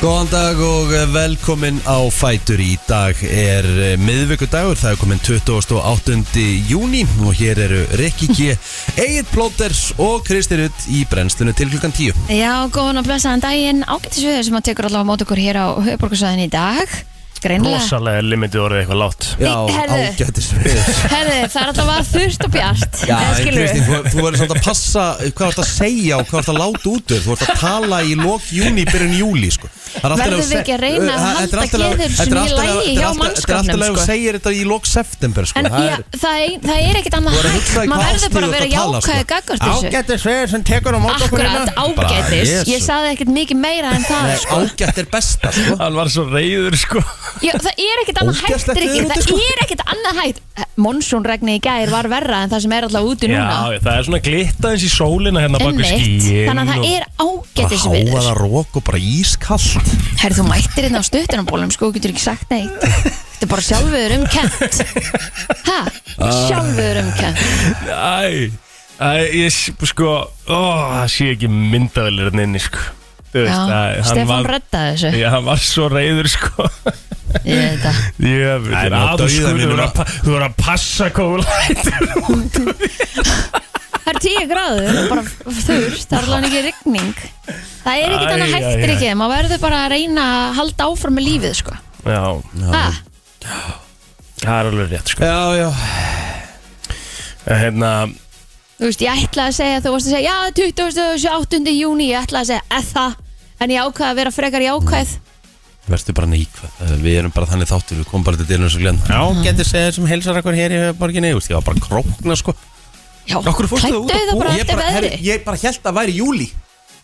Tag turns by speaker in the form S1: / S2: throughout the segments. S1: Góðan dag og eh, velkomin á Fætur í dag er eh, miðvikudagur, það er komin 28. júni og hér eru Rikki G, Egil Plóters og Kristi Rutt í brennslunu til klukkan 10
S2: Já, góðan og blessaðan daginn Ágættisviður sem að tekur allavega mót okkur hér á höfuborgarsvæðin í dag Greinilega
S3: Rosalega er limitið orðið eitthvað látt
S1: Já,
S2: Herðu.
S1: ágættis við
S2: Herði, það er allavega þurft og bjart
S1: Já,
S2: eða
S1: en
S2: skilurðu?
S1: Kristín, þú, þú verður samt að passa hvað þú ert að segja og hvað þú ert að láta út úr. Þú ert að tala í lok júni, byrjun júli sko. Það er allt í
S2: Verðum
S1: lagi
S2: við ekki að reyna að
S1: Uh,
S2: halda
S1: þetta er allt í lagi-
S2: geðum
S1: þetta er
S2: sinni
S1: allt í lagi- þetta er allt í- Þetta er alltaf
S2: í lagi hjá mannskapnum,
S1: að þú
S2: sko.
S1: segir þetta í lok september sko.
S2: En
S1: Það
S2: já,
S1: er-
S2: það er, það er ekkit annað
S1: Þú verður að hugsa
S2: hægt
S1: í
S2: Maður
S1: hvað
S2: verður
S1: árstíð
S2: bara
S1: þú
S2: að
S1: ert
S2: vera
S1: að tala, sko.
S2: jákvæði gagvart þessu
S3: Ágættir sveir sem tekur á mót okkur
S2: Akkurat,
S3: hérna
S2: ágætis
S1: Bara,
S2: Ég
S1: Jesú.
S2: saði ekkit mikið meira en það
S1: Nei,
S2: sko.
S1: ágætt er besta sko.
S3: Hann var svo reyður sko
S2: Já, það er ekkit annað hægt
S1: Ógeðslegt
S2: Riki,
S1: veður úti,
S2: Það
S1: sko.
S2: er ekkit annað hægt Monsónregni í gær var verra en það sem er allavega úti núna
S3: Já, það er svona glittaðins í sólina hérna baku
S2: Einmitt,
S3: skíin
S2: þannig að það er
S1: Bara
S2: ágættisviður
S1: háaða rók og bara ískallt
S2: Herri, þú mættir hérna á stuttunarbólum, sko, þú getur ekki sagt neitt. Þetta er bara sjálfur um kent. Hæ?
S3: Ah.
S2: Sjálfur um kent.
S3: Æ, æ, ég s- sko ó, Það sé ekki myndavelir hérna inni sko Þú
S2: Já,
S3: veist, æ, hann
S2: Stefán
S3: var,
S2: reddaði þessu.
S3: Já, hann var svo reyður sko
S2: Ég veit það.
S3: Jöfull,
S1: Nei, ná,
S3: aður sko,
S1: dauða
S3: þú
S1: mínum
S3: verður
S1: að-
S3: að pa- Þú verður að passa kóla
S2: Það er tíu gráður, það er bara þurft, það er alveg ekki rigning. Það er ekkit
S3: Æ,
S2: annað
S3: æ, æ.
S2: hægt, Rikki, maður verður bara að reyna að halda áfram með lífið, sko.
S3: Já,
S2: Hæ?
S3: það er alveg rétt sko
S1: Já, já
S3: En Hérna,
S2: Þú veist, ég ætlaði að segja, þú varst að segja, já, 28. júni, ég ætlaði að segja, eða, en ég ákvaði að vera frekar jákvæð.
S1: Verstu bara neikvæð Eh, Við erum bara þannig þáttur, við komum bara til dyrunum svo glenn Já, getur segðið sem helsar okkur hér í borginni Ég var bara krókna sko
S2: Já,
S1: Okkur fórstu það út
S2: klæddu
S1: að
S2: þau það bara
S1: Ég
S2: eftir
S1: herri,
S2: veðri.
S1: Ég bara held að væri júli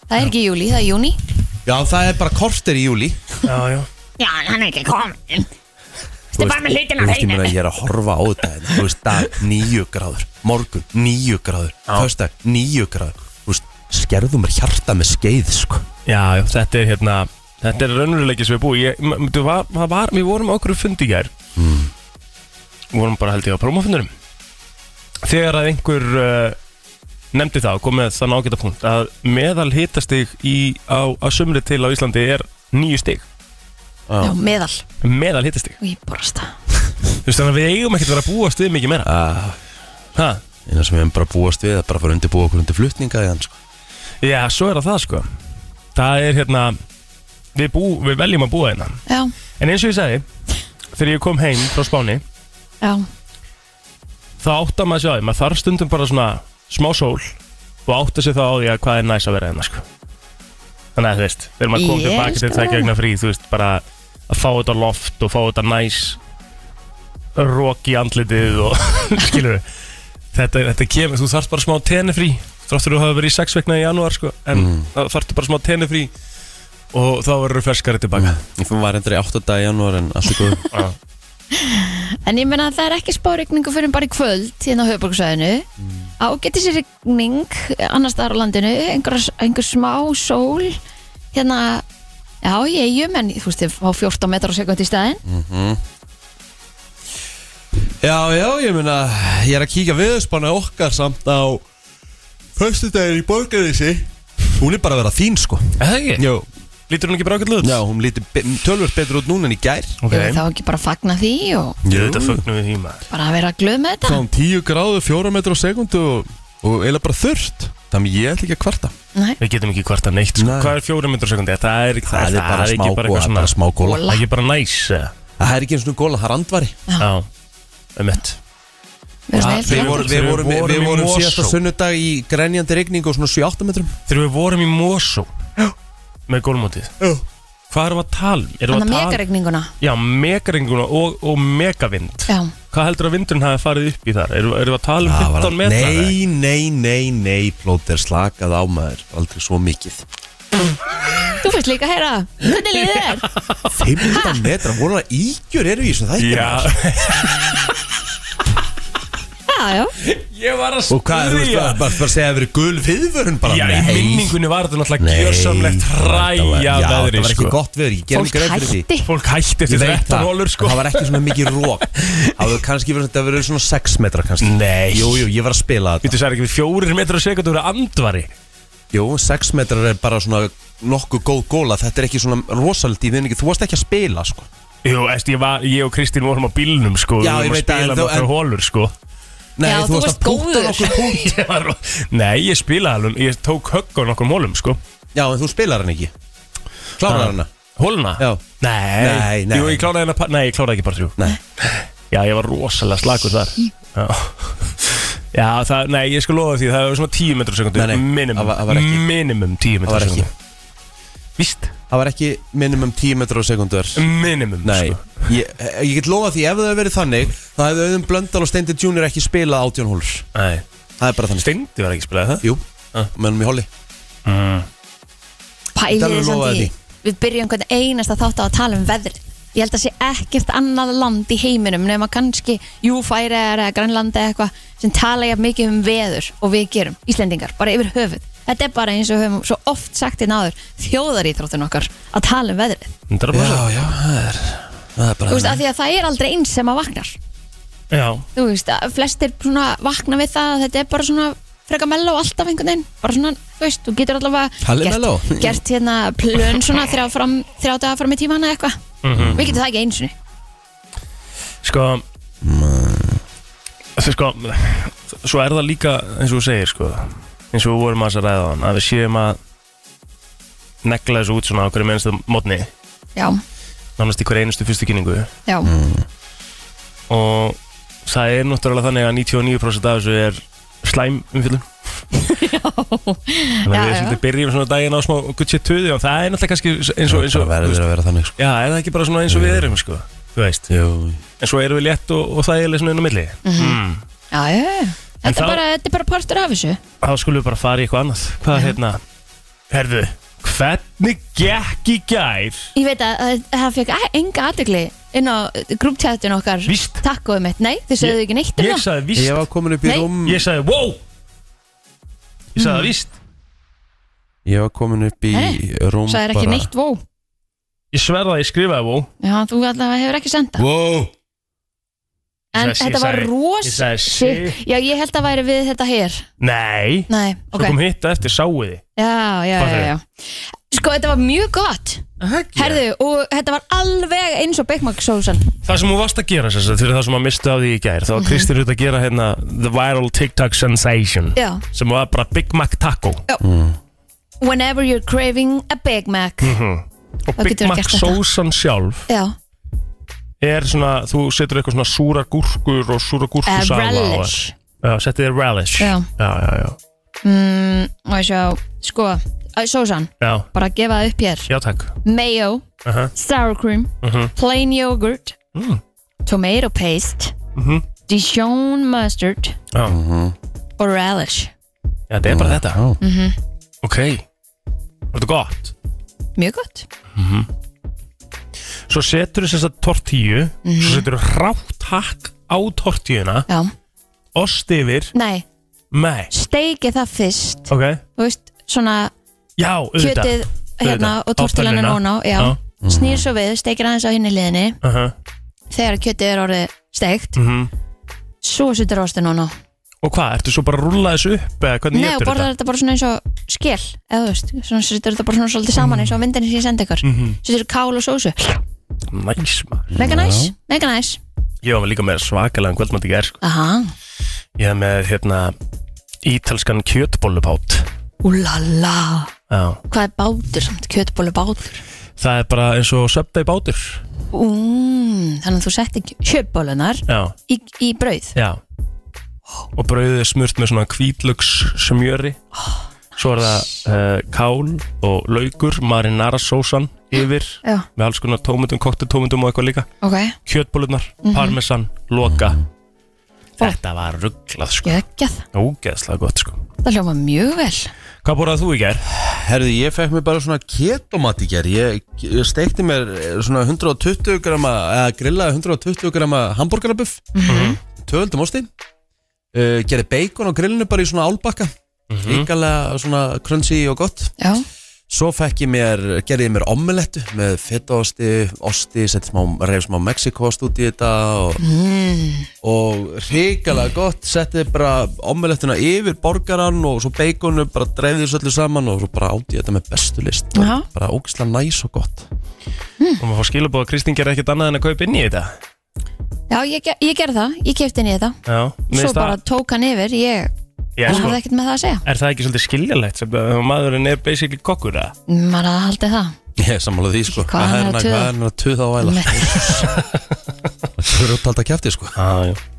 S2: Það er ekki júli, það er júni.
S1: Já, það er bara kortir í júli
S3: já, já
S4: Já, en hann er ekki kominn.
S1: Þú
S4: Þetta er bara með hlutina á
S1: ég
S4: hreinu.
S1: meina, ég er að horfa á þetta hérna, Þú veist, dag, níu gráður Morgun, níu gráður Föstdag, níu gráður Þú veist, skerðu mér hjarta með skeið, sko
S3: Já, já, þetta er hérna Þetta er raunveruleiki sem við búið ég, m- m- þú var, það var, Við vorum á okkur fundi í gær mm. vorum bara held ég á prómafundunum Þegar að einhver uh, nefndi það og kom með þann ágæta punkt að meðal hitastig í, á, á sumri til á Íslandi er nýju stig
S2: Já, meðal.
S3: meðal hitastig
S2: Og ég borast það.
S3: Þú veist þannig að við eigum ekkert að vera að búa stuð mikið meira
S1: Ah,
S3: ha?
S1: Eina sem við hefum bara búast við að bara fara að undirbúa okkur undir flutninga í hann, sko.
S3: Já, svo er það það sko Það er hérna við, bú, við veljum að búa hérna
S2: Já,
S3: En eins og ég sagði, þegar ég kom heim frá Spáni
S2: já,
S3: þá áttar maður sig á því, maður þarf stundum bara svona smá sól og áttar sig þá á því að hvað er næst að vera hérna sko. þannig að þú veist þegar maður kom
S2: Ég
S3: tilbaka til
S2: sko.
S3: tækja vegna frí þú veist bara að fá þetta loft og fá þetta næs rók í andlitið og skilur þetta, þetta kemur, þú þarft bara smá tenefrí þráttur þú hafa verið í sex vegna í janúar sko, en
S1: Mm.
S3: þá þarftu bara smá tenefrí og þá verður þú ferskari tilbaka
S1: Ég fann var endur í 8. janúar en allt er góð
S2: En ég meina að það er ekki spárigningu fyrir bara í kvöld hérna á höfuborgsvæðinu mm. Ágetis rigning annars staðar á landinu einhver, einhver smá sól hérna, já ég jum en þú veist, þið fá 14 metrar á sekund í staðin
S1: Já, já, ég meina Ég er að kíka viðspana okkar samt á Föstudagir í borgarinsi Hún er bara að vera fín, sko
S3: Eða ekki?
S1: Jó,
S3: Lítur hún ekki brákjöld út?
S1: já, hún líti tölvöld betur út núna en í gær
S2: okay. Ég vil þá ekki bara fagna því og
S3: Jú, þetta fögnum við því maður
S2: bara vera glöð með þetta
S1: Svona 10 gráðu, 4 metrar á sekundu og, og eiginlega bara þurrt Þannig ég ætla ekki að kvarta
S2: Nei,
S3: Við getum ekki hvarta neitt sko.
S1: Nei.
S3: Hvað er fjórum myndur sekundi? Það er,
S1: Það er bara
S3: ekki bara
S1: smágóla,
S3: eitthvað svona
S1: bara smágóla
S3: Það er ekki bara næs eða?
S1: Það er ekki eins og góla, það er andvari Ah,
S3: Já, um mitt
S2: við erum svona
S1: Við
S2: heilt
S1: vorum, við vorum, við
S3: Við
S1: vorum
S3: vorum í
S1: síðasta
S3: Mosó.
S1: sunnudag í grenjandi rigning og svona 7-8 metrum
S3: Þegar við vorum í Mosó Með gólmótið Hvað erum við að tala? um? Erum við
S2: Þannig að
S3: að tala?
S2: megarigninguna
S3: Já, megaringuna og, og megavind
S2: Já,
S3: Hvað heldur að vindurinn hafi farið upp í þar? Erum, erum við að tala um 15 metra? eða?
S1: Nei, nei, nei, nei, plóter slakað á maður Aldrei svo mikið
S2: þú fyrst líka að heyra Hvernig líður þér?
S1: 15 metra, voru það ígjur eru í þessu þætti maður?
S3: Já,
S2: Já, já,
S3: ég var að
S1: Og hvað, þú veist,
S3: spyrja
S1: bara, bara bara segja að vera gul viðvörun bara
S3: Já, í
S1: nei.
S3: minningunni var þetta náttúrulega
S1: Nei,
S3: gjörsamlegt
S1: þetta var-
S3: hræja
S1: Já, það
S3: veðri
S1: var ekki
S3: sko.
S1: gott veður, ég gerum
S2: fólk
S1: greið fyrir því
S2: hætti
S3: Fólk hætti
S1: Ég
S3: eftir
S1: veit
S3: 13
S1: það,
S3: holur
S1: en
S3: sko
S1: það var ekki svona mikið rók Það var kannski verið þetta verið svona 6 metra kannski
S3: Nei.
S1: Jú, jú, ég var að spila
S3: Þú
S1: þetta
S3: veist, það er ekki við fjórir metrar á sekundu Það er andvari
S1: Jú, 6 metrar er bara svona nokkuð góð góla Þetta er ekki svona rosaldi viðningi Þú varst ekki að spila sko
S3: Jú, veist, ég, var, ég og Kristín vorum á bílnum sko,
S1: Já, ég
S3: við vorum að
S1: veit
S3: spila
S1: að- en þú- en-
S3: nokkra hólur sko.
S1: Nei,
S2: Já, þú
S1: þú varst
S2: varst
S1: að punkta
S2: góður.
S1: nokkuð punkt
S3: Ég var ro- Nei, ég spilaði alveg, ég tók högg á nokkrum hólum sko.
S1: Já, en þú spilar hann ekki Klárar hann
S3: Hóluna?
S1: Já.
S3: Nei,
S1: Nei, nei.
S3: Jú, ég kláraði hérna, nei, ég kláraði ekki bara þrjú
S1: Nei,
S3: Já, ég var rosalega slagur þar Já, Já það, nei, ég skal lofa því Það var svona 10 metrur sekundu
S1: Nei, nei,
S3: Minimum,
S1: það var- það var ekki.
S3: minimum 10
S1: það var
S3: metrur
S1: ekki
S3: sekundu Víst?
S1: Það var ekki minimum 10 metrur á sekundur
S3: Minimum,
S1: Nei,
S3: Um, sko
S1: ég, ég get lofa því ef það hefði verið þannig þá hefði auðvitað Blöndal og Steindi Junior ekki spilað átjón hólur
S3: Nei,
S1: Það er bara þannig
S3: steindi var ekki að spila það Mm.
S1: Jú,
S3: Ah.
S1: mönnum í hóli Þetta
S2: Pælið
S1: alveg
S2: þið samt
S1: lofaði
S2: í Við byrjum hvern einasta þátt á að tala um veðrið Ég held að sé ekkert annað land í heiminum nema kannski Júfæri eða Grænlandi eða eitthvað sem tala jafn mikið um veður og við gerum Íslendingar, bara yfir höfuð Þetta er bara eins og við höfum svo oft sagt í náður þjóðarítróttun okkar að tala um veðrið
S1: Já,
S3: 100%
S1: já, það er, það er bara
S2: Þú
S1: þannig.
S2: veist, af því að það er aldrei eins sem að vaknar
S3: Já, já.
S2: Þú veist, að flestir svona vakna við það að þetta er bara svona freka melló alltaf einhvern veginn bara svona, þú veist, þú getur allavega
S1: Palli Mello.
S2: gert, gert hérna plön svona þrjá, fram, þrjá dagar fram í tíman eða eitthvað
S3: Mhm.
S1: Mhm.
S2: Við getum það ekki eins og
S3: Sko
S1: Mm.
S3: Þú sko Svo er það líka eins og þú segir sko eins og við vorum að þess að ræða á hann að við séum að negla þessu út svona á hverju mennstu mótni
S2: Já,
S3: nánast í hverju einustu fyrstu kynningu
S2: já,
S3: Mhm. og það er náttúrulega þannig að 99% af þessu er slæm umfyllum þannig að
S2: Já,
S3: við
S2: já.
S3: svolítið byrjum svona daginn á smá guttsi tuði og það er náttúrulega kannski eins og, eins
S1: Það
S3: og
S1: bara verður að vera þannig sko
S3: já, er það ekki bara svona eins og við erum sko þú veist,
S1: Jú,
S3: en svo erum við létt og, og það er svona inn á milli mm.
S2: já, já, já.
S3: En
S2: Þetta,
S3: þá-
S2: bara, þetta er bara partur af þessu
S3: þá skulum við bara fara í eitthvað annað hvað hérna, herðu hvernig gekk í gær
S2: Ég veit að, að það fekk enga aðdegli inn á grúptjættun okkar
S3: Víst.
S2: Takk og um eitt, nei, þið sögðu ekki neitt um
S3: ég
S2: það
S3: sagði víst,
S1: ég var komin upp í
S2: Nei.
S1: rúm
S3: ég sagði wow ég sagði
S2: Mm.
S3: víst
S1: Ég var komin upp í
S2: Nei,
S1: rúm
S2: Sagði ekki
S1: bara-
S2: neitt, vó
S3: ég sverða að ég skrifaði wow
S2: Já, þú allavega hefur ekki senda
S1: Wow
S2: En
S3: Ég sagði-
S2: þetta
S3: ég
S2: var
S3: sagði-
S2: ros
S3: ég sagði shit.
S2: Já, ég held að væri við þetta hér
S3: nei,
S2: Nei,
S3: svo
S2: ok
S3: kom hitt eftir sáuði
S2: Já, já, já,
S3: Fattar
S2: já Sko, þetta var mjög gott Herðu, og þetta var alveg eins og Big Mac sósan
S3: það sem hún varst að gera þess að fyrir það sem hún misti á því í gær þá
S2: Mhm.
S3: var Kristín út að gera hérna the viral TikTok sensation
S2: Já
S3: sem var bara Big Mac taco
S2: Whenever you're craving a Big Mac
S3: og
S2: Þá
S3: Big
S2: getur þú
S3: Mac
S2: gert þetta.
S3: sósan sjálf
S2: Já,
S3: er svona, þú setur eitthvað svona súra gúrkur og súra
S2: uh,
S3: gúrkusala
S2: relish
S3: Já, setti þér relish
S2: Já.
S3: já, já, já,
S2: mm, Og sjá, sko, uh, sósan
S3: já,
S2: Bara að gefa það upp hér
S3: já takk
S2: Mayo,
S3: Aha.
S2: sour cream Plain yogurt Tomato paste Dijon mustard
S3: Já,
S2: Og relish
S3: já þetta er bara þetta
S1: Já.
S3: Mhm.
S2: Mm.
S3: Ok, þetta er gott
S2: Mjög gott
S3: Svo setur þess að tortíu
S2: Mhm.
S3: Svo setur rátt hakk á tortíuna
S2: Já,
S3: Ost yfir
S2: nei,
S3: Nei,
S2: steikið það fyrst
S3: ok
S2: Þú veist, svona
S3: Já, auðvitað
S2: kjötið hérna
S3: Auðvitað.
S2: og tortilanum
S3: Á
S2: og ná já,
S3: Já.
S2: snýr svo við, steikir aðeins á hinni liðinni
S3: uh -huh.
S2: þegar kjötið er orðið steikt
S3: mm
S2: svo setur rostin og ná
S3: Og hvað, ertu svo bara að rúlla þessu upp eða hvernig
S2: Nei, og
S3: getur
S2: borðar
S3: þetta?
S2: þetta bara svona eins og skil eða þú veist, svona setur þetta bara svona
S3: Mm.
S2: svolítið saman eins og á myndinni sem ég sendi ykkur
S3: Mhm.
S2: setur kál og sósu,
S3: Næs maður
S2: mega næs, mega næs
S3: Ég var líka með svakalega kvöldmátt í gær sko.
S2: aha,
S3: Ég hef með hérna ítalskan kjötbollupát
S2: úlala
S3: Já
S2: hvað er bátur samt, kjötbólu bátur
S3: Það er bara eins og söpda í bátur
S2: mm, þannig að þú setti kjötbólunar
S3: Já,
S2: í, í brauð
S3: já Og brauðið er smurt með svona kvítlöks smjöri Svo er það uh, kál og laukur marinara sósan yfir
S2: já,
S3: með alls konar tómutum, koktetómutum og eitthvað líka
S2: ok,
S3: kjötbólurnar,
S2: Mhm.
S3: parmesan, loka
S2: Ó.
S3: Mhm. Þetta var rugglað sko
S2: geggjað
S3: Ógeðslega gott sko
S2: það hljóma mjög vel
S3: Hvað borðað þú í gær?
S1: Herði, ég fekk mér bara svona ketomat í gerð ég, ég steikti mér eh, svona 120 grama eða grillaði 120 grama hambúrgarabuff mm
S2: Mhm.
S1: -hmm. Töldum osti uh,
S2: Mhm.
S1: Gerði bacon á grillinu bara í svona álbakka mm Ríkalega svona crunchy og gott
S2: já,
S1: Svo fekk ég mér, gerði ég mér omelettu með fetaosti, osti, setti smá, reyf smá Mexikost út í þetta og,
S2: Mm.
S1: og hrikalega gott, setti bara omelettuna yfir borgaran og svo beikonu, bara dreifði þessu öllu saman og svo bara átti ég þetta með bestu list, bara,
S2: Já.
S1: bara ógislega næs og gott.
S2: Hm.
S3: Og maður fá skilabóð að Kristín gerði ekkert annað en að kaupa inn í þetta
S2: Já, ég, ge- ég gerði það, ég kefti inn í þetta
S3: Já, mér
S2: Svo
S3: finnst
S2: bara
S3: það
S2: tók hann yfir, ég
S3: Já,
S2: hann
S3: sko,
S2: hafði ekkert með það að segja
S3: Er það ekki svolítið skiljalegt sem að maðurinn er basically kokkur að
S2: Maður hafði haldið það
S1: Ég er sammála því, sko.
S2: Hvað hann er að
S1: Hvað
S2: tuða?
S1: hann er að tuða á æla? Þú eru út alltaf kæftið, sko.
S3: Já, já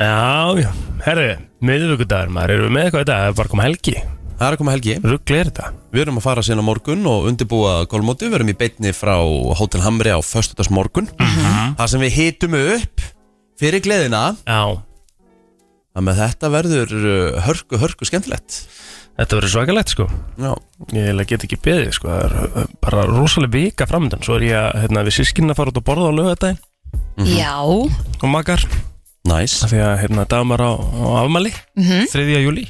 S3: Já, já, herru, miðvikudagur maður, erum við með eitthvað í dag, það er bara kom helgi,
S1: Það er að koma helgi.
S3: ruggli er þetta
S1: Við erum að fara síðan á morgun og undirbúa golfmóti Við erum í beitni frá Hotel Hamri á föstudags morgun Það sem við hitum upp fyrir gleðina
S3: Já,
S1: Þannig að þetta verður uh, hörku, hörku skemmtilegt
S3: þetta verður svakalegt sko,
S1: Já,
S3: ég eiginlega get ekki beðið sko, það er uh, bara rosalega vika framöndan, svo er ég að, hérna, við sískinn að fara út að borða á lögadaginn Mhm.
S2: Já,
S3: og makar,
S1: næs
S3: af því að, hérna, dagmar á, á afmæli, 3. júli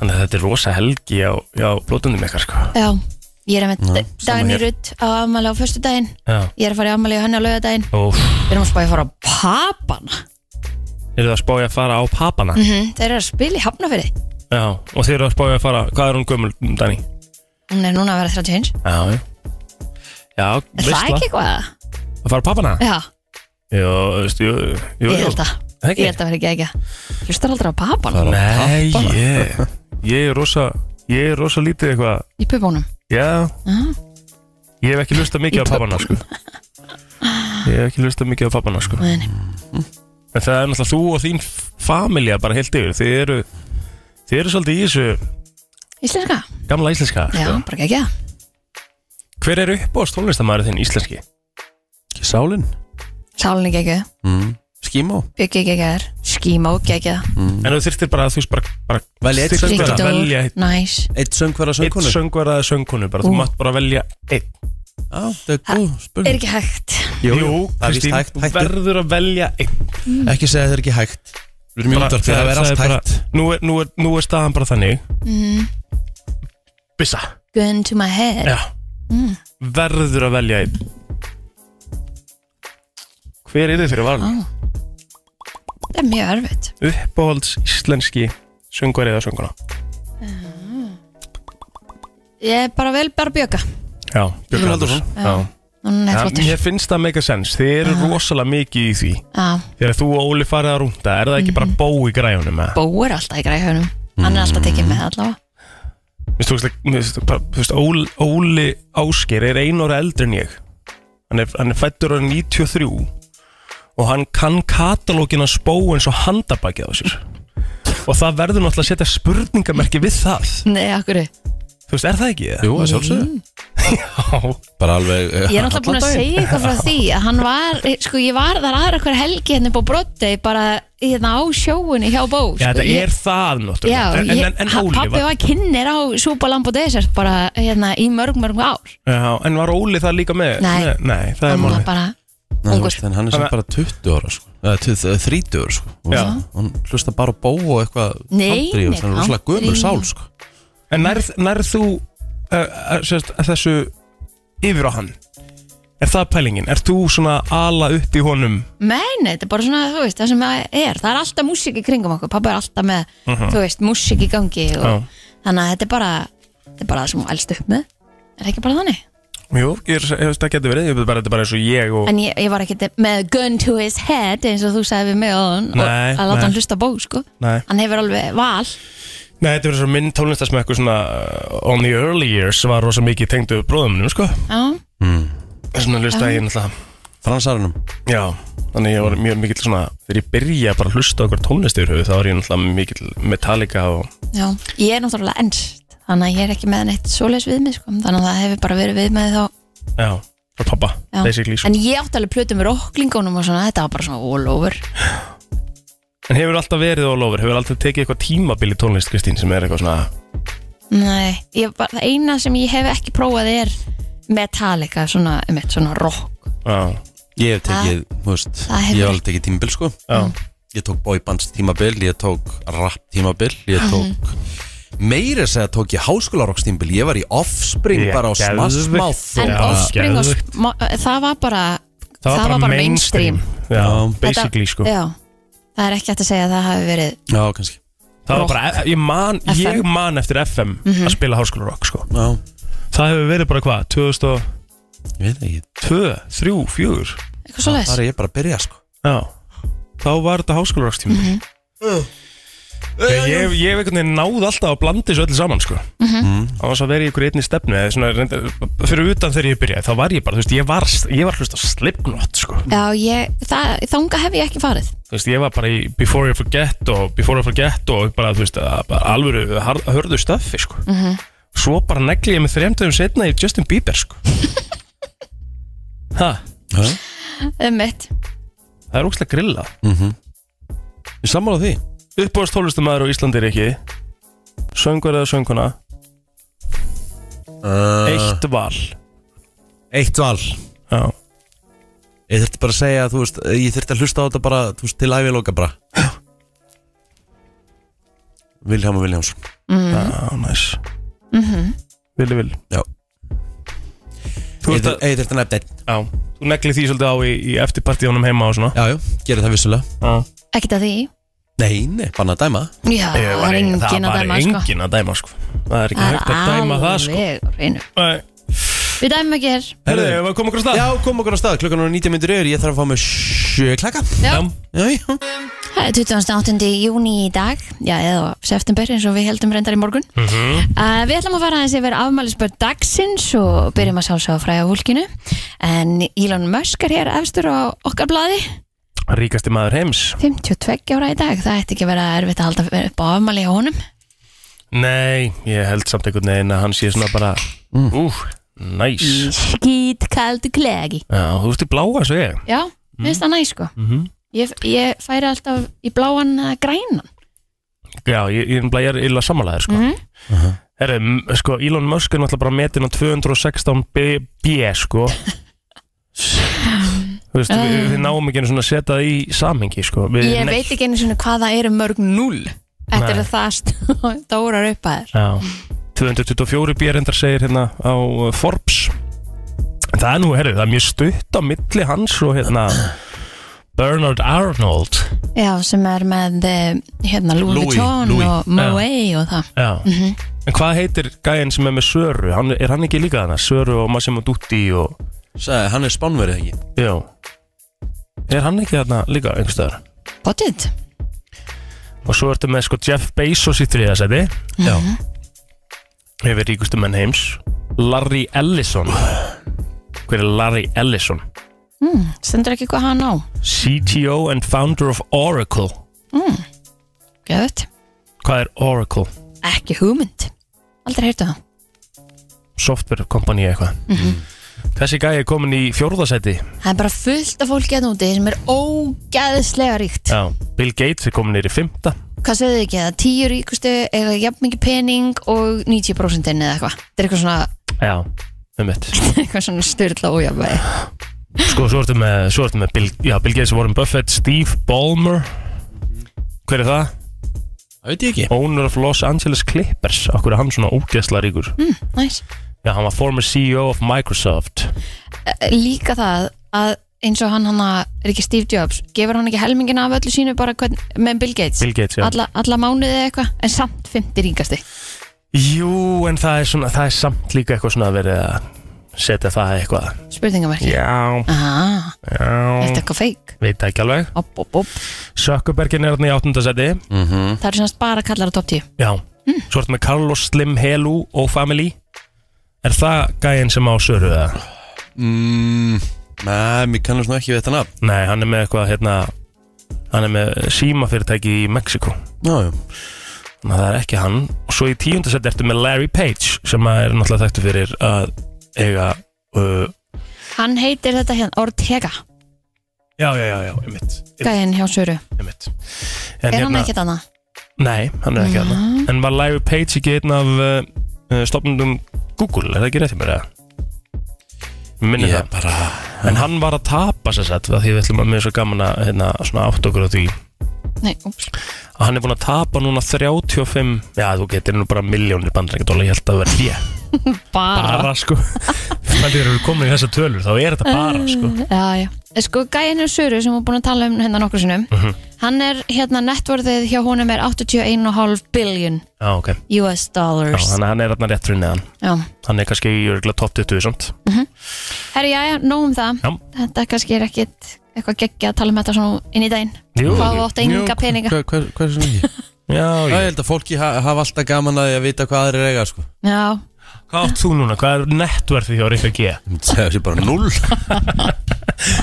S3: Þannig að þetta er rosa helgi á, á blótundum ykkar sko
S2: já Ég er með
S1: sama
S2: daginn í
S1: hér.
S2: rutt á afmæli á föstu daginn
S3: Já,
S2: Ég er að fara í afmæli á henni á laugardaginn
S3: og
S2: Við erum að spáði að fara á papana
S3: eru það að spája að fara á papana
S2: mm Þeir eru að spila í hafnafyrði
S3: Já, og þeir eru að spája að fara, hvað er hún gömul, Dani?
S2: Hún er núna að vera 31
S3: Já, já Já,
S2: Er það
S3: veistla.
S2: ekki eitthvað?
S3: Að fara á pappana?
S2: Já,
S3: Jó, veistu, jú, jú,
S2: ég held að
S3: Það ekki?
S2: Ég held að vera ekki ekki Hlustar aldrei á papana
S1: Það er á
S3: Nei,
S1: pappa.
S3: ég Ég er rosa Ég er rosa lítið eitthvað
S2: Í pubónum
S3: Já,
S2: Já.
S3: ég hef ekki lustað mikið á pappana sko Ég hef ekki lustað mikið á pappana sko
S2: Nei, nei.
S3: En það er náttúrulega þú og þín familja bara heilt yfir Þið eru Þið eru svolítið í þessu
S2: Íslenska?
S3: gamla íslenska
S2: Já,
S3: sko.
S2: bara ekki
S3: Hver er uppbóðst tónlistamæður þinn íslenski?
S1: Sálin
S2: Sálinn ekki ekki
S1: mm. Skímó
S2: Byggi ekki ekki Skímó ekki ekki
S3: En þú þyrftir bara að þú veist bara, bara
S1: Velja einn
S3: þyrftir
S1: söngvara.
S3: að velja
S2: Ríkdór Næs
S1: Eitt söngvara
S3: Eitt
S1: söngkonu
S3: söngvara eða söngkonu bara,
S2: Ú.
S3: Þú mátt bara velja einn
S1: Já, það er góð
S2: Er
S1: spurning
S2: ekki hægt
S1: Jú,
S3: Jú,
S1: það er víst
S3: Kristín,
S1: hægt,
S3: þú
S1: hægt er.
S3: verður að velja einn
S1: Ekki segja að það er ekki hægt Við erum í
S3: Bara-
S1: útvarpi, það er allt
S3: bara-
S1: hægt Mhm.
S3: Nú er, nú er, nú er staðan bara þannig Bissa
S2: Gun to my head
S3: Já
S1: Mm.
S3: Verður að velja einn Hver er þið fyrir valin?
S2: Ó. Það er mjög erfitt
S1: Ah.
S3: Uppáhalds íslenski söngveri eða sönguna
S2: Ég er bara vel bara bjöka
S3: Já, Björn
S1: Björn
S3: Halldórsson Já
S2: Núna er
S3: Ja,
S2: flottur
S3: Mér finnst það mega sens, þið eru
S1: Ah.
S3: rosalega mikið í því
S2: Já,
S3: Þegar þú og Óli farið að rúnda, er það
S1: Mhm.
S3: ekki bara bó í græjunum? eða?
S2: Bó er alltaf í græðhjónum Hann
S3: Mm.
S2: er alltaf tekið með allavega
S3: Mér finnst ógeðslega- mér finnst bara- þú veist, Óli, Óli Ásker er einu ára eldri en ég Hann er, hann er fættur ára 93 Og hann kann katalógin að spó eins og handabakið á sér Og það verður náttúrulega að setja spurningamerki við það
S2: Nei, akkur Ég
S3: Þú veist, er það ekki það?
S1: Jú, að sjálfsögðu
S3: Já,
S1: Bara alveg eh,
S2: er náttúrulega
S1: allan
S2: búin að
S1: daginn.
S2: segja eitthvað frá því að hann var, sko ég var þar aðra hver helgi hérna upp á brotti bara hérna á sjóunni hjá Bó
S3: Já,
S2: sko.
S3: þetta
S2: Ég-
S3: er það náttúrulega
S2: Já,
S3: En,
S2: ég,
S3: en, en
S2: ha-
S3: Óli
S2: pabbi
S3: var,
S2: var kynner á Súpa Lambo Desert bara hérna í mörg mörg ár
S3: já, en var Óli það líka með?
S2: Nei.
S3: nei, nei það er
S2: hann var
S3: málið
S2: bara
S1: Nei, þú
S2: ungur
S1: veist, en hann er sem
S3: Þannig-
S1: bara 20 ára sko. eða 20 eða 30 ára sko. Hún-
S3: Já.
S1: Hún hlusta bara á bó og eitthvað
S2: Nei,
S1: country og
S2: nei,
S1: svona, rosalega gömur
S2: country.
S1: sál sko.
S3: En nærð, nærð þú uh, uh, sérst, þessu yfir á hann? Er það pælingin? Er þú svona ala upp í honum?
S2: Nei, nei, þetta er bara svona, þú veist, það sem það er Það er alltaf músík í kringum okkur, pappa er alltaf með Þú veist, músík í gangi og,
S3: Mhm. Já.
S2: Þannig að þetta er bara Þetta er bara það sem hún elst upp með Er það ekki bara þannig?
S3: Jú, ég er, ég veist, það getur verið, ég veit bara, þetta er bara eins og ég og...
S2: En ég, ég var ekkert með gun to his head eins og þú sagði við mig á hann
S3: Nei,
S2: og að láta
S3: nei.
S2: hann hlusta á bó, sko
S3: Nei.
S2: Hann hefur alveg val
S3: Nei, þetta verður svo minn tónlistasmekku svona uh, on the early years var rosa mikið tengdu bróðumunum, sko.
S2: Já,
S3: Svona hlusta ég náttúrulega.
S1: fransarunum
S3: Já, þannig ég var mjög mikill svona, þegar ég byrja bara að hlusta okkur tónlist yfir höfu, þá var ég náttúrulega mikill Metallica og...
S2: já, ég er náttúrulega ennst Þannig að ég er ekki með neitt svoleiðs við mig, sko Þannig að það hefur bara verið við mig þá
S3: Já, frá pappa,
S2: já.
S3: basically, sko.
S2: En ég átti alveg plötu með rocklingunum og svona Þetta var bara svona all over
S3: En hefur alltaf verið all over, hefur alltaf tekið eitthvað tímabil í tónlist, Kristín, sem er eitthvað svona...
S2: Nei, ég, bara, það eina sem ég hef ekki prófað er Metallica, svona, einmitt, svona rock
S3: Já,
S1: Ég hef tekið, þú veist,
S2: það hefur-
S1: ég hef alveg tekið tímabil sko
S3: já.
S1: Ég tók boybands tímabil, ég tók rap tímabil Ég tók meira þess að tók ég háskólarokstímbil Ég var í offspring
S3: Ég-
S1: bara á
S3: geðveikt.
S1: smassmáð
S2: En
S3: Já,
S2: offspring og
S3: geðveikt.
S2: sma- það var bara
S3: Það var bara mainstream
S1: Já.
S3: Já, basically
S2: Þetta-
S3: sko
S2: Já, það er ekki hægt að segja að það hafi verið
S1: Já, kannski
S3: Það var bara, ég man,
S2: FM.
S3: ég man eftir FM að spila háskólarokk sko
S1: Já,
S3: Það hefur verið bara hvað, 2002,
S1: ég veit það ekki
S3: 3, 4
S2: eitthvað svo
S1: Það er ég bara að byrja sko
S3: Já, þá var þetta háskólarokstími mm -hmm. Ég ég hef einhvern veginn náð alltaf að blanda þessu öllu saman sko Það var svo að vera í ykkur einni stefnu eða svona, reyndar- Fyrir utan þegar ég byrjaði, þá var ég bara, þú veist, ég var, ég var hlust á slipknot sko
S2: Já, ég, það, þanga hef ég ekki farið
S3: þú veist, ég var bara í Before You Forget og Before I Forget og bara, þú veist, að- bara alvöru har- hörðu stöffi, sko. Svo bara negli ég með þremdöfum setna í Justin Bieber, sko. ha,
S2: um mitt
S3: það er ógstlega grilla.
S1: Ég sammála því
S3: Uppbóðast tólustamæður á Íslandi er ekki, söngur eða sönguna,
S1: Ah. Uh,
S3: eitt val.
S1: Eitt val
S3: Já.
S1: Ég þurfti bara að segja, þú veist, ég þurfti að hlusta á þetta bara, þú veist, til æféloka bara Vilhjálm og Vilhjálmsson
S3: Já, næs.
S2: Mhm.
S3: Vili, vili.
S1: Já,
S3: Þú,
S1: ég
S3: ert
S1: þur-
S3: að-
S1: ég þurfti að nefna einn
S3: já, þú negli því svolítið á í, í eftirpartíðunum heima og svona.
S1: Já, já, gera það vissulega
S3: Já.
S2: Ekkert að því
S1: Nei, nei, banna að dæma
S2: Já,
S3: Ég
S2: það
S3: var
S2: er
S3: ein-
S2: engin
S3: Það
S2: að
S3: var
S2: dæma sko.
S3: enginn að dæma, sko. Það er ekki
S2: Það er
S3: hægt að dæma það, sko.
S2: alveg á hreinu.
S3: Nei.
S2: Við dæmum ekki hér
S3: Herðu, hefur við komið okkur á stað?
S1: Já, kom okkur á stað, klukkan er 90 myndir yfir, ég þarf að fá mig sjö klaka
S2: Já.
S1: Já, já
S2: Það er 28. júni í dag Já, eða september eins og við heldum reyndar í morgun mm Við ætlum að fara aðeins yfir afmælisbörn dagsins og byrjum að sjálfsögja á fræða hólkinu En Elon Musk er hér efstur á okkar blaði
S3: Ríkasti maður heims
S2: 52 ára í dag, það ætti ekki að vera erfitt að halda upp á afmæli hjá honum
S3: Nei, ég held samt einhvern veginn að hann sé svona bara Ú, næs
S2: Mm. Skít kaldu klegi
S3: Já, þú ert í bláa, svo ég
S2: Já, mm. finnst það næ sko ég, ég færi alltaf í bláan eða grænan
S3: Já, ég, ég, nefnilega- ég er illa sammálaðir, sko
S2: Mhm.
S3: Herru, m- sko, Elon Musk er náttúrulega bara metin á 216 B, B sko Þú veist, við, við náum ekki einu svona að setja það í samhengi, sko við,
S2: Eh. Ég
S3: nei.
S2: veit ekki einu sinni hvað það eru mörg null Þetta
S3: Nei.
S2: eru það stórar uppæður
S3: Já, 224 B reyndar segir hérna á uh, Forbes En Það er nú, herru, það er mjög stutt á milli hans og hérna Bernard Arnold
S2: Já, sem er með eh, hérna, Louis
S1: Louis,
S2: Vuitton
S1: Louis.
S2: og Moe og það
S3: Já
S2: Mhm.
S3: En hvað heitir gæinn sem er með Söru? Hann, er hann ekki líka þarna? Söru og Massimo Dutti og...
S1: Sæði, hann er spánverið ekki
S3: Já Er hann ekki þarna líka einhverstaðar?
S2: Bóttið
S3: Og svo ertu með sko Jeff Bezos í þriðasæti
S1: Já,
S3: Mhm. Yfir ríkustu menn heims Larry Ellison Hver er Larry Ellison?
S2: Stendur ekki hvað hann á
S3: CTO and founder of Oracle
S2: Gjöfut
S3: Hvað er Oracle?
S2: Ekki hugmynd Aldrei heyrtu það
S3: Software company eitthvað Þessi gæi er komin í fjórðasæti
S2: Það er bara fullt af fólki að núti sem er ógæðslega ríkt
S3: Já Bill Gates er komin nýri fymta
S2: Hvað sögðu þið ekki að tíu ríkustu eiga jafn mikið pening og 90% inn eða eitthvað Þetta er eitthvað svona,
S3: Já Um mitt
S2: eitthvað svona styrla ójafnvæði
S3: Sko, svo ertu með, svo ertu með Bill, já, Bill Gates, Warren Buffett, Steve Ballmer Mhm. Hver er það?
S1: það veit ég ekki
S3: Owner of Los Angeles Clippers Akkur er hann svona ógeðsla ríkur
S2: Næs
S3: Já, hann var former CEO of Microsoft
S2: Eh, líka það að eins og hann hann er ekki Steve Jobs gefur hann ekki helmingin af öllu sínu bara hvern, með Bill Gates,
S3: Bill Gates, já
S2: alla, alla mánuði eða eitthvað en samt 50 ríkasti
S3: Jú, en það er svona, það er samt líka eitthvað svona að verið að setja það eitthvað
S2: spurningamarki
S3: Já,
S2: ah, er þetta
S3: já
S2: eitthvað feik
S3: Veit ekki alveg
S2: op, op, op.
S3: Sökkubergin er hann í áttundasæti
S1: Mhm.
S2: það eru semast bara kallar á top 10
S3: Já Svo ertu með Carlos Slim Helu og Family Er það gæinn sem á Söru það?
S1: mm, Nei, mér kannast nú ekki við þetta nafn
S3: Nei, hann er með eitthvað hérna Hann er með símafyrirtæki í Mexiko
S1: Já, já
S3: Þannig að það er ekki hann Og svo í tíundasett ertu með Larry Page Sem að er náttúrulega þekktu fyrir að eiga uh,
S2: hann heitir þetta hérna Ortega
S3: Já, já, já, já, einmitt
S2: gæðin hjá Söru,
S3: einmitt. En hérna-
S2: er hann ekkert annað?
S3: Nei, hann er ekki hann En var Larry Page ekki einn af uh, uh, stopnundum Google, er það ekki rétt í mér eða? Minni
S1: Ég
S3: það
S1: bara
S3: En hann var að tapa sér sett Því við ætlum að mér er svo gaman að hérna, svona átt okkur á því
S2: Nei, úps.
S3: að hann er búin að tapa núna 35 já þú getur nú bara miljónir bandarækjadóla ég held að vera hlje
S2: Bara.
S3: bara sko þannig að eru komin í þessa tölur þá er þetta bara sko
S2: Já, já. Eh, Sko, gæinu Söru sem við erum búin að tala um hérna nokkur sinnum,
S3: Mhm.
S2: hann er hérna nettvörðið hjá honum er 81,5 billion
S3: já ok já,
S2: US dollars.
S3: þannig að hann er þarna rétt fyrir neðan
S2: Já.
S3: hann er kannski í örgla top 20 samt
S2: Herri, já, já, nóg um það.
S3: Já.
S2: Þetta kannski er ekkit eitthvað geggja að tala um þetta svona inn í daginn.
S3: Jú.
S2: Hvað þú átt enga peninga.
S1: Hvað hva, hva er svona ekki?
S3: já
S1: Já, ég
S3: ég
S1: held að fólki ha, hafa alltaf gaman að því að vita hvað aðrir eiga sko.
S2: Já,
S3: hvað átt þú núna hvað er nettverðið hjá Rikka G
S1: Það er bara null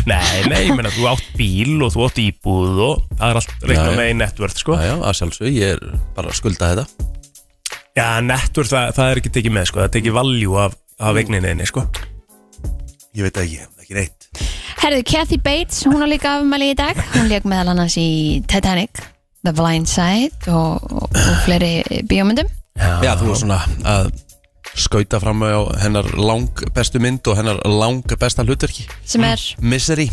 S3: nei nei ég meina þú átt bíl og þú átt íbúð og það er allt
S1: Já, já.
S3: reikna með í nettverð sko
S1: Já, já, að sjálfsög, ég er bara að skulda þetta
S3: já nettverð það, það er ekki tekið með sko það er tekið valjú af, af eigninni sko
S1: Ég veit ekki, ekki neitt
S2: Herðu, Kathy Bates, hún á líka afmæli í dag Hún leik meðal annars í Titanic The Blind Side og, og, og fleiri bíómyndum
S1: Já, þú er svona að skauta fram á hennar lang bestu mynd og hennar lang besta hlutverki
S2: sem er
S1: Misery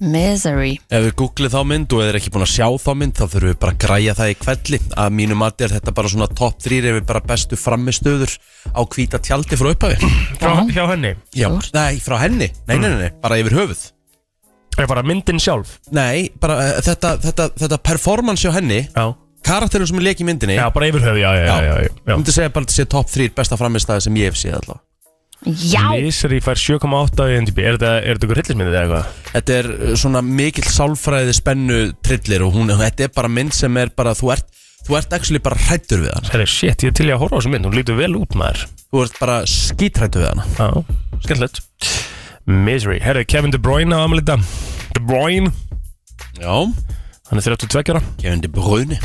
S2: Misery
S1: Ef við googlið þá mynd og ef þið er ekki búin að sjá þá mynd þá þurfum við bara að græja það í kvelli að mínu mati er þetta bara svona top 3 ef við bara bestu frammistöður á hvíta tjaldi frá upphafi
S3: frá, hjá henni
S1: Já, nei, frá henni, nei, nei, nei, nei, bara yfir höfuð
S3: er bara myndin sjálf
S1: Nei, bara eh, þetta, þetta, þetta performance hjá henni
S3: já
S1: karakterinn sem er leik í myndinni
S3: Já, bara yfir höfu, já, já, já, já, já.
S1: myndi segja bara að þetta sé top 3 besta framistæði sem ég hef séð allavega
S2: Já,
S3: Misery fær 7,8 í NDB Er þetta, er þetta ykkur hryllismyndið eða eitthvað?
S1: Þetta er eh, svona mikill sálfræði spennu trillir og hún, þetta er bara mynd sem er bara, þú ert, þú ert actually bara hrættur við hana
S3: Það er shit, ég er til í að horfa á þessu mynd Hún lítur vel út maður
S1: Þú ert bara skítrættur við hana
S3: Já, skemmtilegt Misery, herri, Kevin De Bruyne á amalita De Bruyne,
S1: Já, Mhm.
S3: hann er 32 ára
S1: Kevin De Bruyne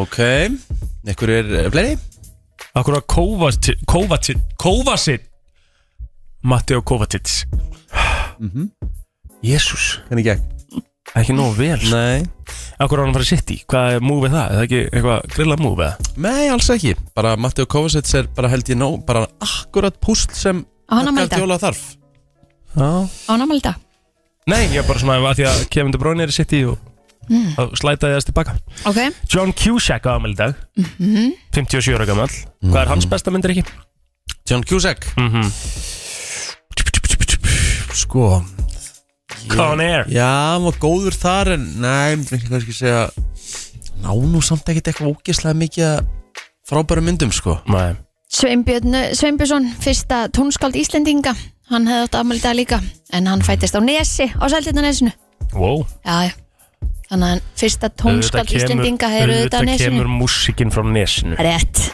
S1: Ok, ekkur er eh, fleiri?
S3: Akkur að Kovacic Kovacic, Kovacic Matteo Kovacic Jésús,
S1: Hvernig gekk?
S3: Mhm. ekki nóg vel
S1: Nei
S3: Akkur að hann farið sitt í, hvað er múfið það? Er það ekki eitthvað grilla múfið?
S1: Nei, alls ekki Bara Matteo Kovacic er bara held ég nóg bara akkurat púsl sem
S2: Á hann að mæta.
S1: Guardiola þarf
S3: Já
S2: án ámæli í dag
S3: Nei, ég er bara svona að því að Kevin De Bruyne er í City og mm. slætaði þess tilbaka
S2: Ok,
S3: John Cusack á amal í dag 57 ára gammal Hvað er hans besta myndir ekki?
S1: John Cusack Sko
S3: Con Air
S1: Já, hann var góður þar en Nei, mér finnst kannski segja Ná nú samt ekkert eitthvað ógeðslega mikið að frábæru myndum sko
S3: Nei,
S2: Sveinbjörn eh, Sveinbjörnsson, fyrsta tónskald Íslendinga Hann hefði átt afmæli í dag líka En hann fættist á Nesi, á Sældirnanesinu
S3: wow
S2: Já, já Þannig að hann fyrsta
S3: Auðvitað
S2: tónskald
S3: kemur-
S2: Íslendinga hefur auðvitað á
S3: auðvitað
S2: Nesinu
S3: kemur músikinn frá nesinu
S2: Rétt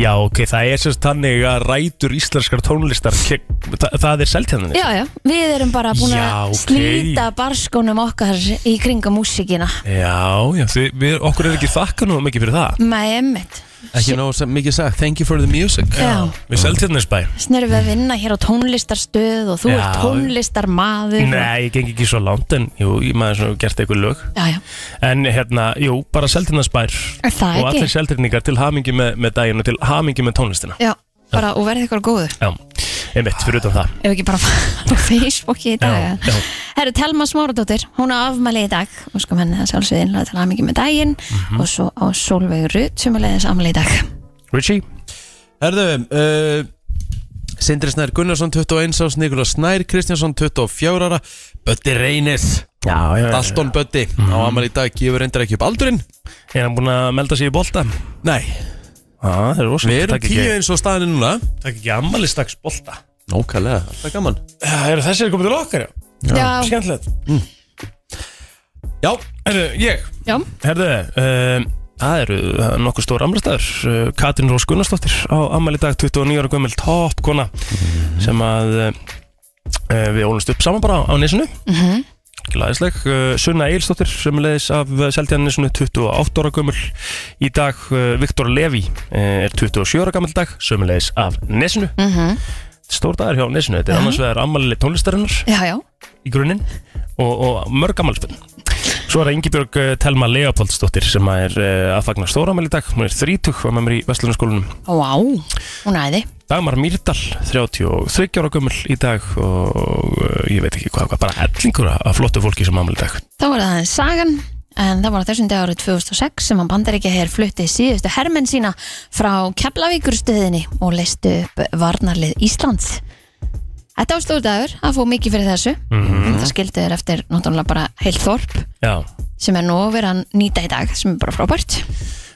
S3: Já, ok, það er sérst þannig að rætur íslenskar tónlistar ke- það, það er seltjarnanir
S2: Já, já, við erum bara búin
S3: Já,
S2: að
S3: ok.
S2: slíta barskónum okkar í kringa músíkina
S3: já, já þið, við, okkur er ekki þakka nú mikið fyrir það
S2: Með emmitt
S1: Ekki nóg sem mikið sagt Thank you for the music
S2: Já,
S3: Við seltjarnisbæ
S2: snerum við að vinna hér á tónlistarstöð og þú
S3: Já.
S2: ert tónlistarmaður
S3: Nei, ég geng ekki svo langt en jú, ég maður svona gert eitthvað lög
S2: Já, já,
S3: En hérna, jú, bara seltjarnasbær
S2: Er
S3: Og
S2: það ekki?
S3: allir seltjarningar til hamingi með, með daginn og til hamingi með tónlistina
S2: já, bara og verðið ykkur góður
S3: Já, einmitt, fyrir utan það
S2: Ef ekki bara á Facebooki í dag
S3: Já, já.
S2: Herru, Telma Smáradóttir, hún á afmæli í dag og sko henni að sjálfsögði innlega til hamingi með daginn
S3: Mhm.
S2: og svo á Solveig Rut sem er leiðis afmæli í dag
S3: Richie,
S1: Herðu, uh, Sindri Snær Gunnarsson 21 árs, Nikola Snær Kristjánsson 24 ára, Bötti Reynis
S3: já, já,
S1: Dalton Bötti á amal í dag gefur reyndar ekki upp aldurinn
S3: er hann búin að melda sig í bolta?
S1: Nei,
S3: Já, það er rosalega
S1: við erum
S3: Takk
S1: tíu
S3: ekki,
S1: eins og staðinu núna
S3: Takk ekki ammali strax bolta
S1: Nókallega, alltaf gaman
S3: Já, eru þessir komið til okkar, já?
S2: Já, já,
S3: Skemmtilegt
S1: Já,
S3: Herðu, ég
S2: já.
S3: Herðu, um, það eru það eru nokkuð stór amrastæður uh, Katrin Rós Gunnarsdóttir á ammali dag 29 ára gömul topp kona sem að uh, við ólumst upp saman bara á, á nesinu mm -hmm. Læðisleg, uh, Sunna Eilsdóttir sem leðis af Seltjarnisinu 28 ára gömul í dag uh, Viktor Levi uh, er 27 ára gammal dag sem leðis af nesinu mm -hmm.
S2: Mhm.
S3: Stór dagur hjá nesinu, þetta er annars vegar ammali tónlistarinnar
S2: já, já.
S3: í grunninn og, og mörg ammálspinn Svo er það Ingibjörg eh, Telma Leopoldsdóttir sem að er eh, að fagna stóramæli í dag hún er 30 og með mér í Vestlunarskólanum
S2: Vá, hún æði
S3: Dagmar Mýrdal, 33 ára gömul í dag og eh, ég veit ekki hvað, hvað bara hellingur af af flottu fólki sem ammali í dag
S2: Þá var það aðeins Sagan En það var á þessum dag árið 2006 sem hann bandaríkja hér flutti síðustu hermenn sína frá Keflavíkurstöðinni og leistu upp varnarlið Íslands. Þetta var stór dagur að fá mikið fyrir þessu.
S3: Mhm.
S2: Það skildi þér eftir náttúrulega bara heilt þorp
S3: Já.
S2: sem er nú verið að nýta í dag sem er bara frábært.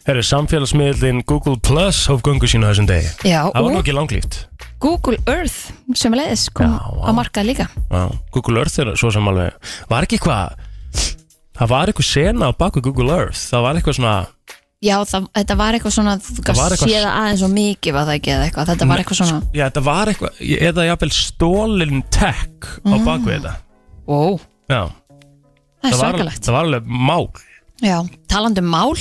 S3: Herru, samfélagsmiðlinn Google Plus hóf göngu sína á þessum degi.
S2: Já,
S3: Það var nú
S2: og
S3: ekki langlíft.
S2: Google Earth sem er leiðis kom
S3: Já, vá.
S2: á markað líka.
S3: Já, Google Earth er svo sem alveg Var ekki eitthvað Það var eitthvað sena á baku Google Earth Það var eitthvað svona
S2: Já, það, þetta var eitthvað svona, þú
S3: var
S2: kannski
S3: eitthvað- sko.
S2: séða aðeins og mikið var það ekki eða eitthvað. Þetta var eitthvað svona,
S3: Já, þetta var eitthvað Eða jafnvel stólin tech á baku þetta
S2: wow,
S3: Já,
S2: Mhm. það er
S3: það var,
S2: svakalegt.
S3: það var alveg mál
S2: Já, talandi um mál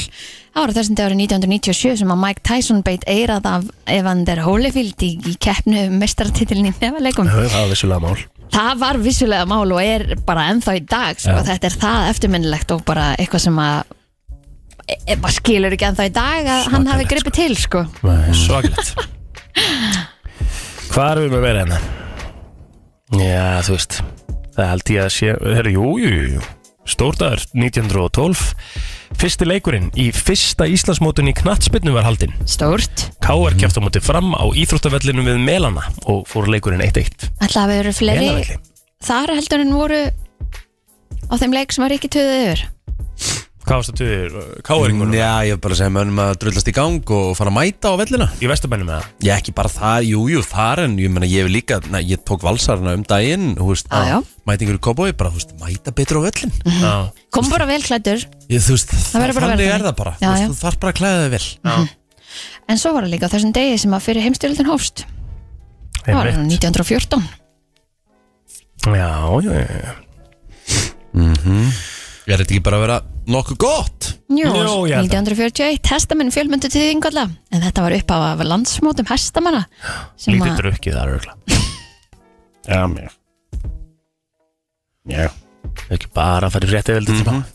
S2: Það var á þessum dagur 1997 sem að Mike Tyson beit eirað af Evander Holyfield í, í keppnu mestartitilin í nefaleikum
S3: Það var vissulega mál
S2: Það var vissulega mál og er bara ennþá í dag sko. þetta er það eftirminnilegt og bara eitthvað sem að e, e, maður skilur ekki ennþá í dag að hann hafi gripið til sko.
S3: Svaklegt Hvað erum við með meira hérna? Já, þú veist Það held ég að sé Herru, jú, jú, jú, jú Stórdagur 1912 Fyrsti leikurinn í fyrsta Íslandsmótun í knattspinnu var haldinn
S2: Stórt
S3: K.R. kæft á móti fram á íþróttavellinum við Melana og fór leikurinn 1-1
S2: Ætla að við eru fleiri
S3: Melavelli
S2: þar heldur en voru á þeim leik sem var ekki töðið yfir
S3: Hvað varst það tuður? K.R.
S1: Já, ég vil bara segja mönnum að drullast í gang og fara að mæta á vellina
S3: í vestabænum með það
S1: Já, ekki bara það, jú, jú, þar en ég meina, ég hef líka, na, ég tók valsarna um daginn, hú veist,
S2: Já, já.
S1: mætingur í kobói, bara, hú veist, mæta betur á völlin
S3: Já,
S2: Kom bara vel klæddur
S1: ég, Þú veist,
S2: verður bara að
S1: þannig
S2: vera
S1: er
S2: þannig.
S1: það bara,
S2: Já,
S1: þú veist,
S2: já.
S1: þú þarf bara að klæða þig vel
S2: En svo var það líka á þessum degi sem að fyrir heimstyrjöldin hófst Það var
S3: einmitt.
S2: 1914
S3: Já, já, já, já
S1: Er þetta ekki bara að vera nokkuð gott?
S2: Jú,
S3: Jú, ég held það.
S2: 1941 hestamenn fjölmyndu til þingalla en þetta var upp af landsmótum hestamanna sem
S3: Lítið
S2: að
S3: drukkið þar örgla Já, mér Já Ekki bara að fara í rétti veldi mm -hmm.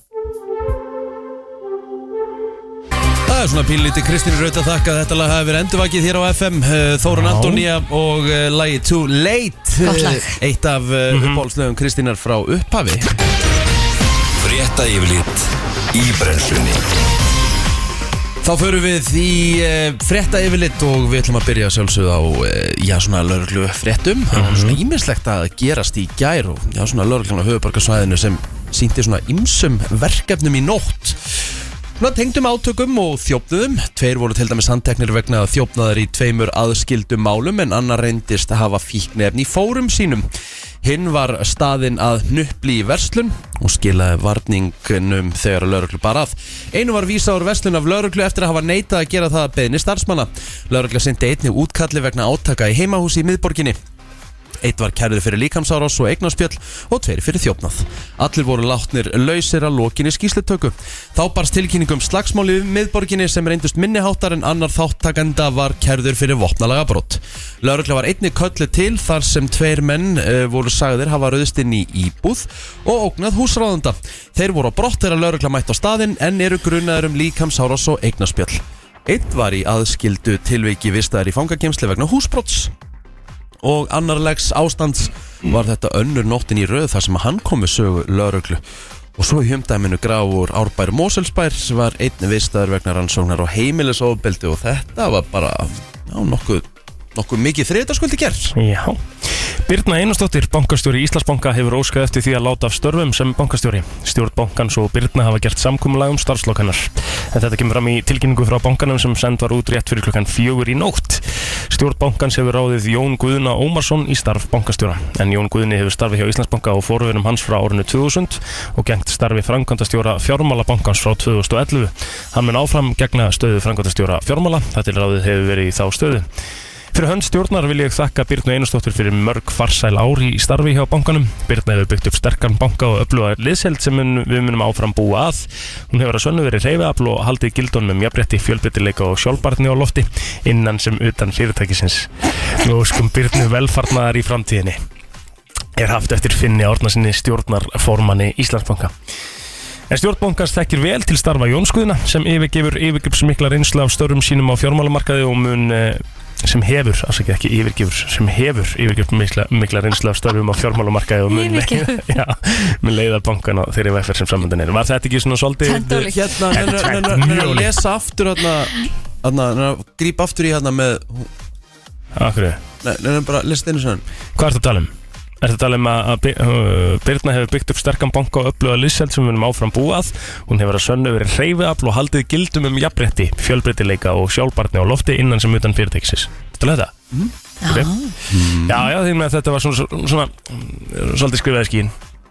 S1: Það er svona pínlítið Kristín Raut að þakka að þetta lag hafi verið endurvakið hér á FM eh, Þórun
S3: Já.
S1: Antonía og uh, lagi Too Late
S2: Gott lag.
S1: eh, Eitt af uh,
S3: Mhm.
S1: mm Kristínar frá upphafi
S5: Frétta yfirlit í brennslunni
S1: Þá förum við í uh, frétta yfirlit og við ætlum að byrja sjálfsögð á uh, já svona lörglu fréttum Það var svona ímislegt að gerast í gær og já svona lörglun á höfubarkasvæðinu sem sýndi svona ymsum verkefnum í nótt Svona tengdum átökum og þjófnuðum Tveir voru til dæmis handteknir vegna þjófnaðar í tveimur aðskildum málum en annar reyndist að hafa fíknefni í fórum sínum Hinn var staðinn að hnupli í verslun og skilaði varningnum þegar lauruglu barað Einu var vísa úr verslun af lauruglu eftir að hafa neitað að gera það að beðni starfsmanna Laurugla sindi einni útkalli vegna átaka í heimahúsi í miðborginni Eitt var kærður fyrir líkamsárás og eignarspjöll og tveir fyrir þjófnað. Allir voru látnir lausir að lokinni skýsletöku. Þá barst tilkynningum slagsmáli við miðborginni sem reyndust minniháttar en annar þáttakenda var kærður fyrir vopnalaga brott. Laurugla var einni köllu til þar sem tveir menn uh, voru sagðir hafa rauðst inn í íbúð og ógnað húsráðanda. Þeir voru á brott þegar laurugla mætt á staðinn en eru grunaður um líkamsárás og eignarspjöll. Eitt var í aðskildu tilviki vistaðar í fangakemsli vegna húsbrotts og annarlegs ástands var þetta önnur nóttin í röð þar sem að hann kom við sögu lauruglu og svo í humdæminu gráur árbær Moselsbær var einn vistaður vegna rannsóknar og heimilisofbeldi og þetta var bara já, nokkuð, nokkuð mikið þriðdagskuldi gerð
S3: Já Birna Einarsdóttir, bankastjóri í Íslandsbanka hefur óskað eftir því að láta af störfum sem bankastjóri. Stjórn bankans og Birna hafa gert samkúmulag um starfslokanar. En þetta kemur fram í tilkynningu frá bankanum sem send var út rétt fyrir klukkan fjögur í nótt. Stjórn bankans hefur ráðið Jón Guðna Ómarsson í starf bankastjóra. En Jón Guðni hefur starfið hjá Íslandsbanka og forverunum hans frá árinu 2000 og gengt starfi framkvæmdastjóra fjármálabankans frá 2011. Hann mun áfram gegna stöðu framkvæmdastjóra fjármála. Þetta til ráðið hefur verið í þá stöðu. Fyrir hönd stjórnar vil ég þakka Birnu Einarsdóttur fyrir mörg farsæl ári í starfi hjá bankanum. Birna hefur byggt upp sterkan banka og öfluga liðsheld sem mun, við munum áfram búa að. Hún hefur að sönnu verið reyfiafl og haldið gildunum um jafnrétti, fjölbyttileika og sjálfbarni á lofti innan sem utan fyrirtækisins. Nú skum Birnu velfarnaðar í framtíðinni. Er haft eftir finni árnasinni stjórnarformanni Íslandsbanka. En stjórnbankans þekkir vel til starfa Jónskuðina sem yfirgefur yfirgripsmikla reynsla af störum sínum á fjármálamarkaði og mun eh, sem hefur, afsakið ekki yfirgefur sem hefur yfirgefur mikla, mikla reynsla af störfum á fjármálumarkaði og mun leiða,
S2: Yfirgefur.
S3: já, mun leiða bankana þeirri veffer sem framöndan er. Var þetta ekki svona svolítið
S2: Tvennt ólíkt.
S1: Hérna, hérna, hérna, hérna að lesa aftur hérna, hérna, hérna, gríp aftur í hérna með
S3: Akkur,
S1: Nei, hérna bara, lesa einu sann
S3: Hvað ertu að tala um? Ertu að tala um að, að Bi- uh, Birna hefur byggt upp sterkan banka og öfluga liðseld sem við munum áfram búað. Hún hefur að sönnu verið hreyfiafl og haldið gildum um jafnrétti, fjölbreytileika og sjálfbarni á lofti innan sem utan fyrirtækisins. Ertu að þetta? Okay.
S2: Hmm.
S3: Já, já, því með að þetta var svona, svona, svona mm, svolítið skrifaði skín.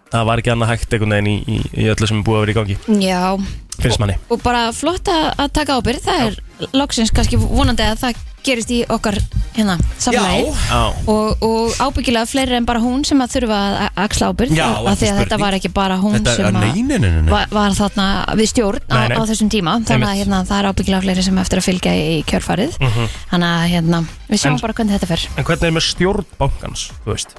S3: Það var ekki annað hægt einhvern veginn í, í, í öllu sem er búið að vera í gangi,
S2: Já,
S3: finnst manni.
S2: og bara flott að að taka ábyrð það er loksins kannski vonandi að það gerist í okkar hérna samfélagi
S3: Já.
S2: og, og ábyggilega fleiri en bara hún sem að þurfa að að axla ábyrð
S1: Já,
S2: af því að
S1: ekki
S2: þetta
S1: spurning.
S2: var ekki bara hún
S1: Þetta
S2: sem
S1: er,
S2: að
S1: nei, nei, nei, nei, nei.
S2: var, var þarna við stjórn
S3: Nei, nei.
S2: Á, á þessum tíma þannig að
S3: Einmitt. Mhm.
S2: hérna, það er ábyggilega fleiri sem eftir að fylgja í kjörfarið þannig að hérna, við sjáum
S3: En-
S2: bara hvernig þetta fer
S3: En hvernig er með stjórn bankans, þú veist?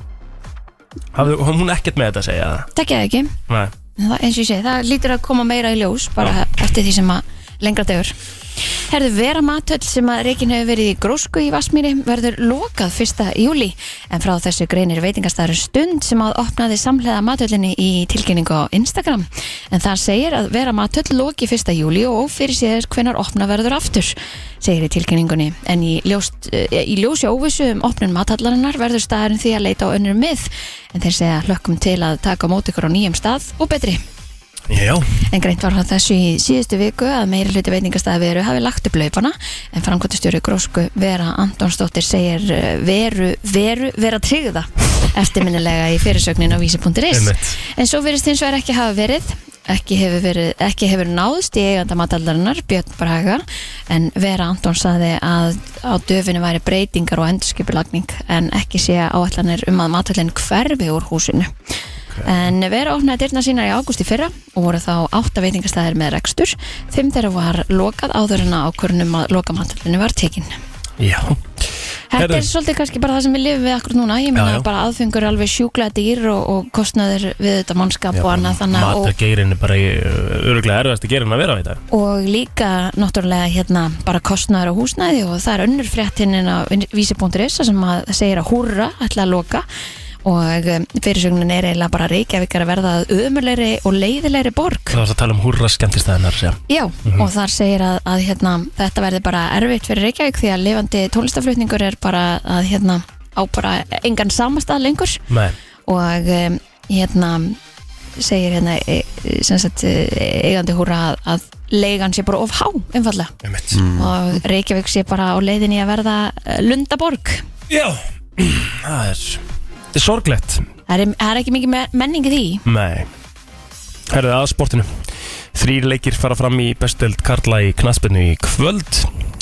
S3: Hafðu, hafði hún ekkert með þetta að segja það?
S2: það geði ekki,
S3: Nei.
S2: það, eins og ég segi það lítur að koma meira í ljós bara eftir því sem að lengra degur Herðu vera matöll sem að reikin hefur verið í grósku í Vassmýri verður lokað 1. júli en frá þessu greinir veitingastæður stund sem að opnaði samhlega matöllinni í tilkynningu á Instagram en það segir að vera matöll loki 1. júli og fyrir sér hvenar opna verður aftur segir í tilkynningunni en í, ljóst, eh, í ljósi óvissu um opnun matallarinnar verður staðurinn því að leita á önnur mið en þeir segja hlökkum til að taka á móti ykkur á nýjum stað og betri
S3: Já.
S2: En greint var frá þessu í síðustu viku að meiri hluti veitingastæði veru hafi lagt upp laupana en framkvæmtastjóri grósku Vera Antonsdóttir segir eh, veru, veru, vera tryggða eftirminnilega í fyrirsögnin á vísi.is
S3: Einmitt.
S2: En svo verist hins vegar ekki hafa verið ekki hefur, verið, ekki hefur náðst í eiganda matallarinnar Björn Braga en Vera Anton saði að á döfinu væri breytingar og endurskipulagning en ekki sé áallanir um að matallin hverfi úr húsinu en Vera opnaði dyrna sínar í ágúst í fyrra og voru þá átta veitingastæðir með rekstur fimm þeirra var lokað áður en að ákvörnum að loka matallinu var tekin
S3: Já.
S2: Þetta er
S3: Herðu.
S2: svolítið kannski bara það sem við lifum við akkur núna ég meina
S3: Já, já.
S2: bara aðfengur er alveg sjúklega dýr og, og kostnaður við þetta mannskap og annað þannig að- og,
S3: Matargeirin er bara uh, öruglega erfiðast að gera en að vera á þetta
S2: og líka náttúrulega hérna bara kostnaður á húsnæði og það er önnur fréttin en á vísi.is þar sem að segir að húrra ætla að loka og um, fyrirsögnin er eiginlega bara Reykjavíkar að verða ömurleiri og leiðilegri borg
S3: Það var að tala um húrra skemmtistæðinar já.
S2: Já,
S3: Mhm.
S2: og þar segir að, að hérna, þetta verði bara erfitt fyrir Reykjavík því að lifandi tónlistaflutningur er bara að hérna, á bara engan samastað lengur
S3: Nei,
S2: og um, hérna segir hérna e, e, sem sagt e, eigandi húra að, að leigan sé bara of há einfallega
S3: einmitt
S1: Hmm.
S2: og Reykjavík sé bara á leiðinni að verða eh, lundaborg
S3: Já, það er, það er sorglegt
S2: það er, það er ekki mikið me- menning í því
S3: Nei Herðu að sportinu Þrýr leikir fara fram í bestöld Karla í knaspinu í kvöld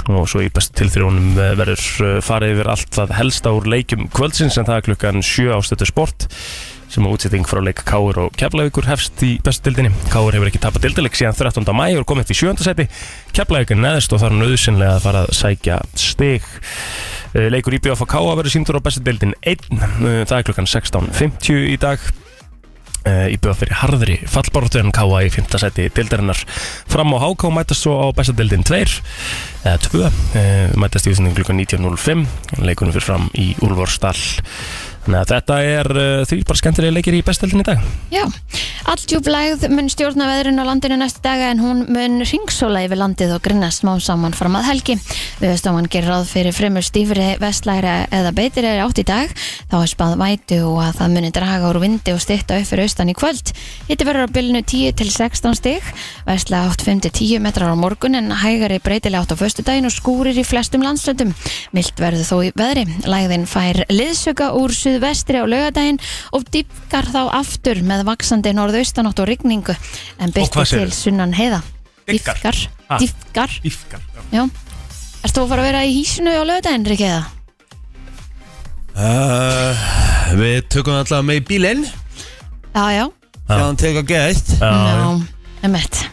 S3: og svo í bestu tilþrjónum eh, verður eh, farið yfir allt það helsta úr leikjum kvöldsins en það er klukkan 7 ástötu sport sem er útsetting frá leik Káur og Keflavíkur hefst í bestu dildinni. Káur hefur ekki tapað dildileik síðan 13. mæ og er komið upp í 7. seti. Keflavíkur er neðst og þarf nöðsynlega að fara að sækja stig. Eh, Leikur í BFK verður síndur á bestu dildin 1. Eh, Það er klukkan 16.50 í dag Eh, í bjóða fyrir harðri fallbortu en káa í 5. seti dildarinnar fram á HK mætast svo á besta dildin 2 eða 2 eh, mætast í útsending klukkan 19.05 leikunum fyrir fram í Úlvorstall þannig að þetta er eh, þrýr bara skemmtilega leikir í besta dildin í dag
S2: Já, alldjúblægð mun stjórna veðrun á landinu næstu daga en hún mun ringsóla yfir landið og grinna smá saman fram að helgi. Viðstofan gerir ráð fyrir fremur stífri vestlæra eða beitir er átt í dag. Þá er spað vætu og að það muni draga úr vindi og stytta upp fyrir austan í kvöld. Hitti verður á bylnu 10 til 16 stig, vestlæra átt 5 til 10 metrar á morgun en hægari breytilega átt á föstudaginn og skúrir í flestum landslöndum. Milt verður þó í veðri. Lægðin fær liðsöka úr suðvestri á laugardaginn og dýpkar þá aftur með vaksandi norðaustanátt og rigningu en
S3: hvað
S2: byrti til
S3: segirðu?
S2: sunnan heiða
S3: Dýpkar?
S2: dýpkar,
S3: Ha.
S2: dýpkar.
S3: Ífgar
S2: Já. Erst þú að fara að vera í hísinu á löðdæðin, Rikki, eða?
S1: uh, Við tökum alltaf með í bílinn
S2: Já, já,
S1: Þegar hann tekur gæst
S2: já, emmitt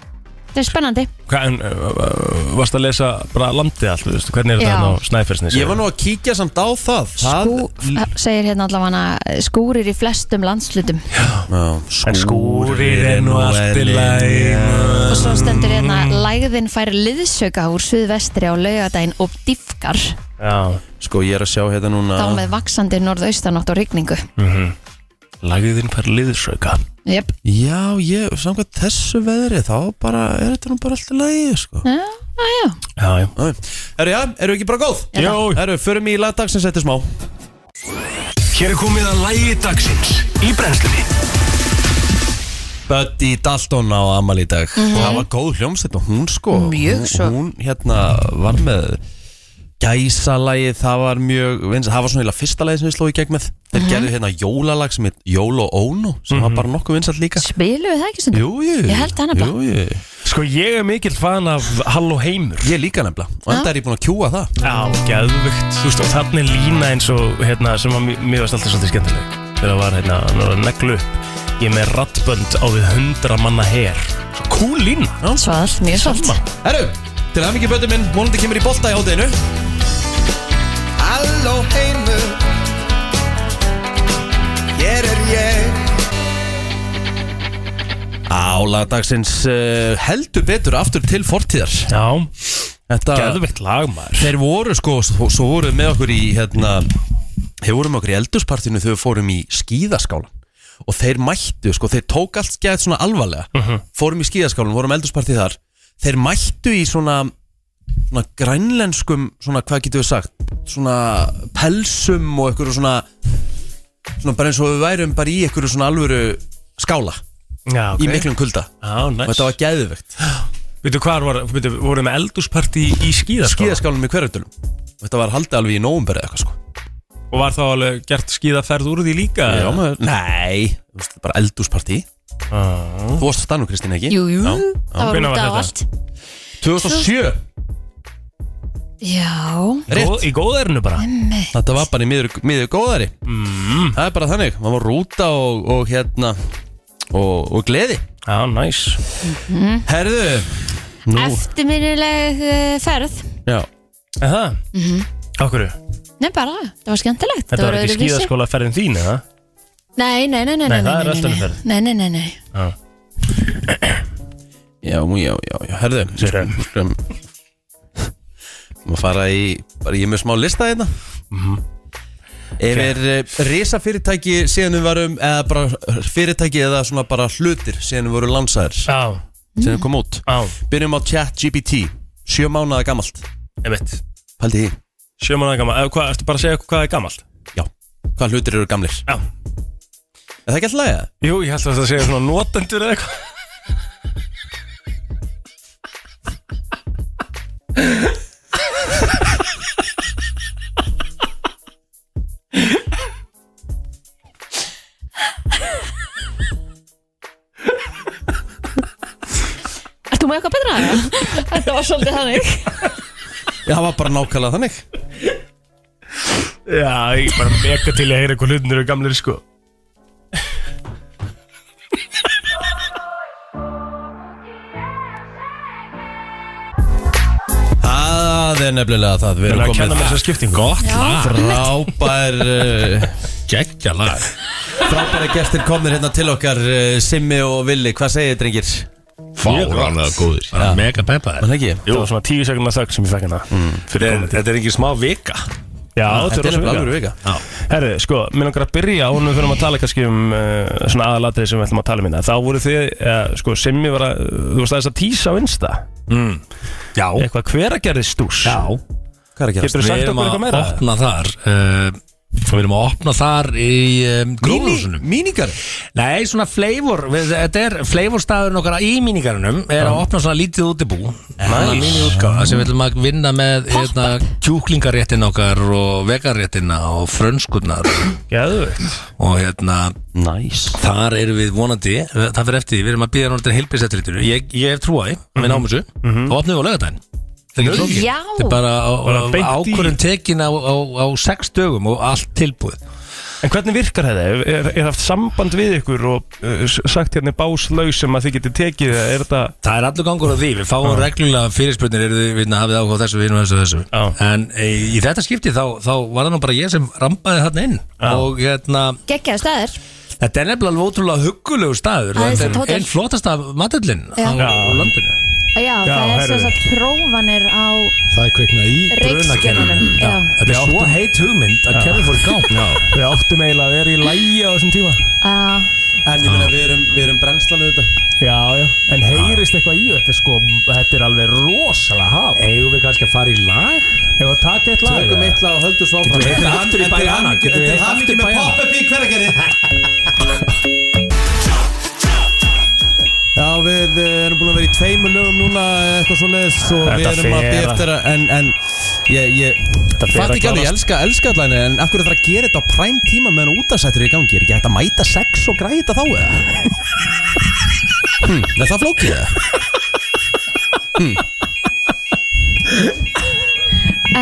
S2: þetta er spennandi
S3: Hvað, en, uh, uh, varst að lesa bara landið allt, þú veist, hvernig er
S2: Já.
S3: þetta hann á Snæfellsnesi?
S1: Ég var nú að kíkja samt á það
S2: Skú,
S1: það,
S2: segir hérna allavega skúrir í flestum landslutum
S1: Já, Sko,
S3: En skúrir er nú allt í
S2: og
S3: læg
S2: svo stendur hérna lægðin fær liðsöka úr suðvestri á laugadaginn og diffkar
S3: Já,
S1: Sko ég er að sjá hérna núna
S2: þá með vaksandi norðaustanátt og rigningu
S3: Mhm. lagðin fær liðsauka
S2: Jöp,
S1: Já, ég, samkvæmt þessu veðri þá bara, er þetta nú bara alltaf lægi sko.
S2: já, já, já
S3: Já, já
S1: Eru, já, eru ekki bara góð?
S3: Já.
S1: Eru, förum í lagdagsins eftir smá
S5: Hér er komið að lægi dagsins í brennslunni
S1: Buddy Dalton á Amal í dag Það var góð hljómsveit og hún sko
S2: Mhm. Mjög
S1: hún-
S2: svo.
S1: Hún hérna var með gæsalagi, það var mjög vins- það var svona eiginlega fyrsta lagi sem við slói í gegn með þeir
S2: Mhm.
S1: gerðu hérna jólalag sem heit Jólo Óno sem var bara nokkuð vinsall líka
S2: spilum við það ekki stundum?
S1: Jú, jú
S2: Ég held það nefnilega.
S1: Jú, jú
S3: Sko, ég er mikill fan af Halló Heimur
S1: Ég líka nefnilega og enda er ég búin að kjúa það
S3: Já, geðvögt Þú veist, og þarna er lína eins og hérna, sem var mj- mér varst alltaf svolítið skemmtileg þegar það var hérna, hann var að neglu upp ég er með rattbönd á við hundra manna her Svo cool lína
S2: Svalt, mjög svalt
S1: Herru, til að mikið bötum minn vonandi kemur í bolta í hátinu
S6: Halló heimur Hér er ég
S1: Álagdagsins uh, heldur betur aftur til fortíðar
S3: Já,
S1: Þetta,
S3: geðvögt lag maður
S1: þeir voru sko, svo svo voru með okkur í hérna, þeir voru með okkur í eldurspartinu þegar við fórum í skíðaskálan og þeir mættu, sko, þeir tók allt skeitt svona alvarlega, fórum í skíðaskálan vorum eldurspartið þar, þeir mættu í svona, svona grænlenskum svona, hvað getur við sagt svona pelsum og einhverju svona svona bara eins og við værum bara í einhverju svona alvöru skála
S3: Já, ok
S1: í miklum kulda
S3: Já,
S1: og
S3: næst
S1: þetta var geðvegt
S3: Veitu hvað var, veitu, voru með eldursparti í skíðaskóla
S1: skíðaskálum í hverjöldunum Þetta var haldið alveg í nóumberi eða eitthvað sko
S3: og var þá alveg gert skíðaferð úr því líka
S1: maður Eh. Nei, þú veist, bara eldúspartí
S3: ah.
S1: Þú varst að stannu Kristín ekki?
S2: Jú, jú,
S1: Já.
S2: það var
S3: Hvenær
S2: út
S3: var
S2: af
S3: þetta?
S2: allt
S1: 2007
S2: Já,
S1: Rétt.
S3: Í góðærinu bara
S1: Þetta var bara í miður, miður góðari mm. Það er bara þannig, maður var rúta og, og hérna og, og gleði
S3: Já, næs
S1: Herðu Nú,
S2: eftirminnileg eh, ferð
S1: já
S3: Er það? Mhm Okkur,
S2: Nei, bara, það var skemmtilegt
S3: þetta
S2: það
S3: var ekki
S2: öðruvísi.
S3: skíðaskóla ferðin þín, eða?
S2: Nei, nei, nei, nei,
S3: Nei,
S2: nei,
S3: það er allt önnur
S2: nei,
S3: ferð.
S2: nei, nei, nei, nei.
S1: Já, já, já, já, herðu
S3: Sérðu.
S1: Skulum Maður fara í, bara ég er með smá lista hérna Yfir uh, risafyrirtæki síðan við varum, eða bara fyrirtæki eða svona bara hlutir síðan við vorum lansaðir
S3: Já,
S1: síðan við kom út
S3: já,
S1: Byrjum á chat GPT, sjö mánuða gamalt
S3: einmitt
S1: Pældi því,
S3: Sjö mánuða gammal, eða hvað, ertu bara að segja hvað er gammalt?
S1: já, hvað hlutir eru gamlir
S3: Já
S1: Er það ekki alltaf lægja?
S3: Jú, ég held að það segja svona notendur eða eitthvað
S2: Ert þú með eitthvað betra? eða? Þetta var svolítið þannig
S1: Já, það var bara nákvæmlega þannig
S3: Já, ég er bara mega til að heyra hvað hlutinur eru gamlir, sko
S1: Það er nefnilega það, við
S3: Þannig
S1: erum
S3: að kenna
S1: komið
S3: með þessa skiptingu Gott
S1: frábær uh,
S3: Gekkja lag
S1: frábæra gestir komnir hérna til okkar uh, Simmi og Villi, hvað segir þið drengir?
S7: Fáranlega góðir Bara mega peppaðir
S1: Mann ekki?
S3: Það var svona tíu sekundar þögg sem ég fekk hérna
S7: Þetta er ekki smá vika
S3: Já,
S1: Þetta er nefnilega alveg vika
S3: Herru, sko, mér langar að byrja og nú fyrir að tala kannski um uh, svona aðalatrið sem við ætlum að tala um hérna Þá voru þið, uh, sko, Simmi var að, þú varst aðeins að tísa á Insta
S7: Já
S3: Eitthvað hver að gerði stús
S1: Hvað er að gerast?
S3: Getur þú
S7: Við
S3: sagt okkur
S7: erum að
S3: eitthvað meira?
S7: opna þar uh, Við erum að opna þar í um, gróðhúsunum
S1: míníkar
S7: Nei, svona flavor við, Þetta er flavorstaðurinn okkar í míníkarunum er að opna svona lítið útibú nice. mínútgáfa sem við ætlum að vinna með hérna, kjúklingaréttin okkar og vegaréttina og frönskunnar
S3: Geðvögt
S7: og hérna
S1: Næs
S7: Þar erum við vonandi, það fyrir eftir, því, við erum að býða náttúrulega heilbíðsettilitinu Ég, ég hef trúið, við náum þessu, þá opnum við á laugardaginn Það er ekki flókið.
S2: Já.
S7: Þetta er bara á-
S3: Bara
S7: á-
S3: beint í-
S7: ákvörðun tekin á, á, á sex dögum og allt tilbúið
S3: En hvernig virkar þetta? Er, er, er haft samband við ykkur og uh, s- sagt hérna er báslaus sem að þið getið tekið eða er þetta
S7: Það er allur gangur á því, við fáum reglulega fyrirspurnir eru þið, við hafið áhuga á þessu, við erum þessu og þessu
S3: Já.
S7: En e, í þetta skipti þá, þá var það nú bara ég sem rambaði þarna inn
S3: Já.
S7: Og hérna,
S2: Gekkjaðu staðir
S7: þetta er nefnilega alveg ótrúlega huggulegu staður
S2: Aðeins eitt
S7: Þetta
S2: hótel.
S7: er einn flottasta matallinn á,
S2: Já.
S7: á landinu
S2: Já, það er
S3: herru.
S2: sem sagt prófanir á
S8: Það er kvikna í
S2: reikskjörnunum
S7: Brunakerfinu. Já. Þetta er svo heit hugmynd að kerfið fór í gang Já.
S9: Við áttum eiginlega að vera í lægi á þessum tíma
S2: Já,
S8: En ég meina, við erum, við erum brennslan auðvitað
S9: Já, já En heyrist eitthvað í þetta sko Þetta er alveg rosalega haf
S7: Eigum við kannski að fara í lag?
S9: Ef að taka eitt lag
S8: Tökum eitt lag og höldum svo áfram
S7: Getum við heitt aftur í bæjana? Getum
S8: Til
S7: við heitt
S8: hafingi
S7: aftur í
S8: með
S7: bæjana?
S8: pop-up í hveragerði Já, við eh, erum búin að vera í tveimur lögum núna eh, eitthvað svo leiðis og við
S3: Þetta
S8: erum að
S3: fer
S8: byrja
S3: að-
S8: eftir að en, en ég, ég fatt
S3: fer að
S8: ekki alveg, ég
S3: klárast.
S8: elska, elska allan en af hverju þarf að gera þetta á præm tíma meðan útasættur er í gangi, er ekki hægt að mæta sex og græða þetta þá eða? hm, er það flókið eða?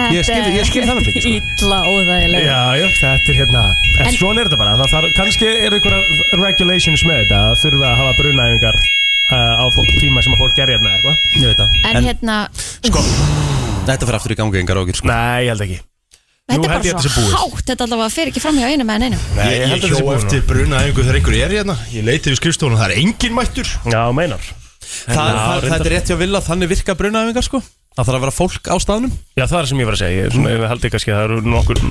S8: Ég skil- ég skil það nefnilega ekki, sko.
S2: Ítla óþægilega
S9: Já, já, þetta er hérna En,
S2: En-
S9: svona er þetta bara það þarf, Kannski eru einhverja regulations með þetta að Þurfa að hafa brunæfingar uh, á fólk, tíma sem að fólk gerja hérna eitthvað
S8: Ég veit það,
S2: En hérna,
S3: sko,
S8: þetta fyrir aftur í gangi engar ágjur sko
S3: Nei, ég held ekki
S2: þetta
S3: nú held ég
S2: er bara
S3: að þetta sé
S2: svo
S3: búið.
S2: hátt Þetta allavega fyrir ekki framhjá einu með einu
S3: Nei, ég held að þetta sé búið núna.
S5: bruna einhver þegar einhver er hérna Ég leiti við skrifstofunum, það er engin mættur
S3: Já, meinar
S1: Hérna,
S8: Það,
S3: Já,
S8: það,
S3: reyndar-
S8: þetta er rétt hjá Villa, þannig virka brunaæfingar sko Það þarf að vera fólk á staðnum
S3: Já, það er sem ég var að segja, ég, svona, ég held ekki að það eru nokkur,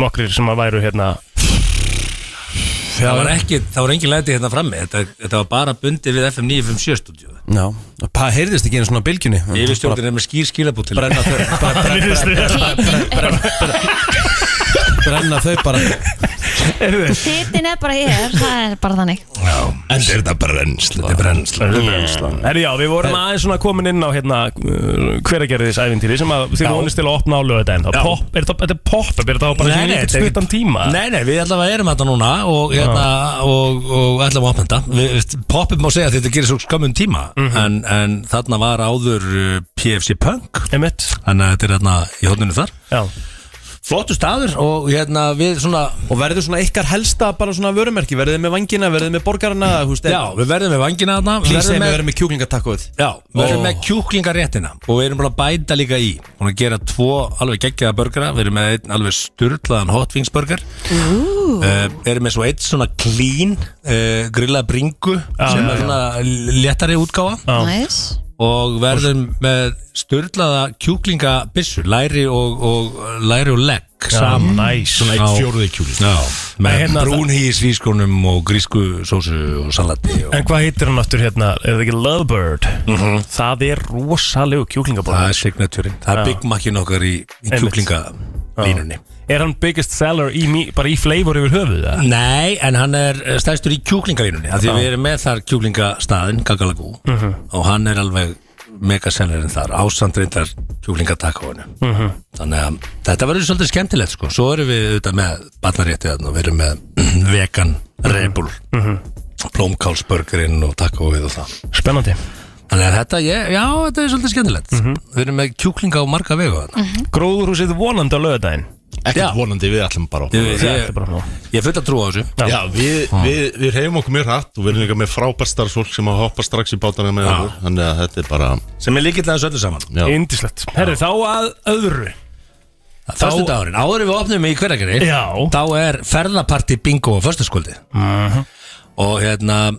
S3: nokkrir sem að væru hérna
S7: Það var ekki, það var engin læti hérna frammi Þetta, þetta var bara bundið við FM 957 stúdíu
S8: Já, það heyrðist ekki einu svona bylgjunni
S7: Yfirstjórnir er með skýr skilabú til
S8: Brenna þau bara- bara- bara- bara- bara- bara- bara- Brenna þau bara
S2: Titin er bara hér, það er bara þannig
S5: En er þetta brennsla? Þetta er brennsla
S3: Herri já, við vorum aðeins svona komin inn á hérna hveragerðis æfintýri sem að þið vonist til að opna á lögadaginn þá pop, er það- þetta er pop-up, er það bara svona lítið stuttan tíma
S7: Nei, nei, við allavega erum þetta núna og, hérna, og, og allavega opna þetta Við- við- Poppum má segja að þetta gerir svo skömmun tíma en, en þarna var áður uh, PFC Punk
S3: Einmitt,
S7: Þannig að þetta er hérna í hodninu þar
S3: já
S7: Flottu staður og hérna við svona
S8: Og verður svona ykkar helsta bara svona vörumerki Verðið þið með vangina, verðið þið með borgarna
S7: Já, við verðum með vangina þarna
S8: Lýsa
S7: verðum
S8: með
S7: með,
S8: verðið með kjúklingatakkuð
S7: já, við
S8: Ó.
S7: verðum með kjúklingaréttina og við erum bara að bæta líka í Búin að gera tvo alveg geggjaða burgara Við erum með einn alveg sturlaðan hot wings burger uh, Erum með svo eitt svona clean uh, grillað bringu sem er svona léttari útgáfa
S2: Næs
S7: og verðum með sturlaða kjúklingabissu læri og, og læri og legg saman
S3: Næs
S5: Svona eitt fjóruði kjúli
S7: Já, með
S3: hérna-
S7: brún hýs vískonum og grísku sósu og salati og
S3: En hvað heitir hann aftur hérna, er það ekki Lovebird?
S5: Mhm.
S3: Það er rosalegu
S7: það
S3: kjúklingabóð
S7: er signatúrin það er Big Mac-in okkar í, í
S3: Einmitt.
S7: kjúklingalínunni
S3: Er hann biggest seller í, mí- bara í flavor yfir höfuð? eða?
S7: Nei, en hann er eh, stærstur í kjúklingalínunni af því að við erum með þar kjúklingastaðin Gagalagú
S3: Mhm.
S7: og hann er alveg megasellerinn þar, ásandreindar kjúklingatakóinu
S3: Mhm.
S7: þannig að þetta verður svolítið skemmtilegt sko. svo erum við auðvitað með batnaréttið þarna og við erum með vegan rebul mm
S3: Mhm.
S7: plómkálsburgerinn og takóið og það
S3: Spennandi
S7: þannig að þetta, ég, já, þetta er svolítið skemmtilegt
S3: Mhm.
S7: við erum með kjúklinga á marga vegu þarna
S3: Gróðurhúsið vonandi á lögadaginn
S7: Já.
S5: Ekkert vonandi við ætlum bara á
S7: ég, ég,
S3: Þetta er
S7: ég,
S3: bara nú
S7: ég fulla trú á þessu
S5: Já, við, við, við hefum okkur mjög hratt og við erum líka með frábært starfsfólk sem að hoppa strax í bátana með okkur Þannig að þetta er bara
S7: sem er líkilega þessu öllu saman
S5: já.
S3: Indislegt Herri, þá að öðru
S7: Föstu dagurinn, áður en við opnum í hverjargeri
S3: Já.
S7: Þá er ferðaparti bingo á föstaskvöldi
S3: Mhm.
S7: Og hérna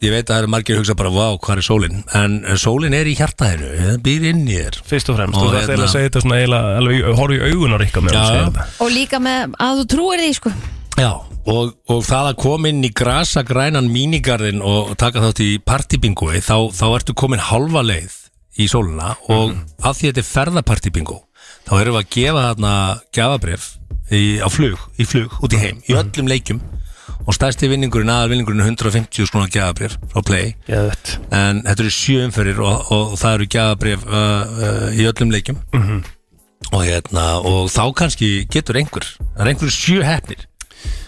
S7: Ég veit að það eru margir að hugsa bara Vá, hvað er sólin? En eh, sólin er í hjartaðinu Það býr inn í þér
S3: Fyrst og fremst,
S7: Og
S3: þú þarf
S7: hérna-
S3: eiginlega að segja þetta svona eiginlega alveg, í- horfa í augun á Rikka með
S7: Já.
S2: Og líka með að þú trúir því sko
S7: Já, og, og það að koma inn í grasagrænan mínigarðin og taka þátt í partybingoi þá, þá ertu komin halva leið í sóluna og mm að því þetta er ferðapartybingo þá erum við að gefa þarna gafabref í, á flug, í flug, út í heim í öllum leikjum og stærsti vinningurinn aðal vinningurinn er 150 skona gafabref frá Play
S3: Geðvett
S7: en þetta eru sjö umferðir og, og það eru gjafabrif uh, uh, í öllum leikjum og, hérna, og þá kannski getur einhver það er einhver sjö hefnir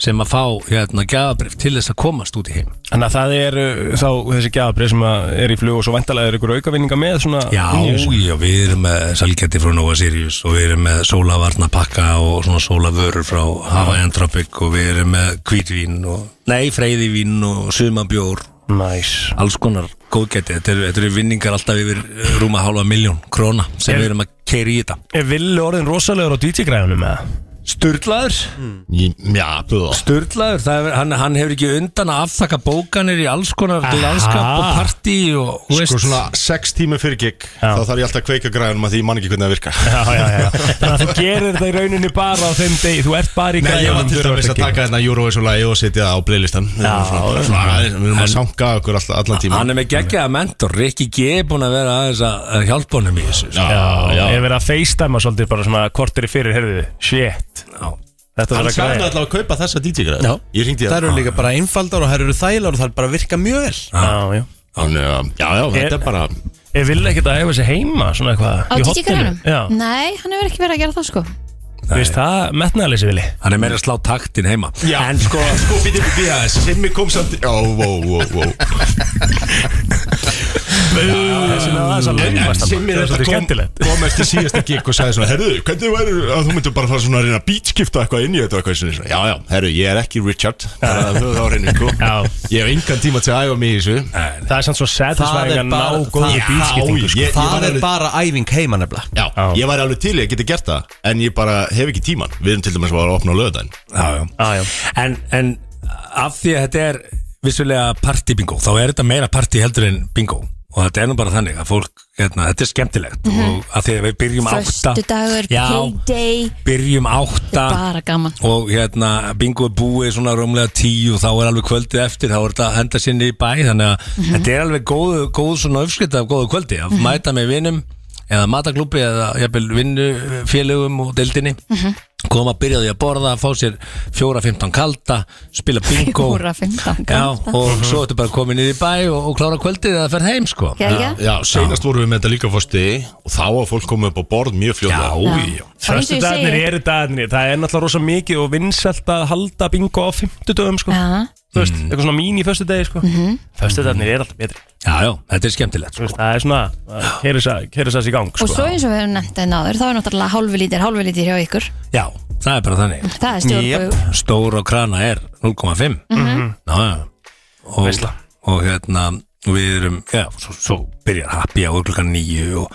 S7: sem að fá hérna gjafabrif til þess að komast út í heim
S3: Þannig að það er uh, þá þessi gjafabrið sem að er í flug og svo vantalega er ykkur aukavinninga með svona
S7: Já,
S3: inni í þessu.
S7: já, við erum með sælgæti frá Nova Sirius og við erum með sólavarnapakka og svona sólavörur frá Hawaiian Tropic og við erum með hvítvín og, nei, freyðivín og sumabjór,
S3: Næs
S7: alls konar góðgæti, þetta eru, þetta eru vinningar alltaf yfir eh, rúma hálfa miljón króna sem
S3: Er-
S7: við erum að keiri í þetta
S3: Er villi orðin rosalegur á DJ-græðunum eða?
S7: Sturlaður,
S5: Mm. Já, búða
S7: Sturlaður, það er, hann, hann hefur ekki undan að afþakka bókanir í alls konar landskap og partí og, þú
S5: Sko
S7: veist,
S5: svona sex tími fyrir gig
S3: Já.
S5: Þá þarf ég alltaf að kveika græðunum að því ég man ekki hvernig það virka
S3: Já, já, já Þannig að þú gerir þetta í rauninni bara á þeim degi Þú ert bara í
S5: Nei, ég var
S3: græðunum
S5: til dæmis að taka þarna Eurovision lagi og setja það á playlistan Við erum svona- svona aðeins- við erum að sanga okkur all, allan tíma
S7: Hann er með geggjaða mentor, Rikki G er búin að vera aðeins að að hjálpa honum í þessu sko.
S3: Já, já Ég hef verið að feistæma svolítið bara svona kortir í fyrir, heyrðu Shit
S7: Já.
S3: Þetta
S5: Hann
S3: þarf að
S5: sagði mér
S3: græða
S5: alltaf að kaupa þessa DJ græð Ég ringdi
S1: Það eru líka bara einfaldar og það eru þægilegar og það er bara að virka mjög
S3: Já,
S1: vel
S3: já
S5: Hann, Já, já, já, þetta er bara
S3: Ég vil ekkert að hefa sér heima svona eitthvað
S2: Á
S3: í
S2: DJ
S3: horninu.
S2: Grænum?
S3: Já,
S2: Nei, hann hefur ekki verið að gera það sko
S3: þú veist það metnaðalisi villi
S7: Hann er meira að slá taktin heima
S5: já. En sko, sko, býti, býti aðeins Simmi kom samt Ó, ó, ó, ó
S3: Þessi með þess að laumast
S5: Simmi
S3: Það er svolítið
S5: þetta kom,
S3: skemmtilegt
S5: kom eftir síðasta gig og sagði svona Herðu, hvernig væri að þú myndir bara fara svona að reyna að beatskipta eitthvað inn í þetta og eitthvað svona Já, já, herru, ég er ekki Richard bara að höfðu á reynu, sko
S3: Já.
S5: Ég hef engan tíma til að æfa mig í þessu
S3: Það er samt svo satisfying að ná
S1: bara-
S3: góðu sko.
S1: það-
S3: bítskiptingu
S5: sko. ég, ég
S1: Það
S5: var
S1: er
S5: alveg-
S1: bara æfing heima nefnilega
S5: Já,
S3: Já.
S5: ég væri alveg til í að geta gert það En ég bara hef ekki tíman Við erum til dæmis að vara að opna á löðdæn
S7: já, já.
S3: Já, já
S7: En, en af því að þetta er vissulega partí bingo, þá er þetta meira partí heldur en bingo og þetta er nú bara þannig að fólk, hérna, þetta er skemmtilegt og að því að við byrjum átta
S2: Föstudagur,
S7: Já.
S2: payday
S7: byrjum átta
S2: Bara gaman
S7: og hérna bingo er búið svona rúmlega tíu og þá er alveg kvöldið eftir þá er þetta að henda sinni í bæ þannig að
S2: Mhm.
S7: þetta er alveg góð, góð svona uppskrift af góðu kvöldi að mæta með vinnum eða mataklúpi eða jafnvel vinnufélögum og deildinni
S2: Mhm.
S7: koma að byrja á því að borða, fá sér 4-15 kalda, spila bingo
S2: Fjóra, fimmtán
S7: Já,
S2: kalda. Mhm.
S7: og svo ertu bara komin niður í bæ og, og klára kvöldið eða ferð heim sko
S2: Já, já
S5: Já, senast vorum við með þetta líka fórsti Og þá að fólk komið upp á borð mjög fljóðlega
S7: já,
S2: Bara eins og ég
S3: Föstudagarnir
S2: segi.
S3: eru dagarnir Það er náttúrulega rosa mikið og vinsælt að halda bingo á fimmtudögum sko
S2: Já.
S3: Þú veist, eitthvað svona mín í föstudegi sko
S2: Mhm.
S3: Föstudagarnir eru alltaf betri
S7: já, já, þetta er
S3: Þú
S7: skemmtilegt sko.
S3: veist, Það er svona, hér er þess í gang
S2: Og svo
S3: sko
S2: eins og við höfum nefnt einn áður, þá er náttúrulega hálfi lítir, hálfi lítir hjá ykkur.
S7: Já, það er bara þannig
S2: Það er stjórnbúið.
S7: stór á krana er 0,5 Ná, já. og,
S3: Veisla.
S7: og hérna við erum, já, svo, svo byrjar happy á klukkan nýju og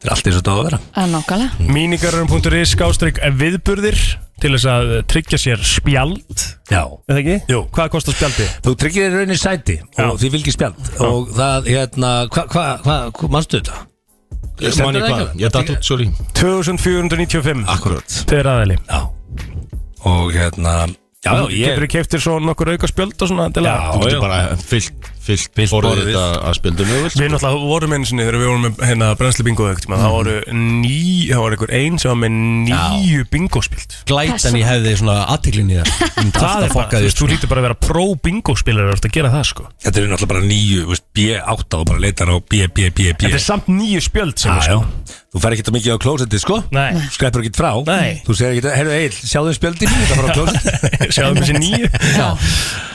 S7: þetta er allt eins og þetta á að vera
S2: Já, nákvæmlega.
S3: Mínigarum.is skástrík eh, viðburðir til þess að tryggja sér spjald
S7: Já,
S3: eða ekki?
S7: Jú.
S3: Hvað kostar spjaldi?
S7: þú tryggir þér raunin sæti og
S3: Já.
S7: því fylgir spjald og það, hérna, hvað, hvað, hvað, hva, manstu þetta?
S5: Ég man
S7: Stendur
S5: í
S7: það
S5: hvað,
S7: eitthvað?
S5: ég datt út, sorry
S3: 2495
S7: Akkurat,
S3: Þeir aðeili
S7: já og hérna, já, já, ég
S3: Getur þú keftir svo nokkur auka spjöld og svona til
S7: Já,
S5: Þú
S7: já.
S5: getur bara fyllt, fyllt,
S7: Fyllt
S5: borðið
S7: borðið.
S5: þetta að spildum við
S3: Við náttúrulega vorum einu sinni þegar við vorum með hérna brennslu bingo aukt mm. Það voru ný, það voru einhver ein sem var með nýju bingo spild
S1: Glætan ég hefði svona aðtiklinni þér
S3: Það er bara, þú veist, þú lítur bara að vera pró bingo spilar að gera það sko
S7: þetta er náttúrulega bara nýju, þú veist, B8 og bara leitar á B, B, B, B
S3: Þetta er samt nýju spjöld sem við
S7: Já, Ah, já,
S3: sko
S7: þú fer ekki það mikið á klósetti, sko
S3: Nei,
S7: skreppur ekki frá
S3: Nei.
S7: Þú segir ekki, heyrðu Egil, sjáðu um spjöldi mín Það fara á klóset
S3: sjáðum þessi nýju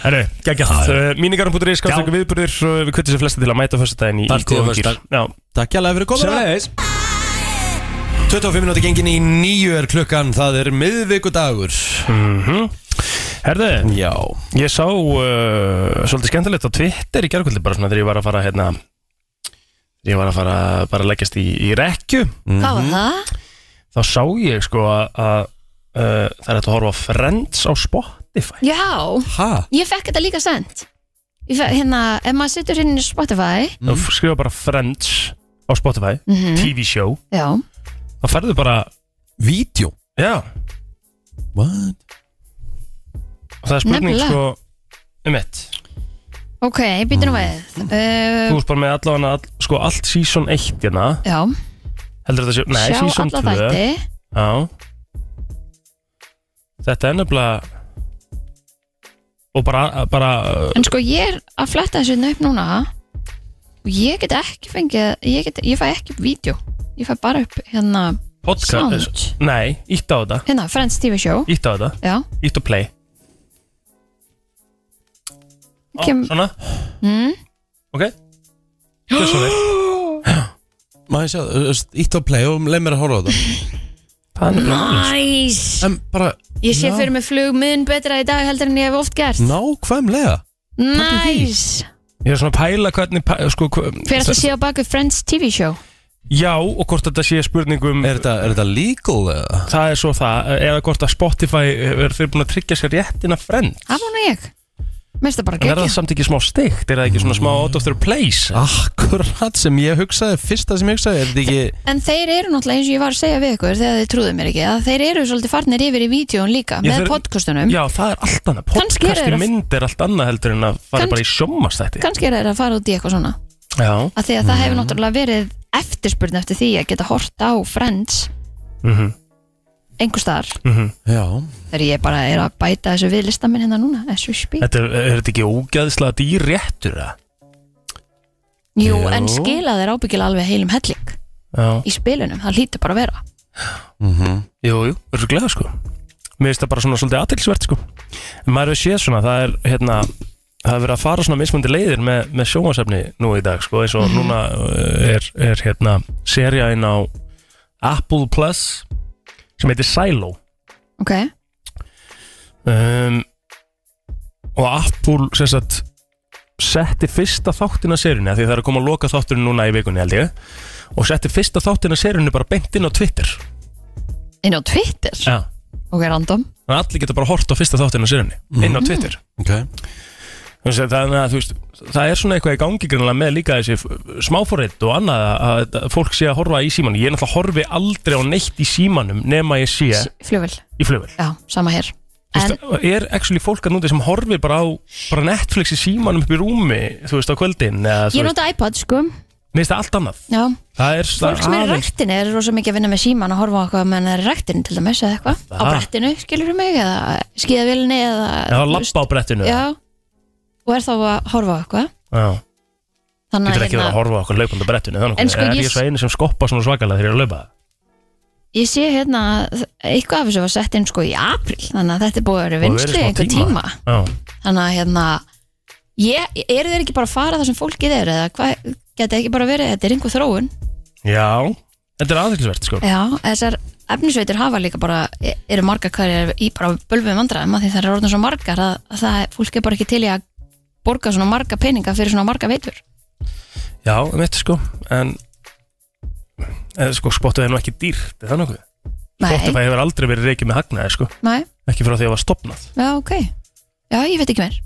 S3: Herru,
S7: Ah,
S3: geggjast Mínigarum.is, skástrík
S7: Já.
S3: viðburðir og Við kvittum sér flesta til að mæta fyrstudaginn í
S7: Partíið á
S3: góðan gír.
S7: föstudag.
S3: Já,
S1: Takk hjá fyrir komuna
S7: leiðis
S1: 25 minúti gengin í nýju er klukkan Það er miðvikudagur
S3: Mhm. herðu
S1: Já
S3: Ég sá uh, svolítið skemmtilegt á Twitter í gerðkvöldi bara svona þegar ég var að fara hérna þegar ég var að fara bara að leggjast í, í rekju
S2: Hvað
S3: Mhm.
S2: var það?
S3: þá sá ég sko að að, uh, það er hægt að horfa á Friends á Spotify
S2: Já,
S1: Ha?
S2: ég fekk þetta líka sendt. Ég Fekk, hérna, ef maður situr hérna í Spotify,
S3: mm. þá skrifa bara Friends á Spotify TV show
S2: já,
S3: þá ferðu bara
S1: Vídeó
S3: já
S1: What?
S3: og það er spurning
S2: Nefnilega.
S3: sko um mitt
S2: ok, býtum við.
S3: Mm. þú
S2: Uh,
S3: veist bara með allavega all, sko allt season 1 hérna
S2: já,
S3: heldur þetta sé nei
S2: sjá
S3: season
S2: alla
S3: 2
S2: þætti.
S3: Já Þetta er nefnilega Og bara, bara uh,
S2: En sko, ég er að fletta þessu hérna upp núna og ég get ekki fengið, ég, get, ég fæ ekki upp vídeo. Ég fæ bara upp hérna
S3: podcast
S2: sound.
S3: Nei, ítt á þetta
S2: Hérna, Friends TV Show,
S3: Ítt á þetta,
S2: já.
S3: ítt á play Á,
S2: Kem-
S3: Svona
S2: Mm.
S3: Ok Gjörðu svo vel.
S1: Má ég sjá, þú veist, ítt á play og leið mér að horfa á þetta
S3: Það er
S2: Næs
S1: En bara
S2: Ég sé
S1: Já.
S2: fyrir mig flug mun betra í dag heldur en ég hef oft gert
S1: nákvæmlega
S2: Næs
S3: Ég er svona að pæla hvernig pæ, sko, hva,
S2: Fyrir að það sé á baku Friends TV show
S3: Já og hvort þetta sé spurningum
S1: Er þetta, er þetta legal eða?
S3: Það er svo það Eða hvort að Spotify Er þeir búin að tryggja sér réttin að frend
S2: Af hún og ég Mér finnst það bara
S3: En er það
S2: gekkja
S3: samt ekki smá steikt? Er það ekki svona smá out of their place?
S2: Ah.
S1: Akkurat sem ég hugsaði, fyrsta sem ég hugsaði Er þetta ekki,
S2: En þeir eru náttúrulega eins og ég var að segja við ykkur þegar þið trúðu mér ekki að þeir eru svolítið farnir yfir í vídjón líka
S3: Ég
S2: með
S3: þarf-
S2: podcastunum
S3: Já, það er allt annað
S2: Kannski eru
S3: Podcast
S2: þeir
S3: í
S2: að-
S3: mynd er allt annað heldur en að fara
S2: Kanns-
S3: bara í sjómmastætti
S2: Kannski er þeir að fara út í eitthvað svona
S3: Já
S2: að því að það
S3: Mm.
S2: hefur náttúrulega verið eftirspurn eftir því að geta hort á Friends
S3: mm -hmm.
S2: einhver staðar
S3: Mm.
S1: já
S2: þegar ég bara er að bæta þessu við listaminn hérna núna as we speak.
S3: Þetta er, er þetta ekki ógæðslega dýr réttur það?
S2: Jú,
S3: Jú.
S2: en skila þeir ábyggilega alveg heilum helling
S3: Já
S2: í spilunum, það hlýtur bara að vera
S3: Jú, jú, örgulega sko Mér finnst það bara svona svolítið aðtilsvert sko En maður hefur séð svona, það er hérna Það er verið að fara svona mismundi leiðir með, með sjónvarsefni nú í dag sko eins og núna uh, er, er hérna seria inn á Apple Plus sem heitir Silo
S2: Ok,
S3: um, og Apple sem sagt setti fyrsta þáttina serjunni af því það er að koma að loka þátturinn núna í vikunni held ég og setti fyrsta þáttina serjunni bara beint inn á Twitter
S2: inn á Twitter
S3: Já.
S2: Ok, random
S3: Þannig að allir geta bara hort á fyrsta þáttina serjunni inn á Twitter
S1: Ok
S3: Þú veist, Þannig að þú veist, það er svona eitthvað í gangi grannlega með líka þessi smáfóriðt og annað að- að þetta- fólk sé að horfa í símanum. Ég er náttúrulega horfi aldrei á neitt í símanum nema ég sé
S2: yeah. Fljóvel,
S3: í flugvel.
S2: já, sama hér En,
S3: Er actually fólk að núti sem horfi bara á bara Netflix í símanum upp í rúmi, þú veist, á kvöldin eða þú
S2: ég
S3: veist,
S2: nota iPod sko
S3: mér finnst það allt annað.
S2: Já,
S3: Það er svona
S2: fólk sem er í ræktinni er rosa mikið að vinna með síman að horfa á eitthvað meðan það er í ræktinni til dæmis eða eitthvað á
S3: Það.
S2: brettinu, skilur mig, eða skíðavilni eða
S3: Já, lappa á brettinu.
S2: Já, og er þá að horfa á eitthvað
S3: Já.
S2: Þannig
S3: Getur ekki verið að horfa á okkur laupandi á brettinu. Þannig
S2: hérna. En
S3: að
S2: sko,
S3: er
S2: ég-
S3: ég svo einu sem skoppa svona svakalega þegar ég er að laupa.
S2: Ég sé hérna að eitthvað af þessu var sett inn sko í april þannig að þetta er búið
S3: Búið að
S2: að vera
S3: vera
S2: vinslu
S3: í smá
S2: einhver
S3: tíma.
S2: tíma.
S3: Já.
S2: þannig að hérna ég, eru þeir ekki bara að fara þar sem fólkið er eða hvað, geta ekki bara verið þetta er einhver þróun,
S3: Já. Þetta er aðeinsvert, sko.
S2: já, þessar efnisveitur hafa líka bara, e- eru margar hverjar í bara bölvum vandræðum að því það eru orðin svo margar að, að það, fólk er bara ekki til í að borga svona marga peninga fyrir svona marga veitur
S3: Já, um eitt sko En eða, sko, Spotify er nú ekki dýrt er það nokkuð?
S2: nei,
S3: Spotify hefur aldrei verið reikið með hagnaði sko
S2: nei,
S3: Ekki frá því að það var stopnað
S2: já, ok já, ég veit ekki meir,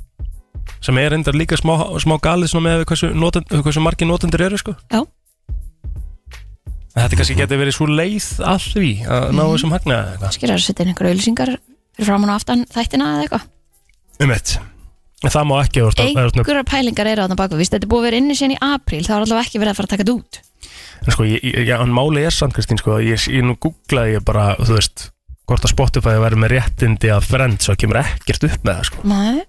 S3: Sem er endar líka smá, smá galið svona með hversu, notend, hversu margir notendur eru sko
S2: Já.
S3: En Þetta kannski geti verið svo leið að því að ná þessum hagnaði eða eitthvað
S2: skilur það að setja inn einhverja auðlýsingar fyrir framan og aftan þættina eða eitthvað
S3: Um eitt En það má ekki orta, orta,
S2: einhverjar pælingar eru þarna bakvið, víst, þetta er búið að vera inni síðan í apríl, þá er allavega ekki verið að fara að taka þetta út
S3: En sko, ég, ég, já, en máli er samt Kristín sko að Ég, ég nú googlaði ég bara, þú veist Hvort að Spotify verið með réttindi að Friends og kemur ekkert upp með það sko
S2: nei,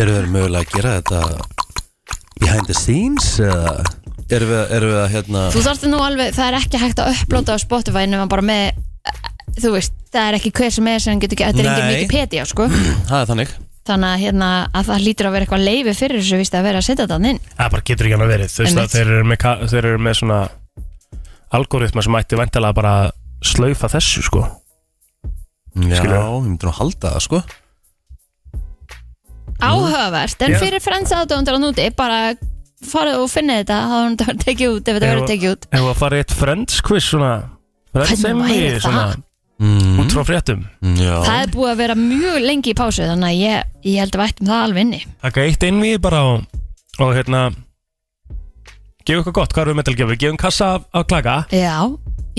S1: Eru við mögulega að gera þetta behind the scenes eða Eru við, eru við að hérna
S2: Þú þarfst nú alveg, það er ekki hægt að upplóta á Spotify nema bara með e, þú veist, það er ekki hver sem er sem getur ekki, þetta er engin
S1: Nei.
S2: Wikipedia sko
S1: Það er þannig
S2: þannig að, hérna, að það lítur að vera eitthvað leifi fyrir þessu víst að vera að setja þetta inn
S3: Það bara getur ekki hann að verið Þú veist að
S2: Einmitt.
S3: þeir eru með, ka- þeir eru með svona algoritma sem ætti vandalega bara að slaufa þessu sko
S1: Já,
S3: Skilur.
S1: við myndum að halda það sko
S2: Áhugavert, en
S3: Já.
S2: fyrir frends aðdóðundar á núti bara farið og finna þetta þá er þetta verið tekið út, ef þetta
S3: Já.
S2: verið tekið út
S3: Ef að fara í eitt friends quiz svona friends
S2: Hvernig
S3: semi,
S2: væri
S3: svona,
S2: það?
S1: mm.
S3: út frá fréttum
S1: Já
S2: Það er búið að vera mjög lengi í pásu þannig að ég, ég held að vættum það alveg inni
S3: Takk eitt innvíð bara og, og hérna gefa eitthvað gott, hvað erum við með til að gefa? Við gefum kassa af, af klaka
S2: Já,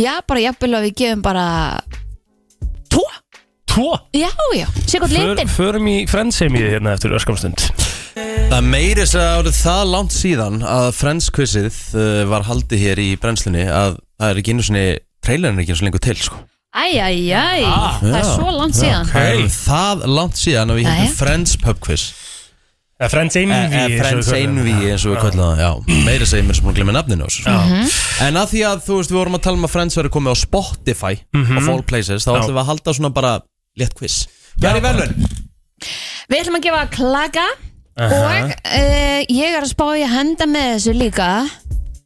S2: já, bara jafnvel að við gefum bara tvo,
S3: Tvo
S2: já, já, sé gott
S3: För,
S2: litin
S3: Förum í friends semi hérna eftir öskamstund
S1: Það meiri þess að árið það langt síðan að Friends quizið uh, var haldið hér í brennslunni að það er ekki einu svona trailerin er ekki einu svona lengur til sko.
S2: Æj, æj, æj, það er
S1: Já.
S2: svo langt síðan
S1: Það er það langt síðan að við
S2: Jæja.
S1: hérna Friends pub quiz
S3: Eða Friends
S1: e
S3: einvíð
S1: e Friends einví eins og við köllum það já. meiri þess að ég mér sem búin að glemja nafninu á þessu, sko. en að því að þú veist við vorum að tala um að Friends verið komið á Spotify mm -hmm. of all places þá ætlum við að halda svona bara létt quiz Hvað er í velun?
S2: Við Við ætlum að gefa klaka Og uh, ég er að spá í að henda með þessu líka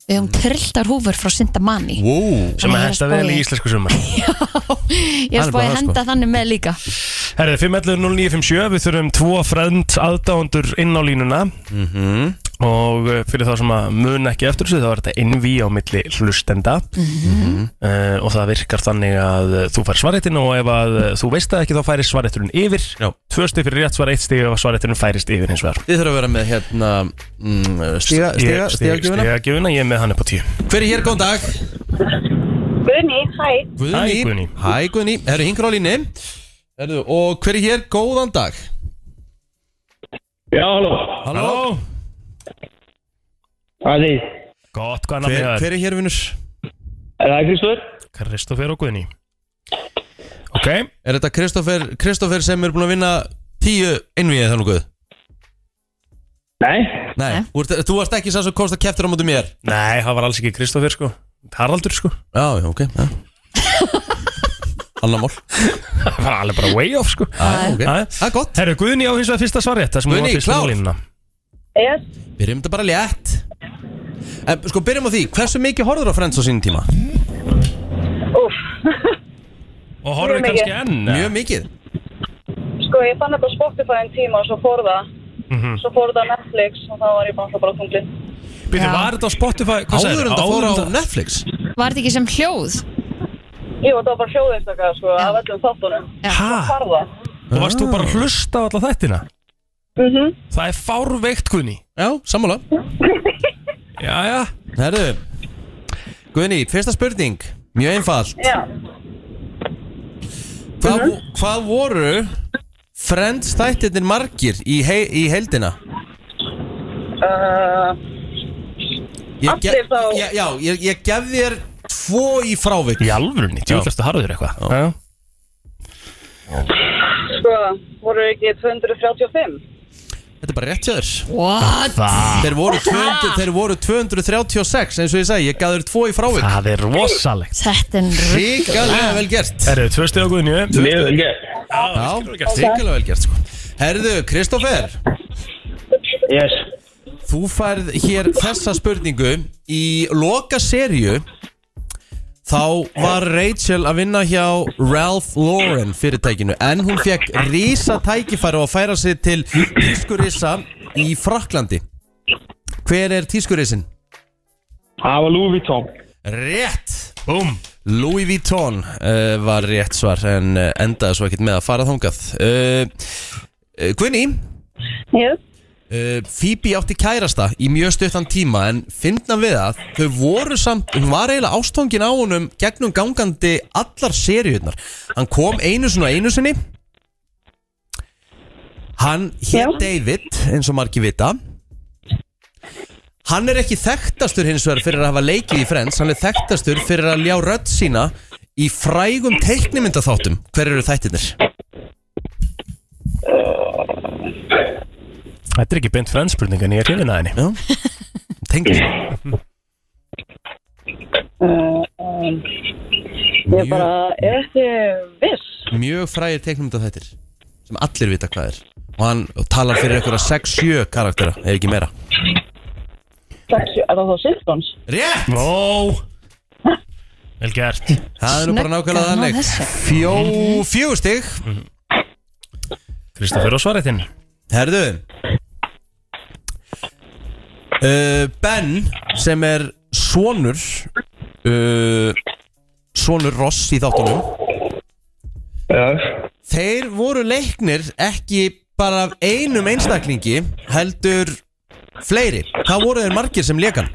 S2: Við höfum trilltar húfur frá Sintamani
S1: Wow
S3: sem að
S2: ég er að
S3: hætta
S2: spá
S3: vel
S2: í.
S3: í íslensku sumar
S2: Ég er að
S1: er
S2: spá
S1: bara
S2: í að
S1: það, sko.
S2: henda þannig með líka
S3: Herðið, 511-0957, við þurfum tvo frend aðdáendur inn á línuna -hmm. og eh, fyrir þá sem að mun ekki eftir þessu þá er þetta innví á milli hlustenda Eh, og það virkar þannig að eh, þú fær svaretinn og ef að eh, þú veist það ekki þá færir svaretturinn yfir
S1: Já.
S3: tvö stig fyrir rétt svar, eitt stig ef að svaretturinn færist yfir hins vegar
S1: Þið þurfum að vera með hérna mm, Stiga, stiga, stiga, stiga
S3: Stigagjöfuna, ég er með hann upp á tíu
S1: Hver er hér, góðan dag? Guðni, hæ
S3: Hæ, Guðný.
S1: Hæ, Guðni Herru, hingur á línni Herru, og hver er hér, góðan dag?
S10: Já, halló,
S1: Halló
S10: hvað er þið?
S3: Gott, hvað er
S1: Hver,
S3: nafnið það?
S1: hver er hér, vinnur?
S10: Er það Kristóður?
S3: Kristoffer og Guðni Ok,
S1: Er þetta Kristoffer, Kristoffer sem er búin að vinna tíu innvíðið þannig, Guð?
S10: Nei,
S1: Nei, þú ert- þú varst ekki sá sem komst að keftur á móti mér
S3: nei, það var alls ekki Kristoffer sko Haraldur sko,
S1: Já, já, ok ja. Anna mál
S3: það var alveg bara way off sko
S1: Já, ok.
S3: Æ.
S1: Það er gott
S3: Herru, Guðni á hins vegar fyrsta svarið Það sem hún
S1: Guðný,
S3: var fyrsta
S1: klár.
S3: málínuna
S1: Byrjum þetta bara létt En sko, byrjum á því Hversu mikið horfður á Friends á sínum tíma?
S3: Og horfðu kannski enn eða?
S1: Mjög mikið
S11: Sko, ég fann þetta á Spotify en tíma og svo fór það. Svo fór það Netflix og þá var ég bara svo bara tunglið.
S3: Býttu,
S2: Já.
S3: var þetta á Spotify? Hvað
S1: Áður en
S3: sagðirðu?
S1: það fór á
S3: en þetta-
S1: Netflix
S2: Var þetta ekki sem hljóð?
S11: Ég var það bara hljóðeistakar, sko, af öllum þáttunum.
S3: Ha?
S11: Far það.
S3: Og varst þú bara að hlusta á alla þættina?
S11: Mhm.
S3: Það er fárveikt, Guðni
S1: Já, sammála
S3: Jæja
S1: Herru Guðni, fyrsta spurning Mjög einfalt
S11: Já.
S1: Hva, Hvað voru Friends þættirnir margir í, hei, í heldina?
S11: Uh,
S1: Ég
S11: Allir
S1: ge-
S11: þá.
S1: Já, já ég, ég gef þér tvo í frávik
S3: Í alvörunni, djúðlastu harður eitthvað Já, já
S11: sko, voru ekki 235?
S1: Þetta er bara rétt hjá þér
S2: What?
S1: Þeir voru, 200, þeir voru 236 eins og ég segi, ég gaf þér tvo í frávik
S3: Það er rosalegt
S2: Þetta er rugl.
S1: Ríkalega vel gert
S3: Herru, tvö stið á Guðni
S10: mjög vel gert
S1: Já, ríkalega vel gert sko Herðu, Kristoffer,
S10: Yes,
S1: þú færð hér þessa spurningu Í loka serju Þá var Rachel að vinna hjá Ralph Lauren fyrirtækinu En hún fekk rísa tækifæri og að færa sig til tískurissa í Fraklandi Hver er tískurissin?
S10: það var Louis Vuitton
S1: Rétt!
S3: Búm
S1: Louis Vuitton uh, var rétt svar en uh, endaði svo ekkert með að fara þangað uh, uh, Guðný
S11: Yes.
S1: uh, Phoebe átti kærasta í mjög stuttan tíma en finna við að þau voru samt hún var eiginlega ástfangin á honum gegnum gangandi allar seriurnar hann kom einu sinni og einu sinni hann hér David eins og margir vita Hann er ekki þekktastur hins vegar fyrir að hafa leikið í Friends Hann er þekktastur fyrir að ljá rödd sína í frægum teiknimyndaþáttum Hver eru þættirnir?
S3: Þetta er ekki beint frendspurning en ég er hrifin að henni
S1: Tengur
S11: Uh, um, Ég bara, er ekki viss.
S1: Mjög frægir teiknimyndaþættir sem allir vita hvað er og hann talar fyrir einhverja 6-7 karaktera ef ekki meira
S11: Sex, er það þá Simpsons?
S1: Rétt!
S3: Ó Vel gert
S1: Það er nú bara nákvæmlega
S2: Snöggan á
S1: þannig
S2: þessu.
S1: Fjó, Fjögur stig
S3: Kristoffer og svarið þinn
S1: Herðu uh, Ben sem er sonur uh, sonur Ross í þáttunum
S10: Yes,
S1: Þeir voru leiknir ekki bara af einum einstaklingi heldur fleiri. Hvað voru þeir margir sem leikan?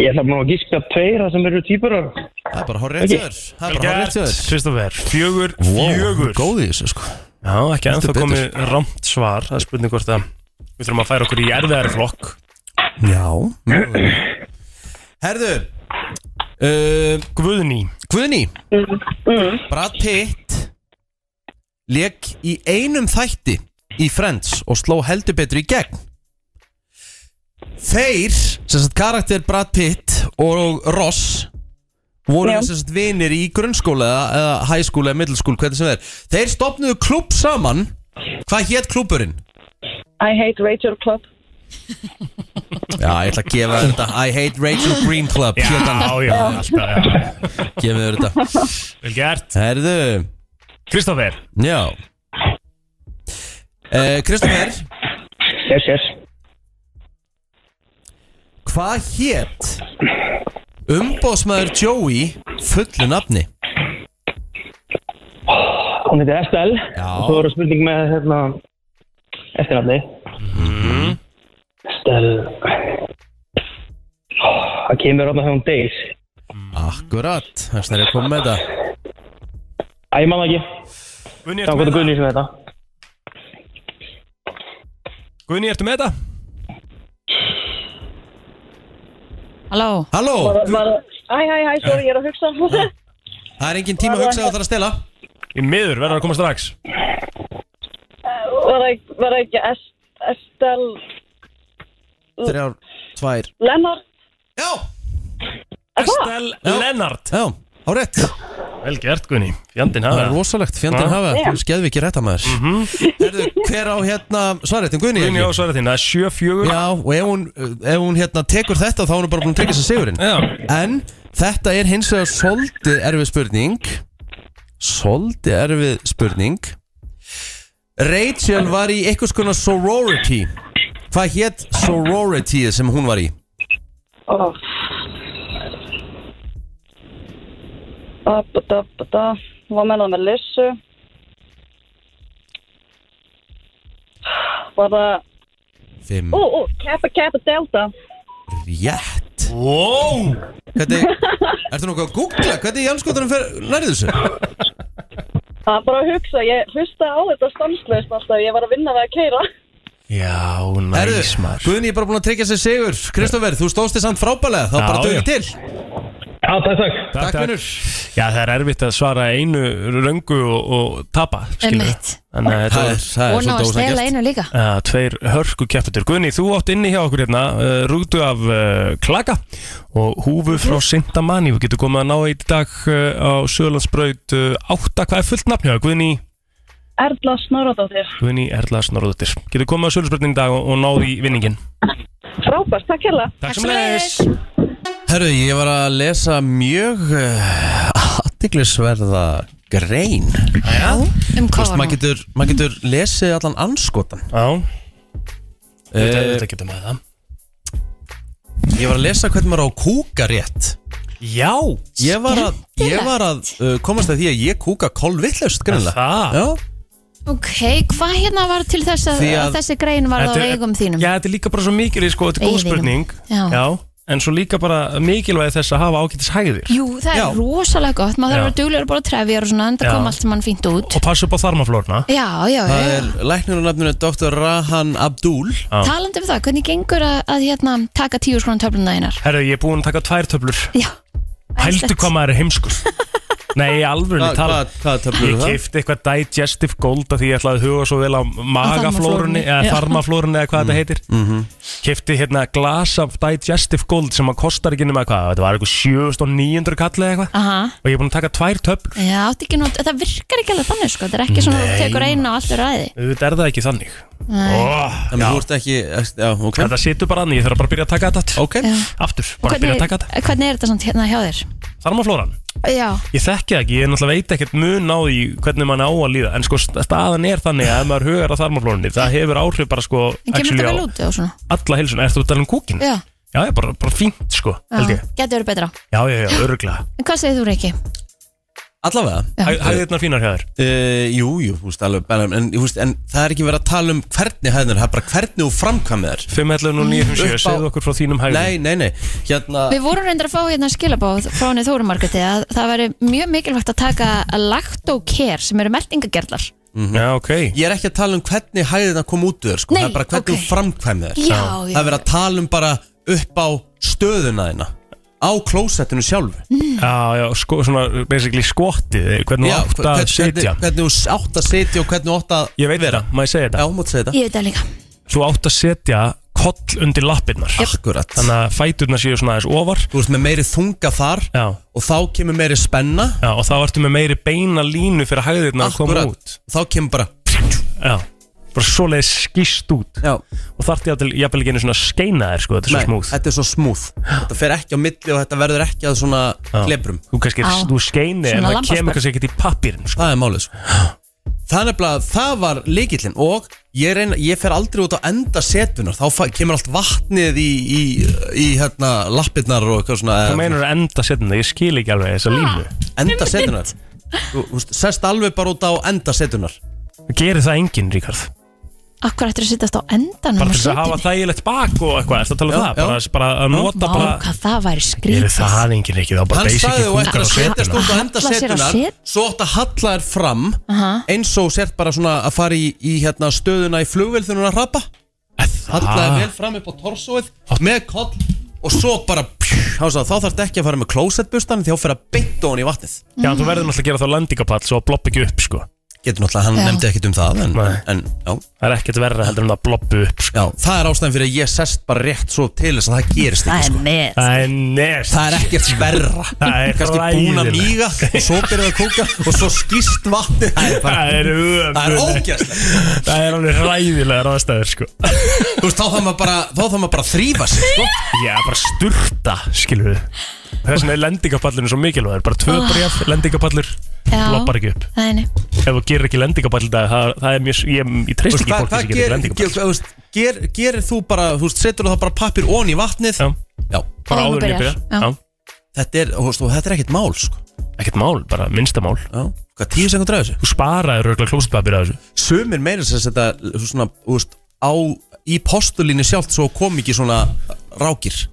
S10: ég ætla bara að gíska tveir það sem eru týpurar
S1: Það er bara hár rétt sjöður. Það er
S3: Vel
S1: bara hár rétt
S3: gert
S1: sjöður.
S3: Kristoffer Fjögur Fjögur
S1: Góð í þessu sko.
S3: Já, ekki ennþá
S1: betur.
S3: komið rámt svar Það er spurning hvort að Við þurfum að færa okkur í erfiðari flokk
S1: Já. mögulega. Herðu, uh,
S3: Guðni
S1: Guðni, Brad Pitt leik í einum þætti í Friends og sló heldur betur í gegn. Þeir, sem sagt karakter Brad Pitt og Ross voru
S11: Já.
S1: sem sagt vinir í grunnskóla eða, eða high school eða middle school, hvernig sem það er þeir stopnuðu klubb saman Hvað hétt klúburinn?
S11: I hate Rachel Club
S1: Já, ég ætla að gefa þér þetta I hate Rachel Green Club
S3: Já, já, alltaf, já
S1: Gefa þér þetta
S3: Vel gert
S1: Herðu
S3: Kristoffer
S1: Já Eh, Kristoffer
S10: Yes, yes
S1: Hvað hétt Umbóðsmaður Joey fullu nafni?
S10: Hún heitir Estelle
S1: Já.
S10: Og þú eru spurning með hérna Eftirnafni Mhm. Estelle Ó, Það kemur ráðna þegar hún deyr
S1: Akkurat, þess að ég kom með þetta
S10: Æ, ég manna ekki
S3: Gunni,
S10: Það
S3: ertu
S10: var
S3: með það?
S10: hvað Gunni sem þetta
S3: Gunni, ertu með það?
S2: Halló
S1: Halló
S11: Æ, hæ, hæ, sorry, ég er að hugsa
S1: Það er engin tíma að hugsa það þarf að stela
S3: Í miður, verður að koma strax
S11: Var það- var það ekki Est- Estelle
S1: Þrjár, tvær
S11: Lennart
S3: Estelle Lennart
S1: Já, á rétt
S3: Vel gert Gunni, fjandinn
S1: Það
S3: hafa
S1: er rosalegt, fjandinn
S3: Já.
S1: hafa Þú skeðum ekki rétt að maður Herðu, hver á hérna svaretin Guðni?
S3: Gunni
S1: ekki?
S3: á svarið þín, það er 7-4
S1: Já, og ef hún, ef hún hérna tekur þetta þá er hún bara búin að tryggja sér sigurinn
S3: Já.
S1: En þetta er hins vegar svolítið erfið spurning Svolítið erfið spurning Rachel var í einhvers konar sorority Hvað hétt sorority sem hún var í?
S11: Ó. Abba-dabba-da Hún var með það með Lissu Var það
S1: Fimm
S11: Ó, ó, Kappa Kappa Delta
S1: Rétt
S3: Wow
S1: Hvernig, ertu nokkuð að googla? Hvernig í anskotunum fer nærið þessu?
S11: Það er bara að hugsa, ég hlusta á þetta stanslust alltaf, ég var að vinna við að keira.
S3: Já, næs maður
S1: Guðni er bara búin að tryggja sér sigur Kristoffer, þú stóðst þér samt frábælega Þá
S3: Já,
S1: bara
S3: já.
S1: dögir til
S10: Já, takk, takk
S1: Takk,
S3: takk.
S1: vinnur
S3: Já, það er erfitt að svara einu röngu og, og tapa skilurðu.
S2: Einmitt.
S3: Þannig að þetta
S1: Það er,
S3: var
S1: það er
S2: Og ná að
S1: svolítið
S2: stela
S1: ósangert
S2: einu líka
S3: Uh, tveir hörku keppetur Gunni, þú átt inni hjá okkur hérna uh, rútu af uh, klaka og húfu frá Sintamani við getum komið að ná eitt í dag uh, á Sjölandsbraut uh, 8, hvað er fullt nafn hjá þér? Guðni,
S11: Erla Snorradóttir,
S3: Guðni Erla Snorðutir getum komið að Sjölandsbrautin í dag og, og náði í vinningin
S11: frábært, takk hella.
S3: Takk sem leis
S1: Herru, ég var að lesa mjög uh, aðtiklisverða grein Þú
S2: Um hvað
S1: veist,
S2: var
S1: maður
S2: hún?
S1: getur, maður getur lesið allan anskotan
S3: Já, þetta,
S1: Eh,
S3: þetta getum við það
S1: Ég var að lesa hvernig maður á að kúka rétt
S3: Já,
S1: Ég var að, ég var að uh, komast að því að ég kúka kolvillust greinlega
S3: það
S1: Já,
S2: Ok, hvað hérna var til þess að,
S1: Því að-
S2: að þessi grein var á
S3: Þetta er-
S2: eigum þínum?
S3: Já, þetta er líka bara svo mikilvæg sko, þetta er góð
S2: Veiðinum.
S3: spurning
S2: Já.
S3: en svo líka bara mikilvæg þess að hafa ágætis hæðir
S2: Jú, það
S1: Já.
S2: er rosalega gott,
S3: Já.
S2: maður þarf að vera duglegur bara að trefja og svona, en
S3: Já.
S2: það kom allt sem hann fínt út
S3: og passa upp á þarmaflórna
S2: Já, já,
S1: það
S2: já,
S1: er læknir og nafninu Dr. Rahan Abdul
S3: Já.
S2: talandi um það, hvernig gengur að, að hérna, taka tíu skrona töfluna einar?
S3: Herru, ég er búinn að taka tvær töflur
S2: Já,
S3: Hældu
S2: æðislegt.
S3: hvað maður er heimskur Nei, alveg
S1: Hva-
S3: niður tala
S1: Hvað hvað töflur
S3: Ég
S1: eru það?
S3: keifti eitthvað digestive gold að því ég ætlaði að huga svo vel á magaflórunni
S2: þarmaflórunni,
S3: eða
S2: já.
S3: þarmaflórunni eða
S1: Mhm.
S3: hvað þetta heitir mm Keifti hérna glas af digestive gold sem að kostar ekki nema hvað Þetta var eitthvað 7900 kall eða eitthvað
S2: Aha.
S3: Og ég er búinn að taka tvær töflur
S2: Já, átti ekki nót, það virkar ekki alveg þannig sko, það er ekki svona að þú tekur eina og allt er ræði.
S3: Þetta er það ekki þannig
S2: Nei.
S3: oh,
S1: Þannig þú ert ekki, já, ok
S3: Þetta situr bara annir, ég þarf bara að byrja að taka þetta
S1: Ok,
S2: Já.
S3: Aftur,
S2: Og
S3: bara að byrja að taka
S2: Hvernig,
S3: þetta
S2: hvernig er þetta samt hérna hjá þér?
S3: Þarmaflóran
S2: Já,
S3: Ég þekki það ekki, ég náttúrulega veit ekkert mun á því hvernig mann á að líða En sko st- staðan er þannig að ef maður hugar að þarmaflórunni Það hefur áhrif bara sko
S2: en kemur
S3: actually á
S2: þetta vel út og svona?
S3: alla heilsun Ertu að tala um kúkin?
S2: Já,
S3: Já, já, bara, bara fínt sko,
S2: já.
S3: held ég
S2: getur verið betra.
S3: Já, já, já, öruglega
S2: En hvað segir þú, Riki?
S1: allavega
S2: Já.
S3: Hæðirnar fínar hjá þér
S1: Uh, jú, jú, þú veist alveg bara, en, þú veist, en það er ekki verið að tala um hvernig hæðnir Það er bara hvernig þú framkvæmið þær
S3: 511 og 957,
S1: Upp á-
S3: segðu okkur frá þínum hæðum
S1: Nei, nei, nei, hérna
S2: Við vorum reyndar að fá hérna skilabóð frá henni Þórumarketi að það væri mjög mikilvægt að taka lactocare sem eru meltingagerlar.
S3: Já, ok
S1: Ég er ekki að tala um hvernig hæðina kom út úr sko.
S2: Nei,
S1: Það er bara hvernig
S2: ok.
S1: þú framkvæmið þær
S2: Já,
S1: Það
S2: já.
S1: er verið að tala um bara upp á stöðuna þína Á klósettinu sjálfu
S3: Já, já, sko, svona basically skottið eh, Hvernig
S1: Já,
S3: þú átt að
S1: hvern-
S3: sitja
S1: hvernig, hvernig þú átt að sitja og hvernig þú átt að
S3: Ég veit þetta, má ég segja
S1: Já,
S3: þetta
S1: mátt segja þetta
S2: Ég veit það líka.
S3: Þú átt að setja koll undir lappirnar
S1: Akkurat
S3: Þannig að fæturnar séu svona aðeins ofar
S1: Þú veist með meiri þunga þar
S3: Já,
S1: Og þá kemur meiri spenna
S3: já, og þá ertu með meiri beina línu fyrir hæðirnar að koma út
S1: Þá kemur bara
S3: Já, bara svoleiðis skýst út
S1: Já.
S3: og þarf ég að jafnvel ekki einu svona skeina þér sko, þetta er svo
S1: Nei,
S3: smúð
S1: Þetta er svo smúð Þetta fer ekki á milli og þetta verður ekki að svona klebrum
S3: Þú kannski,
S1: Á.
S3: þú skeini en
S1: Svona
S3: það kemur
S1: lambasperm.
S3: kannski ekkert í pappirinn sko.
S1: Það er málið sko. Það er nefnilega, það var líkillin og ég, reyna, ég fer aldrei út á enda setunar þá fa- kemur allt vatnið í, í, í hérna, lappirnar og eitthvað svona eh,
S3: Hvað meinar enda setunar? Ég skil ekki alveg þessa línu
S1: Enda setunar Þú þú veist, sest alveg bara út á enda setunar
S3: Gerir það enginn, Ríkard?
S2: Akkur ættir að sittast á endan
S3: Bara til þess að hafa þægilegt bak og eitthvað, ertu að tala um
S1: Já,
S3: það? Bara, bara að nota
S2: Vá,
S3: bara
S2: hvað það væri
S3: Gerir
S2: skrítið
S3: það enginn, Ríkard? Það er bara
S1: Hann
S3: basic
S1: sagði þú ættir að setjast út á enda
S2: Halla sér á
S1: setunar
S2: set-
S1: svo ætti að halla þér fram eins og sért bara svona að fara í, í hérna, stöðuna í flugvél þegar hún er að rapa halla þér vel fram upp á torsóið með koll og svo bara pjú, þá sagði, þá þarf ekki að fara með klósettbustan því þá fyrir að beinta hún í vatnið
S3: Já, þú verður náttúrulega að gera þá landingapall svo að blopp ekki upp, sko
S1: Getur náttúrulega, hann
S3: Já.
S1: nefndi ekkit um það en, en, já.
S3: Það er ekkit verra heldur en að bloppu upp
S1: sko. Já, það er ástæðan fyrir að ég sest bara rétt svo til þess að það gerist
S2: Það
S1: ekki
S2: er
S1: sko.
S2: net.
S3: Það er net
S1: Það er ekkert verra
S3: Það er
S1: Kannski búin að
S3: hræðilegt.
S1: míga og svo byrjaði að kóka og svo skýst vatnið Það er, bara-
S3: Það er
S1: Það er
S3: ömurlegt.
S1: ógeðslegt.
S3: Það er alveg ræðilega ráðstæður sko
S1: Þú veist, þá þarf maður bara, þá þarf maður bara að þrýfa sig sko.
S3: Já, bara sturta, skilur við Þess vegna er lendingapallurinn svo mikilvægur Bara tvö
S2: Ah.
S3: bref, lendingapallur
S2: Já.
S3: Loppar ekki upp
S2: Nei, nei.
S3: Ef þú gerir ekki lendingapall í dag Það, það er mjög, ég, ég
S1: Þú
S3: treyst
S1: veist,
S3: ekki
S1: Hvað
S3: fólki
S1: hvað
S3: sem gerir ekki
S1: gerir- ger-
S3: lendingapall
S1: þú veist, ger- gerir þú bara, þú veist, setur þú það bara pappir ón í vatnið Já,
S3: Bara áður en ég byrja Já.
S1: Þetta er, þú veist, og þetta er ekkert mál sko.
S3: Ekkert mál, bara minnsta mál
S1: Já, hvað tíu sekund ræður þessu?
S3: Þú sparaði röglega klósetpapir að þessu
S1: Sumir meira sem þetta, þú svona, þú veist, á, í postulínu sjálft svo kom ekki svona rákir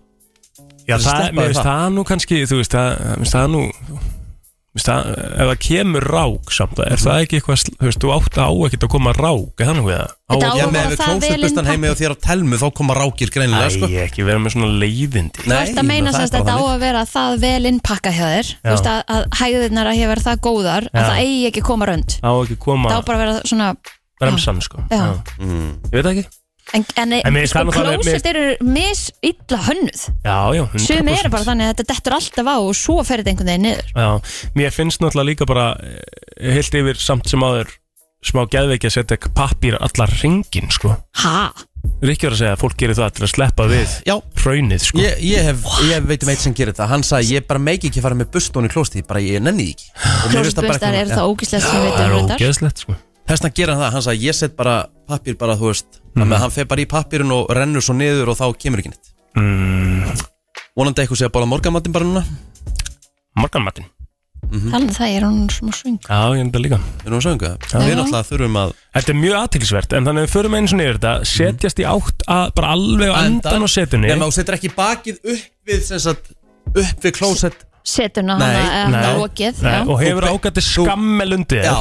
S3: Já,
S1: Þessi
S3: það,
S1: stelpa
S3: mér
S1: er
S3: finnst
S1: það.
S3: það nú kannski Þú veist, það, mér finnst það nú mér finnst það, Ef það kemur rák samt Er það ekki eitthvað, sl- þú veist, þú átt á ekkert að koma rák Er það nú við það? Á
S2: Þetta á
S3: ekki-
S2: að
S1: Já,
S2: vera
S1: með við
S2: það
S1: klósetbustan
S2: vel inn
S1: heimi og þér á telmu þá koma rákir greinilega
S3: Æ,
S1: sko.
S3: ekki vera með svona leiðindi
S2: Þú ert að meina sérst að þetta á að vera það vel innpakka hjá þér Þú
S3: Já.
S2: veist að, að hæðirnar að hefur það góðar
S3: Já.
S2: að það eigi ekki að koma rönd
S3: Á ekki að koma
S2: Það á bara að vera svona
S3: bremsan sko
S2: Já.
S3: Ég veit það ekki
S2: En, en,
S3: En mér Mm, finnst
S2: sko,
S3: það náttúrulega-
S2: klósett eru mis illa hönnuð
S3: Já, já, 100%.
S2: Sum eru bara þannig að þetta dettur alltaf á og svo fer þetta einhvern veginn niður
S3: Já, mér finnst náttúrulega líka bara eh, heilt yfir samt sem áður smá geðveiki að setja pappir allar ringin sko
S2: Ha?
S3: Rikki var að segja að fólk gerir það til að sleppa við
S1: Já.
S3: hraunið sko
S1: Ég, ég, hef, ég veit um eitt sem gerir það Hann sagði ég bara meik ekki fara með bustón í klósti Bara ég nenni því ekki Og mér finnst bara
S2: Klósettbustar
S1: ekki-
S2: eru það
S1: Já.
S2: ógíslegt
S3: Það er
S2: sem við veitum reyndar.
S3: ógeðslegt sko
S1: Þess vegna gerir hann það Hann sagði ég set bara pappir bara þú veist mm.
S3: Mhm.
S1: Þannig að hann fer bara í pappirinn og rennur svo niður Og þá kemur ekki neitt
S3: mm,
S1: Vonandi eitthvað sé að bóla morgamattin bara núna
S3: Morganmattin
S2: Þannig það er hún svona svöng
S3: Já, ég enda líka
S1: Erum við söngu það? Við náttúrulega þurfum að
S3: Þetta er mjög aðtilsvert en þannig að við förum eins og niður þetta setjast í átt að bara alveg á endan á setunni
S1: Nefnum að þú setur ekki bakið upp við sem sagt, Upp við klósett
S2: Setuna hana eða lokið
S3: nei,
S2: já.
S3: og hefur ágæti skammel undir
S1: Já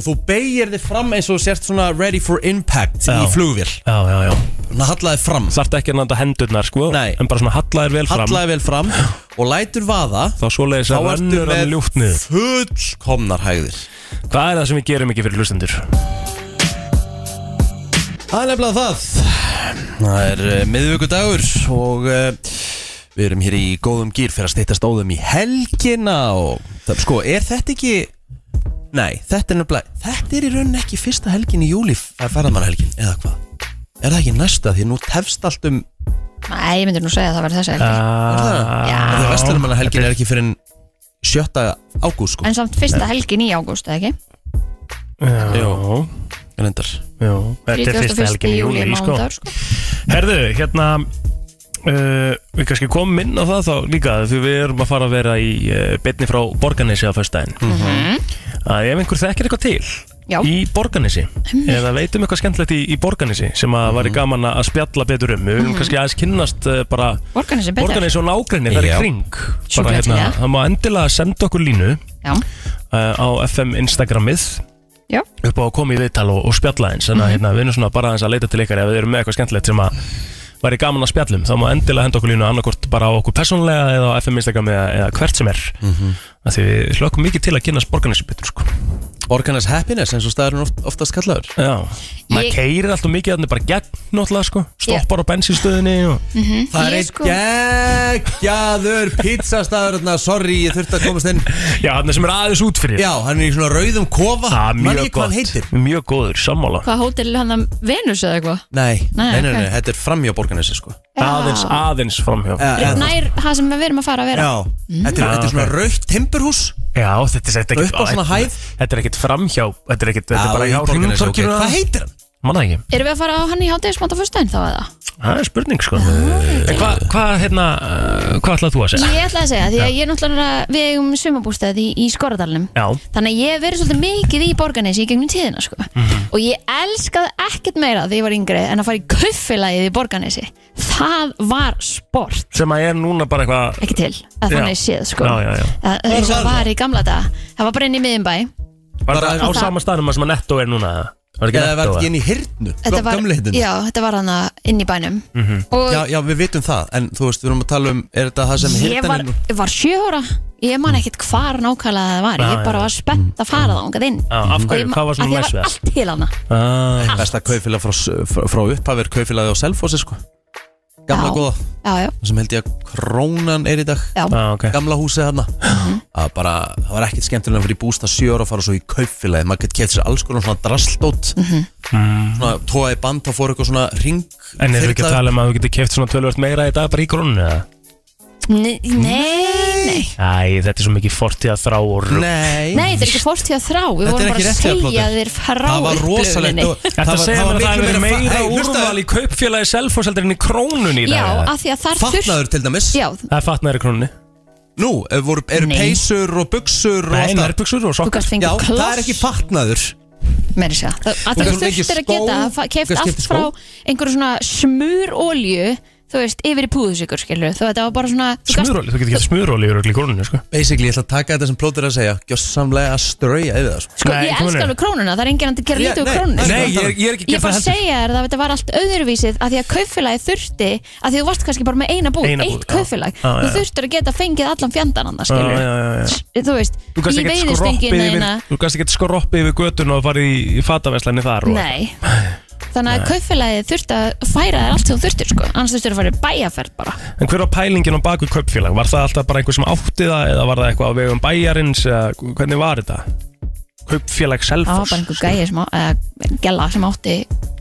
S1: Og þú beigir þig fram eins og þú sért svona ready for impact
S3: Já.
S1: í flugvél
S3: Já, já, já
S1: Þannig að hallaði fram
S3: Þarft ekki að nanda hendurnar sko
S1: Nei.
S3: En bara svona hallaðir vel fram
S1: Hallaði vel fram og lætur vaða
S3: Þá svoleiðis að
S1: Þá ertu
S3: rannur hann
S1: með
S3: ljúft niður
S1: fullkomnar hægðir
S3: Hvað er það sem við gerum ekki fyrir hlustendur?
S1: Það er nefnilega það Það er uh, miðvikudagur og uh, við erum hér í góðum gýr fyrir að stýttast óðum í helgina og það, sko, er þetta ekki Nei, þetta er nefnilega Þetta er í rauninni ekki fyrsta helgin í júli að ferðamannahelgin, eða hvað Er það ekki næsta, því nú tefst allt um
S2: Nei, ég myndi nú segja að það verður þessi helgi
S1: Er það?
S2: Já.
S1: Það er vestlunumannahelgin Ah, er ekki fyrir 7. ágúst sko
S2: En samt fyrsta helgin í ágúst, eða ekki?
S3: Jó
S1: Reyndar
S3: Jó Þetta er fyrsta
S2: 31.
S3: helgin í júli sko.
S2: mánudagur, sko.
S3: Herðu, hérna uh, Við kannski komum inn á það þá líka Því við erum að fara að vera í uh, Betni frá Borganesi á föstudaginn Að ef einhver þekkir eitthvað til
S2: Mhm. Já.
S3: Í Borganesi Eða veitum eitthvað skemmtilegt í, í Borganesi Sem að
S1: Mhm.
S3: væri gaman að spjalla betur um Við
S2: Mhm.
S3: viljum kannski aðeins kynnast uh, bara
S2: Organisi betur
S3: Borganesi og nágrinni þar í
S1: Já.
S3: kring Bara
S2: Sjúklega til
S3: hérna,
S2: í það.
S3: það má endilega senda okkur línu
S2: Já,
S3: uh, á FM Instagramið
S2: Já.
S3: upp á að koma í viðtal og, og spjalla eins þannig að hérna, við erum svona bara aðeins að leita til ykkar ef við erum með eitthvað skemmtilegt sem að væri gaman að
S1: Mhm.
S3: spjallum þá má endilega henda okkur línu annarkort bara á okkur persónlega eða á FM Instagram eða, eða hvert sem er af því við hlökkum mikið til að kynast Borgarnesi betur sko
S1: Borgarnes happiness eins og staðurinn oft, oftast kallaður
S3: Já, maður
S2: Ég-
S3: ég... keirir alltaf mikið þannig bara gegn náttúrulega sko stoppar á bensinstöðinni og...
S2: Mhm.
S1: Það er
S2: Ég
S1: eitt
S2: sko-
S1: geggjaður pizzastaður þarna, sorry, ég þurfti að komast inn
S3: Já, hann er sem er aðeins út fyrir
S1: Já, hann er í svona rauðum kofa
S3: Það er
S1: Man
S3: mjög
S1: ekki hvað hann heitir
S3: gott, mjög góður, sammála
S2: Hvað hótel hann að Venus eða eitthvað?
S1: Nei,
S2: Nei,
S1: nei, nei,
S2: ok.
S1: nei, þetta er framjá Borgarnesi sko
S2: Já.
S3: Aðeins, aðeins framhjá
S1: Já,
S2: Nær það sem við erum að fara að vera
S1: Já,
S2: Mm.
S1: þetta er, þetta er svona rautt timburhús
S3: Já, þetta er þetta er ekkert
S1: Upp á svona hæð.
S3: Þetta er ekkert framhjá, þetta er ekkert Þetta
S1: Já,
S3: er bara
S1: í
S3: hjá
S1: Borgarnesi,
S3: hringtorkinu
S1: ok. Hvað heitir hann?
S3: Manna ekki,
S2: Erum við að fara á hann í hátegismat á fyrstæðin þá eða?
S3: það er spurning sko En hvað, hva, hérna, uh, hvað ætlaði þú að segja?
S2: Ég ætla að segja, því að ég er náttúrulega við eigum sumabústæði í, í Skoradalunum
S3: Já,
S2: Þannig að ég hef verið svolítið mikið í Borgarnesi í gegnum tíðina sko.
S3: Mhm.
S2: Og ég elskaði ekkert meira þegar ég var yngri en að fara í kaufélagið í Borgarnesi Það var sport
S3: sem að er núna bara eitthvað
S2: Ekki til, að þannig séð sko
S3: Já, já, já
S2: Það það er svo að var í gamla dag Það var bara inn í miðinbæ
S3: Var það á
S2: það-
S3: sama staðnum að sem að netto er núna? Var ekki
S1: Eða var
S3: netto?
S1: ekki inn í hyrnu,
S2: Þetta var,
S1: gamle hyrnu
S2: já, þetta var hann inn í bænum
S3: Mhm.
S1: -hmm.
S2: Og-
S1: já, já, við vitum það En þú veist, við erum að tala um Er þetta það sem
S2: Ég var,
S1: hyrnan er
S2: ég var sjö ára Ég man ekkert hvar nákvæmlega það var
S1: Já,
S2: Ég bara
S1: já.
S2: var spennt að fara það ungað inn
S1: Já, af
S2: Og
S1: Mm. hverju?
S2: ég man-
S1: Hvað var svona
S2: af því
S1: næs við
S2: Ég var
S1: það?
S2: allt til hana
S3: ah.
S1: Besta kaufélag frá, frá, frá upphafir kaufélagi á Selfossi sko Gamla
S2: Já.
S1: góða
S2: Já, já,
S1: Það sem held ég að krónan er í dag
S2: Já.
S3: Ah, okay.
S1: Gamla húsið hann Það bara, það var ekkert skemmtilega fyrir bústa sjö ára að fara svo í kaufélagi Maður gett keft sér alls konar svona drasldót Svona tóa í band, þá fór eitthvað svona ring
S3: En erum við ekki að
S1: þyrla-
S3: tala um að þú getur keft svona tölvöld meira í dag bara í grónu?
S2: nei, nei, nei.
S3: Æ, þetta er svo mikið fortíða þrá og um rugl.
S1: Nei
S2: Nei, þetta er ekki fórtíð að þrá Við
S1: Þetta
S2: vorum
S1: er
S2: bara
S1: ekki
S2: að
S1: rétt hjá
S2: segja
S1: Plóter.
S2: þér frá
S1: Það var rosalegt
S2: upplifuninni.
S1: og-
S3: Þetta
S1: var-
S3: segja
S1: var
S3: mér að það
S1: miklu
S3: er
S1: meira fa-
S3: meira
S1: Hey, hlustaðu.
S3: úrval í kaupfélagi selfos heldur en í krónunni í dag
S2: Já,
S3: eða?
S2: af því að þar þurft-
S1: Fatnaður til dæmis
S2: Já,
S3: Það er fatnaður í krónunni
S1: Nú, ef voru, eru peysur og buksur og
S3: Nei,
S1: allt það?
S3: nærbuxur og
S2: Þú gast fengið
S1: Já,
S2: kloss.
S1: það er ekki fatnaður
S2: meira sér Það
S1: Og
S2: að þú
S1: þú fengir
S2: þurftir að
S1: skó,
S2: geta að fa- keypt
S1: þú
S2: allt
S1: keyptir skó.
S2: frá einhverju svona smur olju Þú veist, yfir í púðusikur skilur Þú þetta var bara svona þú gast-
S3: Smurróli, þú getur gett smurróli í rögl í krónunni, sko
S1: Basically, ég ætla að taka þetta sem plótur er að segja Gjössamlega að strauja yfir það
S2: Sko, ég elska alveg krónuna, það er enginn að gera
S1: Ég-
S2: lítið úr
S1: nei,
S2: krónunni
S1: nei,
S2: sko.
S1: ég- ég er ekki að
S2: Ég
S1: gera
S2: bara
S1: það heldur.
S2: segja þér það að þetta var allt öðruvísið að því að kaupfélagi þurfti að því þú varst kannski bara með eina búð,
S3: Eina búð,
S2: eitt
S3: já.
S2: kaupfélag
S3: Já, já,
S2: þú
S3: já.
S2: þurftir að geta fengið allan fjandan annars skilur
S3: Já, já, já, já.
S2: þú veist,
S3: Þú gast
S2: í
S3: ekki skroppið
S2: veiðistöngina
S3: yfir,
S2: þína
S3: þú gast ekki skroppið yfir götun og farið í, í fataveslanni þar og
S2: nei, þannig að kaupfélagi þurfti að færa þér allt sem þú þurftir sko. annars þurftir að fara í bæjarferð bara
S3: En hver var pælingin á baku kaupfélag? Var það alltaf bara einhver sem átti það eða var það eitthvað á vegum bæjarins eða hvernig var þetta? Kaupfélag
S2: það var
S3: Selfoss
S2: bara einhver gæi sem á, eða gæla sem átti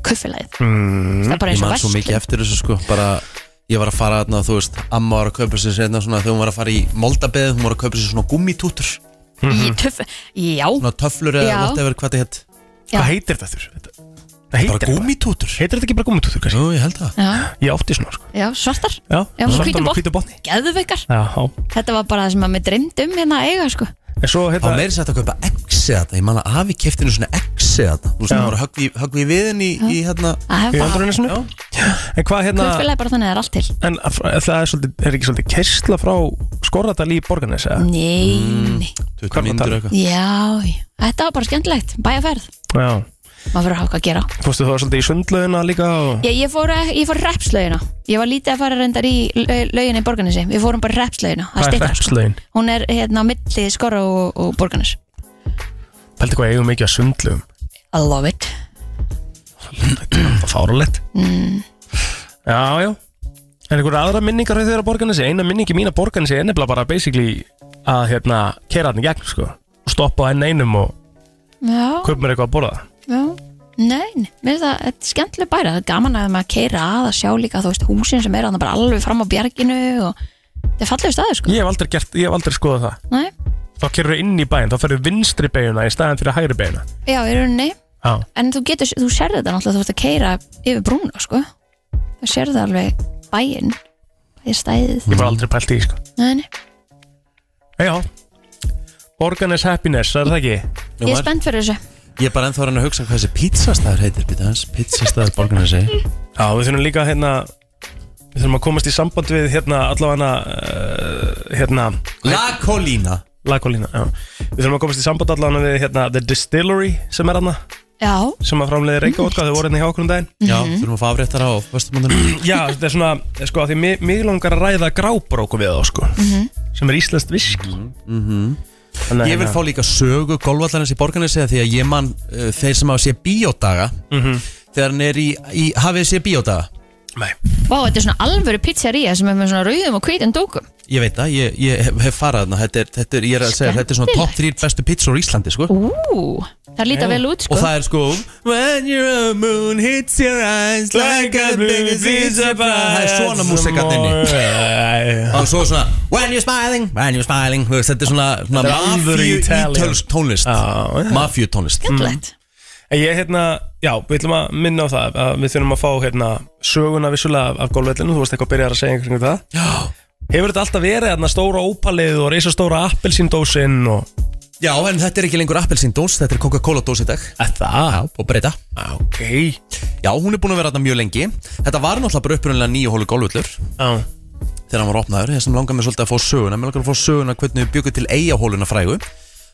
S2: kaupfélagið
S3: mm.
S2: það er bara
S1: Ég
S2: eins og
S1: man svo
S2: verslun.
S1: mikið eftir þessu sko Bara, ég var að fara þarna, þú veist Amma var að kaupa sér sérna svona Þegar hún var að fara í moldabeð Hún var að kaupa sér svona gummitútur
S3: Mhm.
S2: Í töff- já,
S1: Svona töflur eða
S2: Já.
S1: whatever, hvað þetta hétt
S2: Já.
S3: Hvað heitir þetta þurr? Það heitir
S1: Bara gummitútur
S3: Heitir þetta ekki bara gummitútur kannski?
S1: Jú, ég held það
S2: já,
S3: Ég átti svona sko
S2: já, svartar
S3: Já,
S2: já,
S3: svartan og
S2: hvítum botn.
S3: hvítum botni
S2: geðveikar
S3: Já,
S2: Þetta var bara það sem að mig dreymdi um hérna að eiga sko.
S3: en svo
S1: Það
S3: hérna
S1: var meira sætt að kaupa exi þetta Ég man að afi keftinu svona exi þetta Þú veist, hún var að höggvi- höggvi í viðin í, í hérna
S3: Í
S2: Það er bara
S3: öndrunisinu En hvað hérna
S2: Kaupfélagi er bara þannig að það er allt til
S3: En að- það er, svolítið, er ekki svolítið kersla frá skorradal í borganes eða?
S2: Mm. Nei, nei.
S1: 20 myndur eitthvað
S2: já, já. þetta var bara skemmtilegt Bæjarferð,
S3: Já
S2: maður verður að hafa hvað að gera
S3: Fórstu þú svolítið í sundlaugina líka og...
S2: Ég, ég fór, ég fór repslaugina Ég var lítið að fara reyndar í lau- laugina í Borgarnesi Við fórum bara repslaugina Það er
S3: Hvað er
S2: styttra, sko.
S3: hreppslaugin?
S2: Hún er hérna á milli skorra og, og Borgarnes
S3: Pældi hvað eigum mikið að sundlaugum
S2: I love it
S3: Það er fárulegt
S2: mm.
S3: Já, já En einhverja aðra minningar hefur þeirra borganessi Eina minningi mína borganessi er nefnilega bara basically að hérna kera hann í gegn sko Stoppa á enn einum og
S2: Já,
S3: kaup mér eitthvað að borða
S2: já Nei, nei, mér finnst það, þetta er skemmtileg bæra Það er gaman að maður keira að að sjá líka Þú veist, húsin sem er að bara alveg fram á bjarginu og... Þetta er fallegur staður, sko
S3: Ég hef aldrei, gert, ég hef aldrei skoðað það
S2: Nei,
S3: Þá kerur inn í bæinn, þá ferur vinstri beiguna í staðan fyrir hægri beiguna
S2: já, í rauninni
S3: Já,
S2: En þú getur, þú sér þetta náttúrulega Þú ert að keira yfir brúna, sko Þú sér þetta alveg bæinn Bæjarstæðið
S3: ég var aldrei pælt í því, sko
S2: Nei, nei.
S3: Já, Borganes Happiness, það er það ekki?
S2: Ég er spennt fyrir þessu
S1: Ég er bara ennþá hann að hugsa hvað þessi pizzastæður heitir Býta hans, pizzastæður borgarnesi
S3: Já, við þurfum líka hérna Við þurfum að komast í samband við hérna allavega uh, hérna
S1: La Colina
S3: Lakolína, já Við þurfum að komast í samband allavega við hérna The Distillery sem er hérna
S2: Já,
S3: sem að framleiði reyka vodka þau voru hérna hjá okkur um daginn
S1: Já,
S2: Mhm.
S1: þurfum að fá afréttar á Vestamundunum
S3: Já, þetta er svona, sko, af því mig, mig langar að ræða grábróku við þá, sko
S2: Mhm.
S3: sem er íslenskt viski
S1: mm -hmm.
S3: Þannig að
S1: Ég vil
S3: hérna-
S1: fá líka sögu golvallarins í borgarnesi því að ég man uh, þeir sem hafa sé bíódaga
S3: Mhm.
S1: þegar hann er í, í hafið sé bíódaga
S2: vá, þetta er svona alvöru pizzería sem er með svona rauðum og hvítum dókum
S1: Ég veit það, ég, ég hef- hef farað þarna þetta er, þetta er, ég er að segja, þetta er svona topp 3 bestu pizzur í Íslandi sko
S2: Ú, það líta vel út, sko
S1: Og það er sko When your moon hits your eyes Like a baby sees a fire Það er svona músikat inni Og svo svona When you're smiling When you're smiling Þú veist, Þetta er svona, svona
S3: Þetta er alvöru
S1: mafíu
S3: Italian. Ah.
S1: ítölsk tónlist Mafíu tónlist
S12: Mm.
S2: Skemmtilegt
S3: En ég, hérna, já, við ætlum að minna á það að við þurfum að fá, hérna, söguna vissulega af, af golfvellinu, þú varst eitthvað að byrja að segja einhverjum það
S1: Já
S3: Hefur þetta alltaf verið, hérna, stóra ópalið og reisastóra appelsindósin og
S1: Já, en þetta er ekki lengur appelsindós, þetta er Coca-Cola dós í dag
S3: Það?
S1: Já, og breyta
S3: Ah, Ok
S1: Já, hún er búin að vera þetta mjög lengi Þetta var náttúrulega bara upprunalega nýju hólu golfullur
S3: Já
S1: Þegar hann var opnaður, þessum langar mér svolítið að fá söguna Mér langar að fá söguna hvernig við byggum til eigahóluna frægu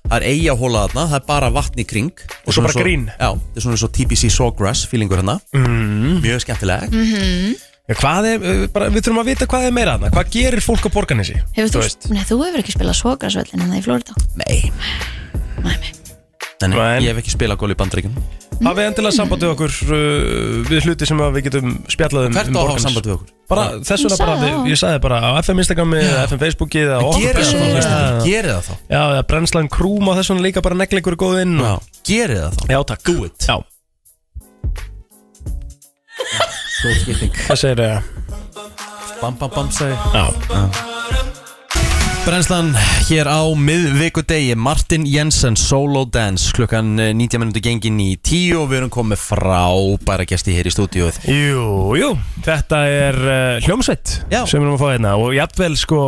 S1: Það er eigahóla þarna, það er bara vatn í kring
S3: Og svo bara
S1: Svona
S3: grín.
S1: Já, þetta er svona svo TBC Sawgrass feelingur hérna
S3: mm.
S1: Mjög skemmtileg
S2: Mhm.
S3: Já, Hvað er, uh, bara, við þurfum að vita hvað er meira þarna Hvað gerir fólk á borganessi?
S2: Hefur þú, nei, þú hefur ekki spilað svokarsvöllin en það í Flórida
S1: Nei Þannig, ég hef ekki spilað golf í bandaríkjum
S3: Hafið endilega samband við okkur uh, Við hluti sem að við getum spjallað um
S1: Hvert
S3: um
S1: á að hafa
S3: Borgarnes.
S1: samband við okkur?
S3: Bara,
S1: Já.
S3: þess
S1: Hún
S3: vegna bara,
S1: sagði
S3: við,
S1: það.
S3: ég sagði bara á FM Instagrami eða FM Facebooki eða
S1: En
S3: okkur
S1: gerið það
S3: persónulega.
S1: þá, hlustendur, gerið það þá.
S3: Já, eða brennslan krúm á þess vegna líka bara negla ykkur góð inn og...
S1: Gerið það þá
S3: Já, takk Do
S1: it
S3: Já
S1: Stór skipting
S3: Hvað segir það?
S1: Bam bam bam segi
S3: Já
S1: Brennslan hér á miðvikudegi Martin Jensen Solo Dance klukkan eh, 90 minúti gengin í 10 og við erum komið frábæra gesti hér í stúdíuð
S3: Jú, jú, þetta er uh, hljómsveit Já. sem við erum að fá hérna og jafnvel sko,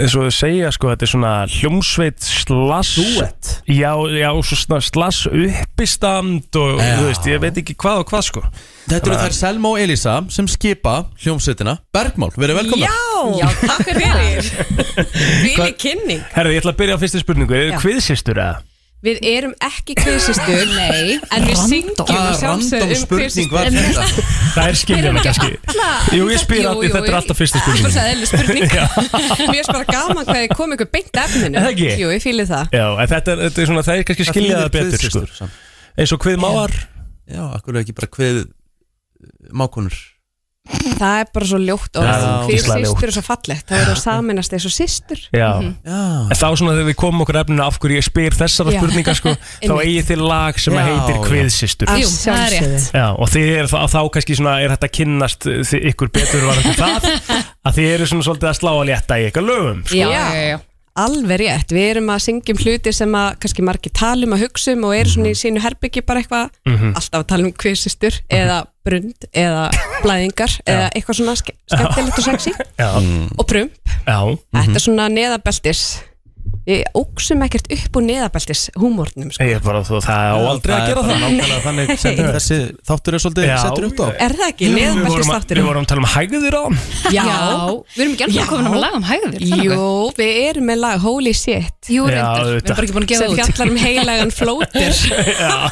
S3: eins og þau segja sko, þetta er svona hljómsveit slass Duet Já, já, svo svona slass uppistand og þú veist, ég veit ekki hvað og hvað sko
S1: Þetta eru þær Selma og Elisa sem skipa hljómsveitina Bergmál, verið velkomna
S12: Já, takk fyrir Við kynning
S3: Herra, ég ætla að byrja á fyrstu spurningu, er
S12: Já.
S3: þið kviðsýstur eða?
S12: Við erum ekki kvisistur, nei En við
S3: Ah,
S12: syngjum
S1: Ah,
S12: að sjálfsögðu um kvisistur
S3: Það er skiljan
S12: Heyrðu,
S3: kannski
S12: alla-
S3: Jú, ég spyr
S12: Jú,
S3: allir,
S12: jú,
S3: þetta er
S12: jú.
S3: alltaf fyrsta
S12: Það er bara
S3: spurning
S12: eðlileg spurning Mér er bara gaman hvað þið kom ykkur beint að efninu
S3: Er það ekki?
S12: Jú, ég fýli það
S3: Já, en þetta er, þetta er svona, það er kannski
S1: Það
S3: skiljaða
S1: þýðir
S3: betur sko.
S1: kviðsystur, samt.
S3: Eins og kviðmáar
S1: Já, akkur er ekki bara eh, hvið mákonur
S12: Það er bara svo ljótt og
S3: Já, ógeðslega
S12: kvisistur
S3: ljótt.
S12: er svo fallegt Það er að saminast eins og systur
S3: Já.
S12: Mhm.
S3: En þá svona þegar við komum okkur að efninu af hverju ég spyr þessara
S12: Já.
S3: spurningar sko, þá
S12: Einmitt.
S3: eigið þið lag sem
S12: Já,
S3: að heitir
S12: já.
S3: Kviðsýstur
S12: Jú, það er rétt
S3: Já, og þið er þá, þá kannski svona er þetta að kynnast eh, þið, ykkur betur varandi það að þið eru svona svolítið að slá að létta í ykkar lögum sko.
S12: já, já, já. Alveg rétt, við erum að syngjum hluti sem að kannski margir talum að hugsa um og eru svona í sínu herbyggi bara eitthvað
S3: Mhm.
S12: alltaf að tala um kvisistur eða brund eða blæðingar eða eitthvað svona ske skemmtilegt og sexy
S3: Já.
S12: og prump,
S3: Já.
S12: þetta er svona neðabeltis við óksum ekkert upp úr neðabeltis húmórnum sko.
S3: Ég er bara þú, það á aldrei að gera
S1: er bara
S3: það
S1: nákvæmlega þannig sem
S12: Nei.
S1: þessi þáttur er svolítið
S3: Já.
S1: settur upp á
S12: Er það ekki?
S3: Jú,
S12: Neðan
S3: við vorum að-
S12: beltisþátturinn.
S3: Við vorum að tala um hægðir á
S12: Já,
S2: við erum ekki ennþá komin með lag um hægðir, það er
S12: Jú, við erum með lag, holy shit
S2: Jú,
S3: Já, reyndar. Við erum auðvitað. bara ekki búin að gefa
S12: Sem
S3: út.
S12: fjallar um heilagan flótir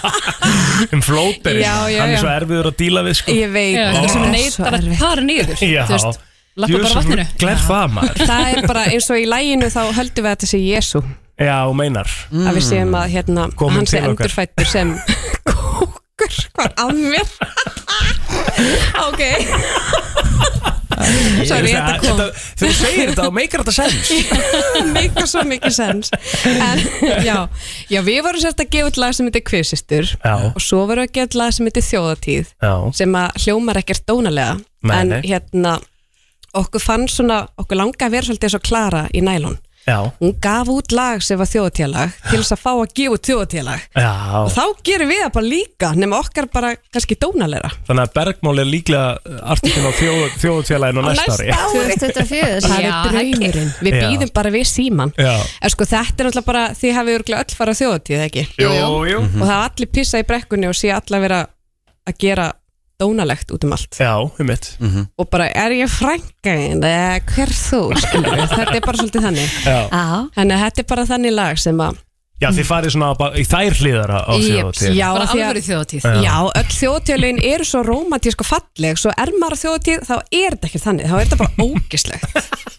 S3: um flóterinn
S12: Já, já,
S3: hann er
S12: já.
S3: svo erfiður að díla við sko.
S12: Ég veit
S3: Já,
S12: Ó,
S3: þetta er svona
S12: svo
S13: neitar að
S12: erfitt.
S13: fara niður
S3: Já.
S13: þú veist, lappa bara
S3: Jösses,
S13: vatninu
S3: Glert það maður
S12: Það er bara eins og í læginu þá höldum við að þetta sé Jésu
S3: Já, og meinar
S12: að við séum að hérna,
S3: Kominn
S12: hann sé
S3: Mm. til okkar.
S12: endurfættur sem kókur, hvað er að mér ok Mm, sorry, þetta
S3: Þetta-
S12: kom
S3: þetta- Þegar þú segir þetta, þá meikar þetta sens
S12: mikið svo mikið sens en já, já við vorum sérst að gefa út lag sem heitir Kvisistur
S3: Já.
S12: og svo vorum við að gefa út lag sem heitir Þjóðatíð
S3: Já.
S12: sem að hljómar ekkert dónalega
S3: Nei,
S12: en
S3: nei.
S12: hérna okkur fann svona, okkur langa að vera svolítið svo klara í nælon
S3: Já,
S12: hún gaf út lag sem var þjóðatélag til þess að fá að gefa út þjóðatélag
S3: já
S12: og þá gerum við það bara líka nema okkar bara kannski dónalera
S3: Þannig að Bergmál er líklega artikinn á þjóðutélaginu næsta ári
S2: 2024
S12: það
S2: Já,
S12: er draumurinn við
S3: Já.
S12: býðum bara við síman
S3: Já.
S12: en sko þetta er alltaf bara þið hafið örugglega öll farið á þjóðatíð ekki
S3: Jú, jú.
S12: og það er allir pissa í brekkunni og sé allar vera að gera dónalegt út um allt
S3: Já, um mitt
S12: og bara er ég frængaðin eða hver þú skilur við? þetta er bara svolítið þannig
S3: Já.
S12: þannig að þetta er bara þannig lag sem að
S3: Já, þið farið svona bara í þær hliðar á þjóðatíð
S12: já,
S13: Bara
S12: af því að-
S13: alvöru þjóðhátíð.
S12: Já, öll þjóðatíðalögin eru svo romantísk og falleg Svo er maður á þjóðatíð, þá er þetta ekki þannig Þá er þetta bara ógislegt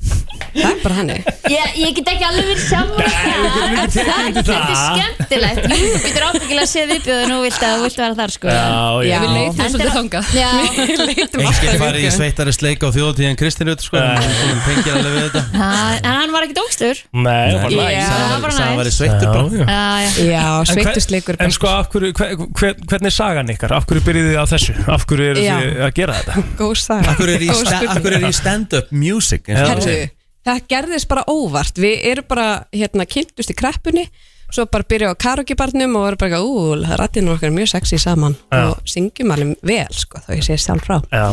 S12: Það er bara þannig
S14: Ég, ég get ekki alveg verið sammála
S12: getum
S14: En
S12: ekki tekið
S14: það
S12: undir
S14: þetta er
S12: það.
S14: skemmtilegt Jú, þú getur ábyggilega að séð uppið og nú vilt að þú vilt vera þar sko
S1: Já, já. Við
S13: leitum svolítið þangað.
S14: Við leitum
S1: Engin farið í sveittari sleik á þjóðtíðan Kristinut sko, hún pengir alveg við þetta
S2: En hann var ekkit ógstur
S3: Nei,
S1: það var
S2: Já,
S1: næs.
S2: það var
S1: Sagan
S2: næs.
S1: væri sveittur bara.
S3: Já, já.
S12: Já,
S3: En hver-
S12: sveittusleikur
S3: En sko, af hverju, hver, hver, hvernig er sagan ykkar? Af hverju byrjið þið á þessu? Af hverju eru
S12: Já.
S3: þið að gera þetta?
S12: Góð saga
S1: Akkur er í,
S12: Góð
S1: sta
S12: spurning.
S1: akkur er í stand-up music eins og þú
S12: Herðu,
S1: segir.
S12: það gerðist bara óvart Við erum bara, hérna, kynntust í kreppunni Svo bara byrjuðu á karaokebarnum og voru bara, eitthvað, ú, það rættinu okkar er mjög sexy saman
S13: Já.
S12: og syngjum alveg vel, sko, þá ég sé sjálf frá
S3: Já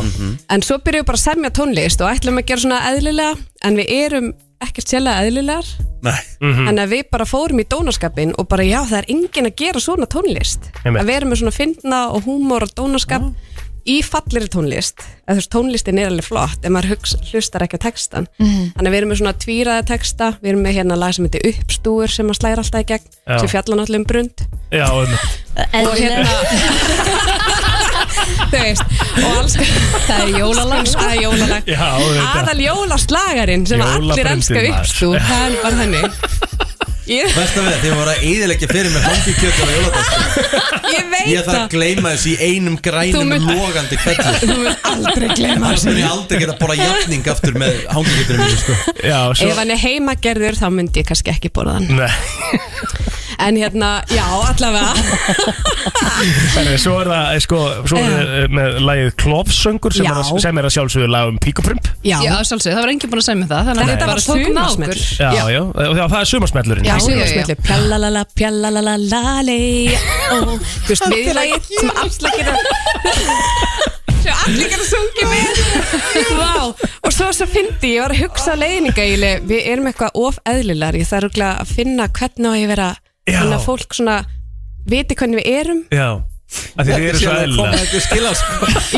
S12: En svo byrjuðum við bara að semja tónlist og ætlum að gera svona eðlilega en við erum ekkert sérlega eðlilegar
S1: Nei
S12: þannig að við bara fórum í dónaskapin og bara já það er enginn að gera svona tónlist
S13: Einmitt.
S12: að vera með svona fyndna og húmor og dónaskap í falleri tónlist eða þú veist tónlistin er alveg flott en maður hugsa, hlustar ekki á textan
S13: Mhm.
S12: þannig að við erum með svona tvíraða texta við erum með hérna lag sem heitir uppstúur sem að slæra alltaf í gegn
S3: Já.
S12: sem fjallar náttúrulega um brund
S3: Já, um,
S12: og hérna þú veist og alls það er
S13: jólalag, sko.
S12: það er jólalag
S3: Já, þetta.
S12: aðal jólaslagarinn sem allir
S1: Jólabrundin,
S12: elska
S1: maður.
S12: uppstú það er bara þannig ég,
S1: Versta við að þið voru að eðilegja fyrir með hangikjöt á jóladagskvöld
S12: ég veit
S1: Ég þarf að
S12: það
S1: gleyma þessu í einum
S12: Þú
S1: grænum
S12: munt-
S1: logandi kveldu
S12: Þú munt aldrei gleyma þessu.
S1: Þú mun ég aldrei geta bara jafning aftur með hangikjötunum mínu sko
S3: Já,
S12: ef hann er heimagerður þá myndi ég kannski ekki borða hann
S3: Nei.
S12: en hérna, já, allavega
S3: En svo er það, eh, sko, svo er það eh, með lagið Klofsöngur sem,
S13: Já.
S3: er að- sem er að sjálfsögðu lag um píkuprump
S13: Já, sjálfsög, það var enginn búin að segja mér það Þannig að
S3: Þetta
S13: við
S3: var
S13: bara tókum á okkur
S12: sumarsmellur.
S3: Já, já, og já, það er sumarsmellurinn
S12: Já, já, já, já. Pjallalala, pjallalala, lali Ó, Þú veist, miðlægir sem allir geta sem allir geta sungið með Vá, og svo svo fyndi ég var að hugsa á leiðninga við erum eitthvað of eðlilar ég þarf örugglega að finna hvernig á ég að vera þannig að fólk svona viti hvernig við erum
S3: Já, af því þið eru svo eðlilega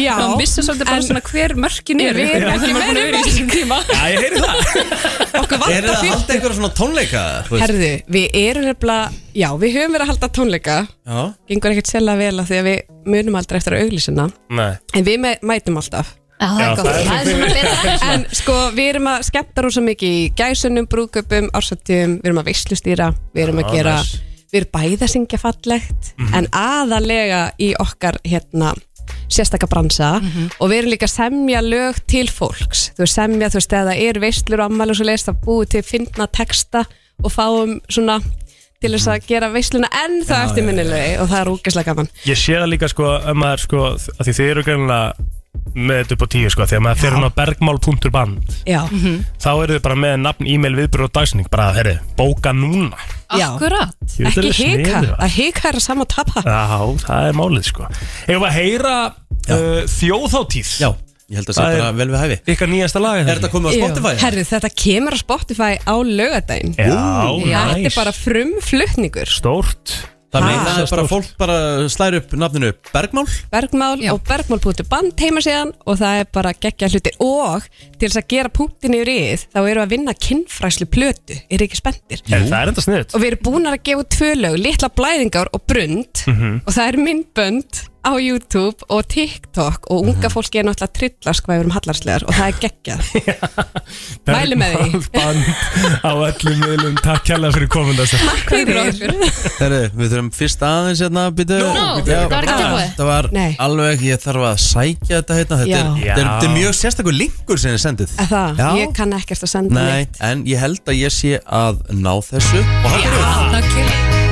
S12: Já,
S13: Maður missir svolítið bara
S12: en-
S13: svona hver mörkin eru
S12: Við erum ekki
S13: með
S12: með
S13: mörkin
S3: Já, ég heyri það
S1: Er
S12: Okkur vantar
S1: það
S12: fyrir
S1: alltaf einhverja svona tónleika? þú veist?
S12: Herðu, við erum nefnilega, já, við höfum verið að halda tónleika
S1: Já
S12: Gengur ekkert sérlega vel að því að við munum aldrei eftir að auglýsina
S3: Nei
S12: En við me- mætum alltaf
S3: það er Já, gott. það er Það er svona svona betra. betra.
S12: En sko, við erum að skemmta rosa mikið í gæsunum, brúköpum, ársættum Við erum að veislustýra, við erum
S3: Ah,
S12: að
S13: Já,
S12: gera
S13: nice.
S12: Við erum bæði að syngja fallegt
S13: Mhm.
S12: En aðalega í okkar, hérna, sérstaka bransa
S3: Mhm.
S12: Og við erum líka að semja lög til fólks Þú veist, semja, þú veist, eða það er veislur og ammæli og svo leist Það búið til fyndna texta og fáum svona til þess að gera veisluna enn
S3: Mhm. Já,
S12: það
S3: já,
S12: eftirminnilegi og það er úkislega gaman
S3: Ég sé það líka sko að maður sko að því þið eru greinlega með þetta upp á tíu sko þegar maður fer hún á bergmál.band
S12: Já,
S3: þá eru þið bara með nafn, e-mail, viðbyrð og dagsning bara, herri, bóka núna
S12: akkurat
S3: Jú, þetta er
S12: Ekki
S3: sniðugt.
S12: hika, að hika er að sama að tapa
S3: Já, það er málið sko Hefur að heyra uh, þjóðháttíð Já,
S1: ég held að sé bara vel við hæfi
S3: Ykkar nýjasta lag Er þetta
S1: komið
S12: Herru, þetta kemur á Spotify á lögadaginn
S3: Já,
S12: Þetta
S1: nice.
S12: er bara frumflutningur
S3: Stórt
S1: Það
S12: Ha,
S1: meina
S12: svo
S1: er bara fólk bara slæri upp nafninu Bergmál
S12: Bergmál og bergmál.band heima síðan og það er bara geggja hlutir og til þess að gera punktin yfir íð þá erum við að vinna kinnfræslu plötu er ekki spenntir
S3: Er það er enda sniðut
S12: og við erum búin að gefa út tvö lög, litla blæðingar og brund og það er myndbönd á YouTube og TikTok og unga fólki er náttúrulega trillast hvað við erum hallarslegar og það er geggjað Mæli með því.
S3: Band á öllum miðlum Takk kjærlega fyrir komin
S12: Takk fyrir
S1: Herru, við þurfum fyrst aðeins hérna býtu Já,
S12: Nú, það var ekki tilbúið.
S1: Það var
S12: Nei.
S1: alveg, ég þarf að sækja þetta hérna Þetta er,
S12: Já.
S1: þetta er, þetta er mjög sérstakur linkur sem þið sendið
S12: Að Það,
S1: Já.
S12: ég kann ekkert að senda
S1: Nei,
S12: neitt
S1: en ég held að ég sé að ná þessu Og það er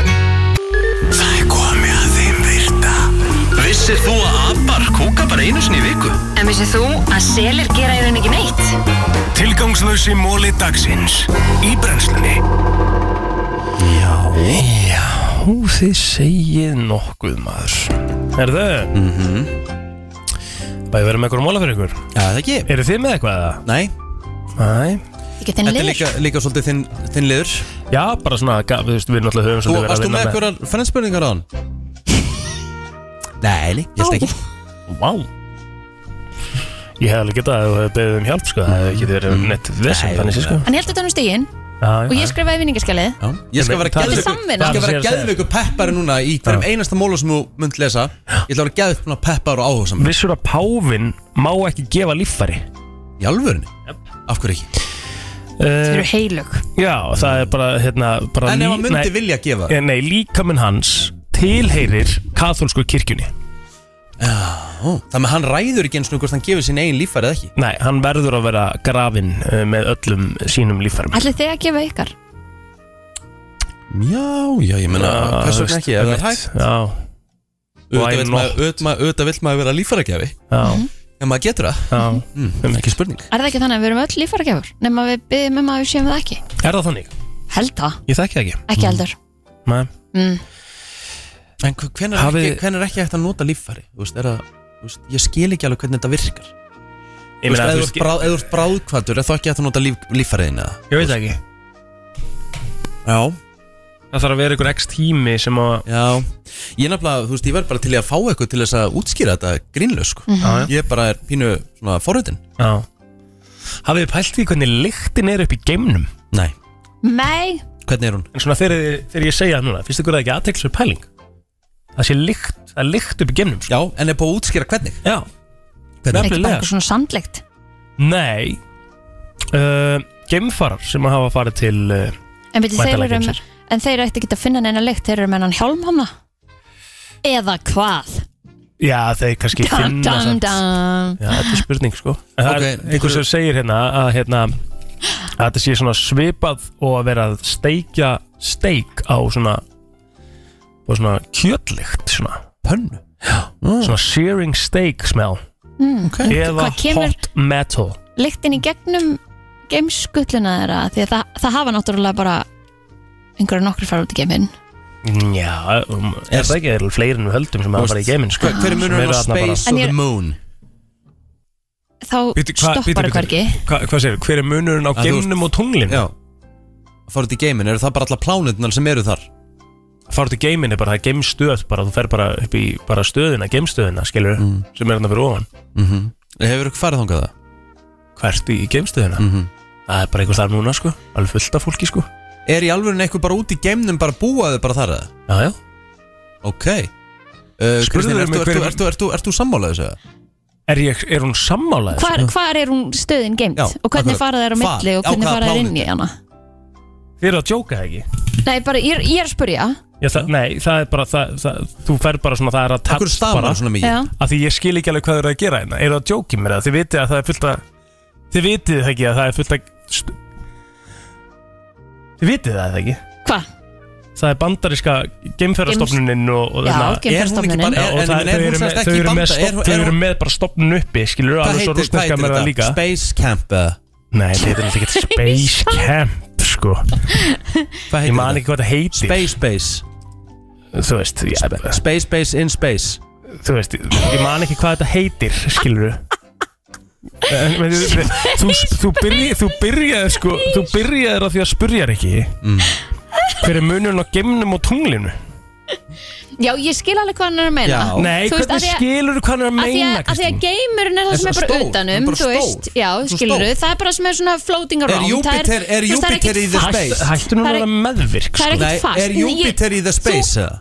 S6: Það er komið að þeim virta Vissir þú að abar kúka bara einu sinni í viku?
S4: En vissið þú að selir gera í rauninni ekki neitt?
S5: Tilgangslösi móli dagsins Í brennslunni
S3: Já Já, þið segið nokkuð maður Er það? Mm -hmm. Bæði verið með eitthvað móla fyrir ykkur
S1: Já, það ekki
S3: Eru þið með eitthvað eða?
S1: Nei
S3: Nei
S2: Ekki
S1: Þetta er líka, líka svolítið þinn, þinn liður
S3: Já, bara svona, ga- við, veist, við náttúrulega höfum
S1: Þú,
S3: svolítið verið að
S1: varst þú
S3: vinna
S1: með eitthvað fennspurningar á hann? Nei, nei, ég held ekki
S3: Vá Ég hef alveg getað að beðið um hjálp sko, það hef ekki verið neitt vesen þannig sé sko
S2: Hann heldur þetta um stígin Og ég skrifaði vinningaskjalið
S1: Ég skal vera
S2: Þetta er
S1: geðveikur-
S2: samvinna.
S1: Ég skal vera geðveikur peppari núna Í hverjum einasta móla sem þú munt lesa Ég ætla að vera geðveikur peppari og áhuga
S3: Vissur að páfin má ekki gefa líffæri
S1: Í alvörunni? Af hverju ekki?
S3: Þeir
S2: eru heilug
S3: Eh, Já, það er bara, hérna, bara
S1: En ef
S3: lí-
S1: hann myndi
S3: nei,
S1: vilja gefa?
S3: eh, Nei, líkaminn hans tilheyrir katholsku kirkjunni
S1: Já, þannig að hann ræður ekki eins og hvort hann gefur sín eigin líffæri eða ekki
S3: Nei, hann verður að vera grafinn eh, með öllum sínum líffærum
S2: Ætli þið að gefa ykkar
S1: Já, já, ég meina,
S3: Já,
S1: hvers vegna
S3: veist,
S1: ekki, ef það er
S3: einmitt,
S1: hægt
S3: Ah, Já Why
S1: Auðvitað vill
S3: not?
S1: maður- auðvitað maður- auðvitað vill maður vera líffæragjafi
S3: Já
S1: En maður getur það
S3: Já
S1: mm, Ekki spurning
S2: Er það ekki þannig að við erum öll lífaragjafur Nefn að við byggjum um að við séum það ekki
S3: Er það þannig?
S2: Held það,
S3: Ég þekki það ekki
S2: ekki heldur
S3: Nei
S2: mm.
S1: En hvernig er,
S3: Hafið-
S1: ekki, hvenær er ekki hægt að nota líffæri? Þú veist, er að, þú veist, ég skil ekki alveg hvernig þetta virkar
S3: Ég
S1: Þú
S3: meina,
S1: veist,
S3: þú
S1: ef þú ert
S3: skil-
S1: bráð- ef þú ert bráðkvættur, er þá ekki hægt að nota líf, líffæriðin eða?
S3: Ég veit það ekki
S1: Já
S3: Það þarf að vera ykkur x tími sem að
S1: Já Ég nefnilega, þú veist, ég verð bara til í að fá eitthvað til þess að útskýra þetta grínlega, sko
S3: Mhm. Já, já.
S1: Ég bara er pínu svona forröðin
S3: Já Hafið þið pælt í hvernig lyktin er upp í geimnum?
S1: Nei
S2: Nei,
S1: Hvernig er hún?
S3: En svona þegar, þið- þegar ég segja það núna, finnst ykkur það ekki aðteklisverð pæling? Það sé lykt, það er lykt upp í geimnum sko.
S1: Já, en er búið að útskýra hvernig?
S3: Já
S2: er ekki bara
S3: Nefnilega.
S2: eitthvað svona sandlegt
S3: Nei uh, Geimfarar sem að hafa farið til uh,
S2: En veitir þeir
S3: væntanlega
S2: eru
S3: geimsins.
S2: En þeir eru ekkert ekki að finna neina lykt Þeir eru með hann hjálm hana Eða hvað
S3: Já, þeir kannski
S2: Dam,
S3: finna
S2: dam,
S3: samt
S2: dam
S3: Já, þetta er spurning sko En Það
S1: Ok,
S3: er einhver sem segir hérna að hérna að þetta sé svona svipað og að vera að steikja steik á svona og svona kjötlykt svona
S1: Pönnu?
S3: Já, svona searing steak smell
S2: Mm, en
S3: eða
S2: hvað kemur-
S3: hot metal
S2: Lyktin í gegnum geimskulluna þeirra Því að það, það hafa náttúrulega bara einhverja nokkri fara út í geiminn
S3: Já, um, er það ekki er fleiri en við höldum sem að fara í geiminn sko,
S1: Hver- hver er
S3: sem
S1: munurinn
S3: eru
S1: á
S3: þarna bara-
S1: space og the moon?
S2: Þá
S3: Bíddu, hvað- bíddu,
S2: stoppar
S3: bíddu,
S2: hvergi
S3: Hva, hvað segir, hver er munurinn á
S1: Að þú
S3: geimnum og tunglinu?
S1: Já Að fara út í geiminn, eru það bara alla plánutnar sem eru þar?
S3: Að fara út í geiminn er bara, það er geimstöð bara, þú fer bara upp í bara stöðina, geimstöðina skilur, sem er hérna fyrir ofan
S1: mm -hmm. Hefur ykkur farið þangað það?
S3: Hvert í geimstöðina? Það er bara einhvers þar núna sko, alveg fullt af fólki sko
S1: Er í alvörinu eitthvað bara út í geimnum bara búaðu bara þar eða?
S3: Já, já
S1: Ok uh, Kristín,
S3: mig
S1: ertu, ertu,
S3: hver-
S1: ertu, ertu, ertu, ertu sammálaðið þessu?
S3: Er, ég, er hún sammálaðið?
S2: Hvar, hvar er hún stöðin geimt
S3: Sko- Já,
S2: og hvernig
S3: akkurat.
S2: fara þær á
S3: Hvar?
S2: milli og
S3: Á
S2: hvernig
S3: hvaða
S2: fara þær inn í hana
S3: Þið eru að djóka það ekki?
S2: Nei, bara, ég, er- ég er að spurja
S3: Já, það, nei, það er bara, það, það, þú fer bara svona, það er að
S1: Af hverju
S3: tafst
S1: stafar
S3: bara
S1: hún svona mikið?
S2: Já.
S3: Af Því ég skil ekki alveg hvað þau eru að gera hérna Eru það að djóki mér það? Þið vitið að það er fullt að Þið vitið það ekki að það er fullt að st- Þið vitið það ekki?
S2: Hva?
S3: Það er bandaríska geimferðarstofnunin og, og
S2: Já,
S3: þarna-
S2: geimferðarstofnunin.
S3: Já,
S2: En-
S3: og
S2: en-
S3: það-
S2: en
S3: þau
S2: er hún
S3: eru
S2: sem
S3: með-
S2: sagt
S3: Þau eru
S2: ekki í
S3: með
S2: banda?
S3: stofn-
S2: Er-
S3: þau
S2: er
S3: eru
S2: hún-
S3: með bara stopnun uppi Skilur
S1: Hvað
S3: alveg svo
S1: heitir, hvað
S3: rústneska
S1: heitir
S3: með
S1: þetta?
S3: það líka
S1: Space Camp eða?
S3: Nei, þetta er náttúrulega ekki Space Camp sko Ég man ekki hvað það heitir
S1: Space Base
S3: Þú veist ég,
S1: Space Base in Space
S3: Þú veist, ég man ekki hvað þetta heitir Skilur þú þú, þú, byrja, þú byrjaði sko Þú byrjaði á því að spurja ekki mm. Hver er munurinn á geimnum og tunglinu?
S2: Já, ég skil alveg hvað hann er að meina
S3: Já. Nei,
S2: Þú
S3: hvernig
S2: veist, af því að-
S3: skilurðu hvað hann er að
S2: af því
S3: meina,
S2: Af því að
S3: Kristín?
S2: geimurinn er
S3: Er
S2: það sem er
S3: það
S2: bara
S3: stór?
S2: utanum
S3: Hann er bara
S2: þú veist,
S3: stór.
S2: Já,
S3: Hann er bara
S2: skilur
S3: stór.
S2: Það er bara sem er svona floating around
S1: Júpiter- er Júpiter í the space?
S3: Hættu nú
S2: Það er
S3: að
S2: ekki-
S3: meðvirk sko.
S2: það er ekkert Nei, fast. er Ég- Júpiter
S1: í the space eða?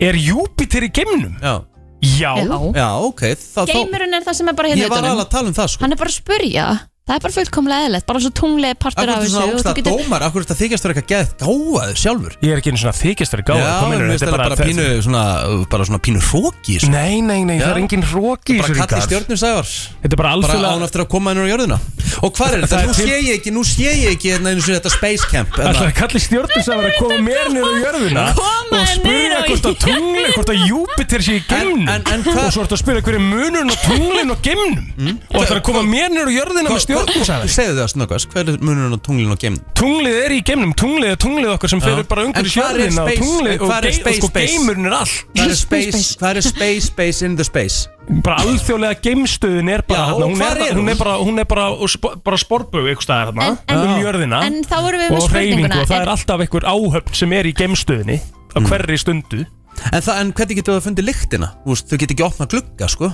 S3: Er Júpiter í geimnum?
S1: Já
S3: Já
S2: Já.
S1: Já, ok þá- þá-
S2: Geimurinn er það sem er bara hérna
S1: Ég var alveg að tala um það sko
S2: Hann er bara að spurja Það er bara fullkomlega eðlilegt, bara svo tunglegi partur
S1: Akkur
S2: af
S1: er
S2: þessu
S1: svona
S2: og þú
S1: ógsta
S2: getur-
S1: dómar Akkur er þetta þykjast verið eitthvað geðið gáfaður sjálfur
S3: Ég er ekki einu svona þykjast verið gáfaður, hvað
S1: Já,
S3: meinarðu?
S1: mér finnst
S3: Þetta er
S1: þetta
S3: bara-
S1: bara pínu svona, bara svona pínu hróki
S3: Nei, nei, nei, það er engin hróki í
S1: Bara
S3: þessu,
S1: kalli
S3: Ríkharð.
S1: stjórnum sævar
S3: Þetta er bara alþjóðlega-
S1: Bara án eftir að koma hennar á jörðina Og hvað er þetta?
S3: Það er
S1: Nú
S3: til-
S1: sé ég ekki, nú sé ég ekki hérna eins og þetta space camp
S3: Það
S1: hérna.
S3: er kallið stjórnusafar að koma mér niður á jörðuna
S1: Koma
S3: og
S1: þér
S3: spyrja
S1: niður á
S3: hvort að tunglin, hvort að Júpiter sé í geimnum og svo ertu að spyrja hverju munurinn á tunglin og
S1: Mm.
S3: geimnum og það er að koma mér niður á jörðuna með stjórnusafar
S1: Segðu þið það snöggast, hver er munurinn á tunglinu og geimnum?
S3: Tunglið er í geimnum, tunglið er tunglið okkar sem
S1: Já.
S3: fyrir bara
S1: En
S3: umhverju
S1: hvar er
S3: jörðina og
S1: space-
S3: tunglið og
S1: hvar er
S3: gei- og
S1: space
S3: sko
S1: base?
S3: geimurinn er allt
S1: Hvað er space, hvað er space, space in the space?
S3: bara alþjóðlega geimstöðin er bara
S1: Já,
S3: hérna, hún,
S1: hvar
S3: er,
S1: er
S3: hún
S1: hún?
S3: er bara, hún er bara, og sp bara sporbög eitthvað staðar hérna,
S2: en-
S3: um jörðina
S2: en þá erum við með
S3: og hreyfingu
S2: spurninguna,
S3: og það
S2: er-
S3: er alltaf einhver áhöfn sem er í geimstöðinni
S1: Mm.
S3: á hverri stundu
S1: En, það, en hvernig getur það fundið lyktina? Þú veist, þau getur ekki opnað glugga, sko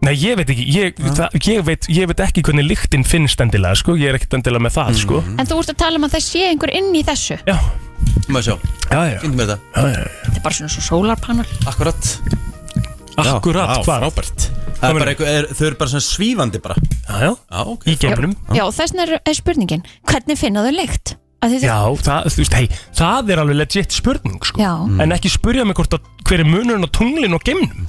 S3: Nei, ég veit ekki, ég, það, ég, veit, ég veit ekki hvernig lyktin finnst endilega, sko, ég er ekkert endilega með það, sko.
S1: Mhm.
S2: En þú ert að tala um að það sé einhver inn í þessu
S3: Já
S1: Má sjá,
S3: já, já.
S1: finnum við þetta
S3: já, já.
S2: Þetta er bara svona svo sólarpanel
S1: Akkurat
S3: Akkurat,
S1: já,
S3: hvað?
S1: Frábært Það er bara einhver, er, þau eru bara svona svífandi bara
S3: Já, já,
S1: já ok
S3: Í geimnum.
S2: Já, þess vegna er- er spurningin Hvernig finna þau lykt? Af því þau-
S3: Já, það, þú veist, hei, það er alveg legit spurning, sko.
S2: Já. Mm.
S3: En ekki spurja mig hvort að hver er munurinn á tunglinn og geimnum.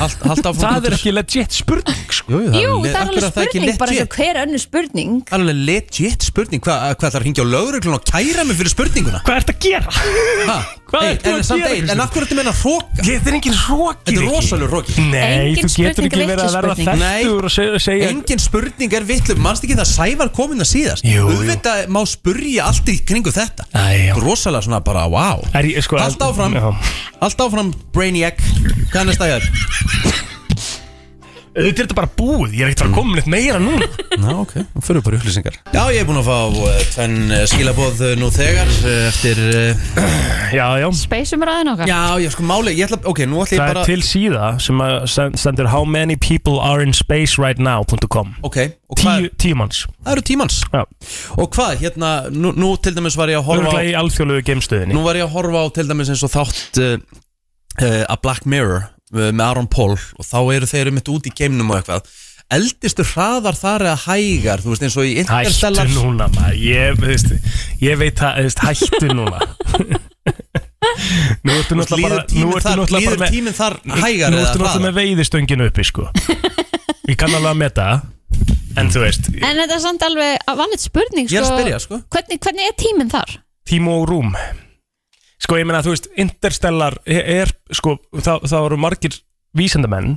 S1: Hald, hald áfram,
S3: Það er
S1: Guðmundur.
S3: ekki legit spurning, sko.
S2: Jú, það er alveg spurning bara eins og hver önnur spurning
S1: Það er alveg legit spurning Hvað hva, ætlar að ringja á lögreglun og kæra mig fyrir spurninguna?
S3: Hvað ert að gera?
S1: Ha?
S3: Hvað
S1: Hey,
S3: ert þú
S1: en
S3: að
S1: samt
S3: gera,
S1: eitt,
S3: Kristín?
S1: En af hverju ertu meina hróka?
S3: Þetta er engin hróki
S1: Þetta er rosalur hróki
S3: Nei, þú getur ekki verið að verða þekktur og segja, segja
S1: Engin spurning er vitlu, mannst ekki það Sævar komin að síðast
S3: Jú, jú.
S1: Auðvitað má spurja allt í kringu þetta
S3: Æ,
S1: Rosalega svona bara, wow
S3: Er ég, sko,
S1: Allt áfram,
S3: Já.
S1: allt áfram Brainiac, hvað er næsta hér?
S3: Þetta er þetta bara búið, ég er ekkert að fara að koma neitt meira núna
S1: Ná, ok, það fyrir bara upplýsingar Já, ég er búinn að fá uh, tvenn uh, skilabóð uh, nú þegar uh, eftir uh,
S3: Já, já
S2: Speysum ræðin okkar
S1: Já, já, sko máli, ég ætla, ok, nú ætla
S3: Það
S1: ég
S3: er
S1: bara
S3: til síða sem að send- stendur how many people are in space right now.com
S1: Ok, og hvað
S3: Tíu, tíu manns
S1: Það eru tímans
S3: Já.
S1: Og hvað, hérna, nú, nú til dæmis var ég að horfa
S3: Örgulega í alþjóðlegu geimstöðinni
S1: Nú var ég að horfa á til dæmis eins og þátt uh, uh, að Black Mirror uh, með Aaron Paul og þá eru þeir mitt út í geimnum og eitthvað Eldistu hraðar þar eða hægar, þú veist eins og í
S3: Hættu
S1: Interstellar
S3: núna maður, ég, þú veist, ég veit það, þú veist, hættu núna Nú ertu náttúrulega bara
S1: Líður tíminn
S3: nú ertu
S1: þar-
S3: náttúrulega bara
S1: líður
S3: með-
S1: tíminn þar hægar
S3: Nú ertu
S1: eða
S3: náttúrulega
S1: hraðar?
S3: með veiðistönginu uppi, sko Ég kann alveg að meta En þú veist,
S2: En þetta er samt alveg að vannit spurning
S3: Ég er að spyrja, sko.
S2: Hvernig, hvernig er tíminn þar?
S3: tíma og rúm Sko, ég meina, þú veist, Interstellar er, er sko, það, það eru margir vísindamenn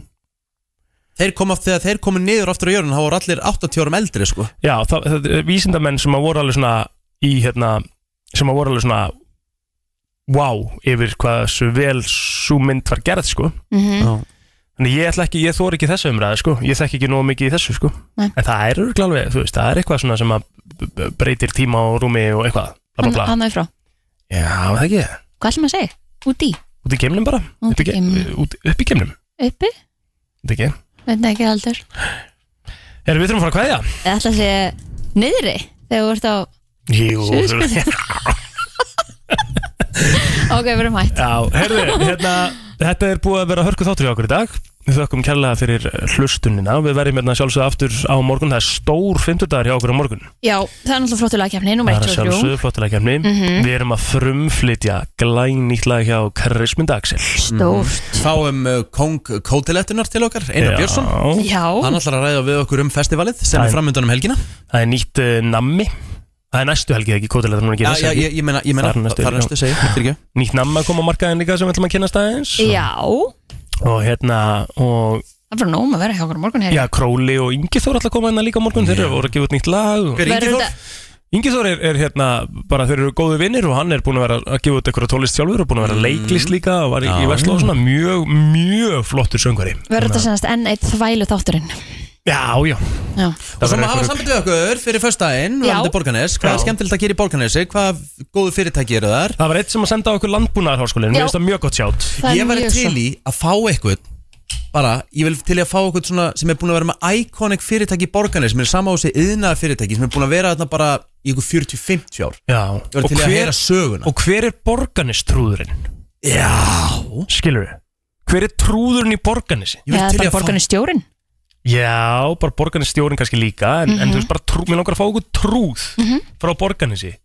S1: Þeir koma, þegar þeir komu niður aftur á jörun þá voru allir 80 árum eldri sko
S3: Já, það, það er vísindamenn sem að voru alveg svona í hérna, sem að voru alveg svona wow, yfir hvað svo vel svo mynd var gerð, sko
S2: Mhm. Já.
S3: Þannig ég ætla ekki, ég þóri ekki þessu umræði, sko Ég þekki ekki nóg mikið í þessu, sko
S2: Nei.
S3: En það er örugglega alveg, þú veist, það er eitthvað svona sem að b- b- breytir tíma og rúmi og eitthvað bla, bla,
S2: Hann,
S3: bla.
S2: hann er frá
S3: Já, það ekki
S2: Hvað ætlum að segja? Úti?
S3: Út í geimnum bara, upp í, ge- út- upp í geimnum
S2: Uppi?
S3: Þetta ekki
S2: Veit ekki heldur
S3: Erum við þurfum að fara að kveðja?
S2: Það ætla að segja niðri Þegar þú ert á
S3: Jú
S2: Suðurskautslandinu. Ok, við erum hætt
S3: Já, herðu, hérna, þetta er búið að vera hörku þáttur hjá okkur í dag Við þökkum kærlega fyrir hlustunina Við verðum hérna sjálfsögðu aftur á morgun Það er stór fimmtudagur hjá okkur á morgun
S2: Já, það er náttúrulega flottulega kemni Númer
S3: Það er að
S2: 1 og 3
S3: sjálfsögðu flottilega kemni
S2: Mhm.
S3: Við erum að frumflytja glænýtt lag hjá Krismund Axel
S2: Stórt
S1: Fáum uh, Kong Kótilettunar til okkar, Einar
S3: Já.
S1: Björnsson
S2: Já.
S1: Hann ætlar að ræða við okkur um festivalið sem
S3: Það er-
S1: er framöndan um helgina
S3: Það er nýtt uh, nammi Það er næstu helgi ekki, kótilega núna ekki
S1: Já,
S3: þessa
S1: já,
S3: helgi.
S1: ég- ég meina- ég meina,
S3: Þar næstu,
S1: þar
S3: já.
S1: næstu, segi, eftir ekki.
S3: Nýtt nammi að koma á markaðin líka sem við ætlum að kynast aðeins
S2: Já, það
S3: Og hérna, og
S2: er bara nóg um að vera hjá okkur á morgun
S3: Já, Króli og Ingi Þór alltaf koma hérna líka á morgun Þeir eru voru að gefa út nýtt lag og-
S2: Hver er Ingi Verður Þór? þetta-
S3: Ingi Þór er, er hérna, bara þeir eru góðu vinnir og hann er búin að vera að gefa út eitthvað tólist sjálfur og búin að vera leiklist líka og var í, í
S1: Mhm. Já.
S3: Vestló og svona mjög, mjög flottur söngari
S2: Verður þetta sennast enn eitt þvælu þátturinn
S3: Já, já
S2: Já
S1: Og svo maður hafa samband við okkur fyrir föstudaginn
S2: Já.
S1: Varandi Borganes, hvað er skemmtilegt að gera í Borganesi Hvað góðu fyrirtæki eru þar
S3: Það var eitt sem að senda á okkur landbúnaðarháskólinn
S1: Já.
S3: Mér finnst það mjög gott sjátt
S2: Það er
S1: Ég væri
S2: mjög
S1: til
S2: svo.
S1: í að fá eitthvað bara, ég vil til í að fá eitthvað svona sem er búin að vera með iconic fyrirtæki í Borganes sem er sama á þessi yðnaða fyrirtæki sem er búin að vera þarna bara í ykkur 40-50 ár
S3: Já
S1: Ég væri til í að heyra söguna
S3: Og hver er borganistrúðurinn?
S1: Já
S3: Skilur við? Hver er trúðurinn í borganesi?
S2: Eða bara borgarinn stjórin
S3: Já, bara borganistjórin kannski líka En, en
S2: Mhm.
S3: þú veist bara, trú, mér langar að fá okkur trúð Frá borganesi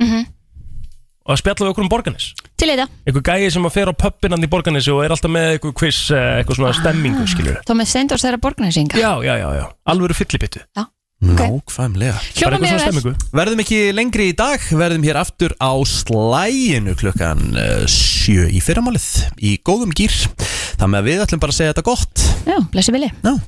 S3: Og að spjalla við okkur um borganis
S2: Til í þetta
S3: Einhver gæi sem að fer á pöppinandi í borganesi Og er alltaf með einhver quiz, eh, eitthvað svona stemmingu skilur við.
S2: Þá með Steindors þeirra borgarnesinga
S3: Já, já, já, já, alveg eru fyllibittu
S2: Já.
S1: Nákvæmlega
S2: Hljóma Bara eitthvað mjög svona vel. stemmingu.
S1: Verðum ekki lengri í dag Verðum hér aftur á slæginu klukkan eh, 7 í fyrramálið Í góðum gýr Þannig að við ætlum bara að segja þetta gott
S2: Já, blessi vilji
S1: Já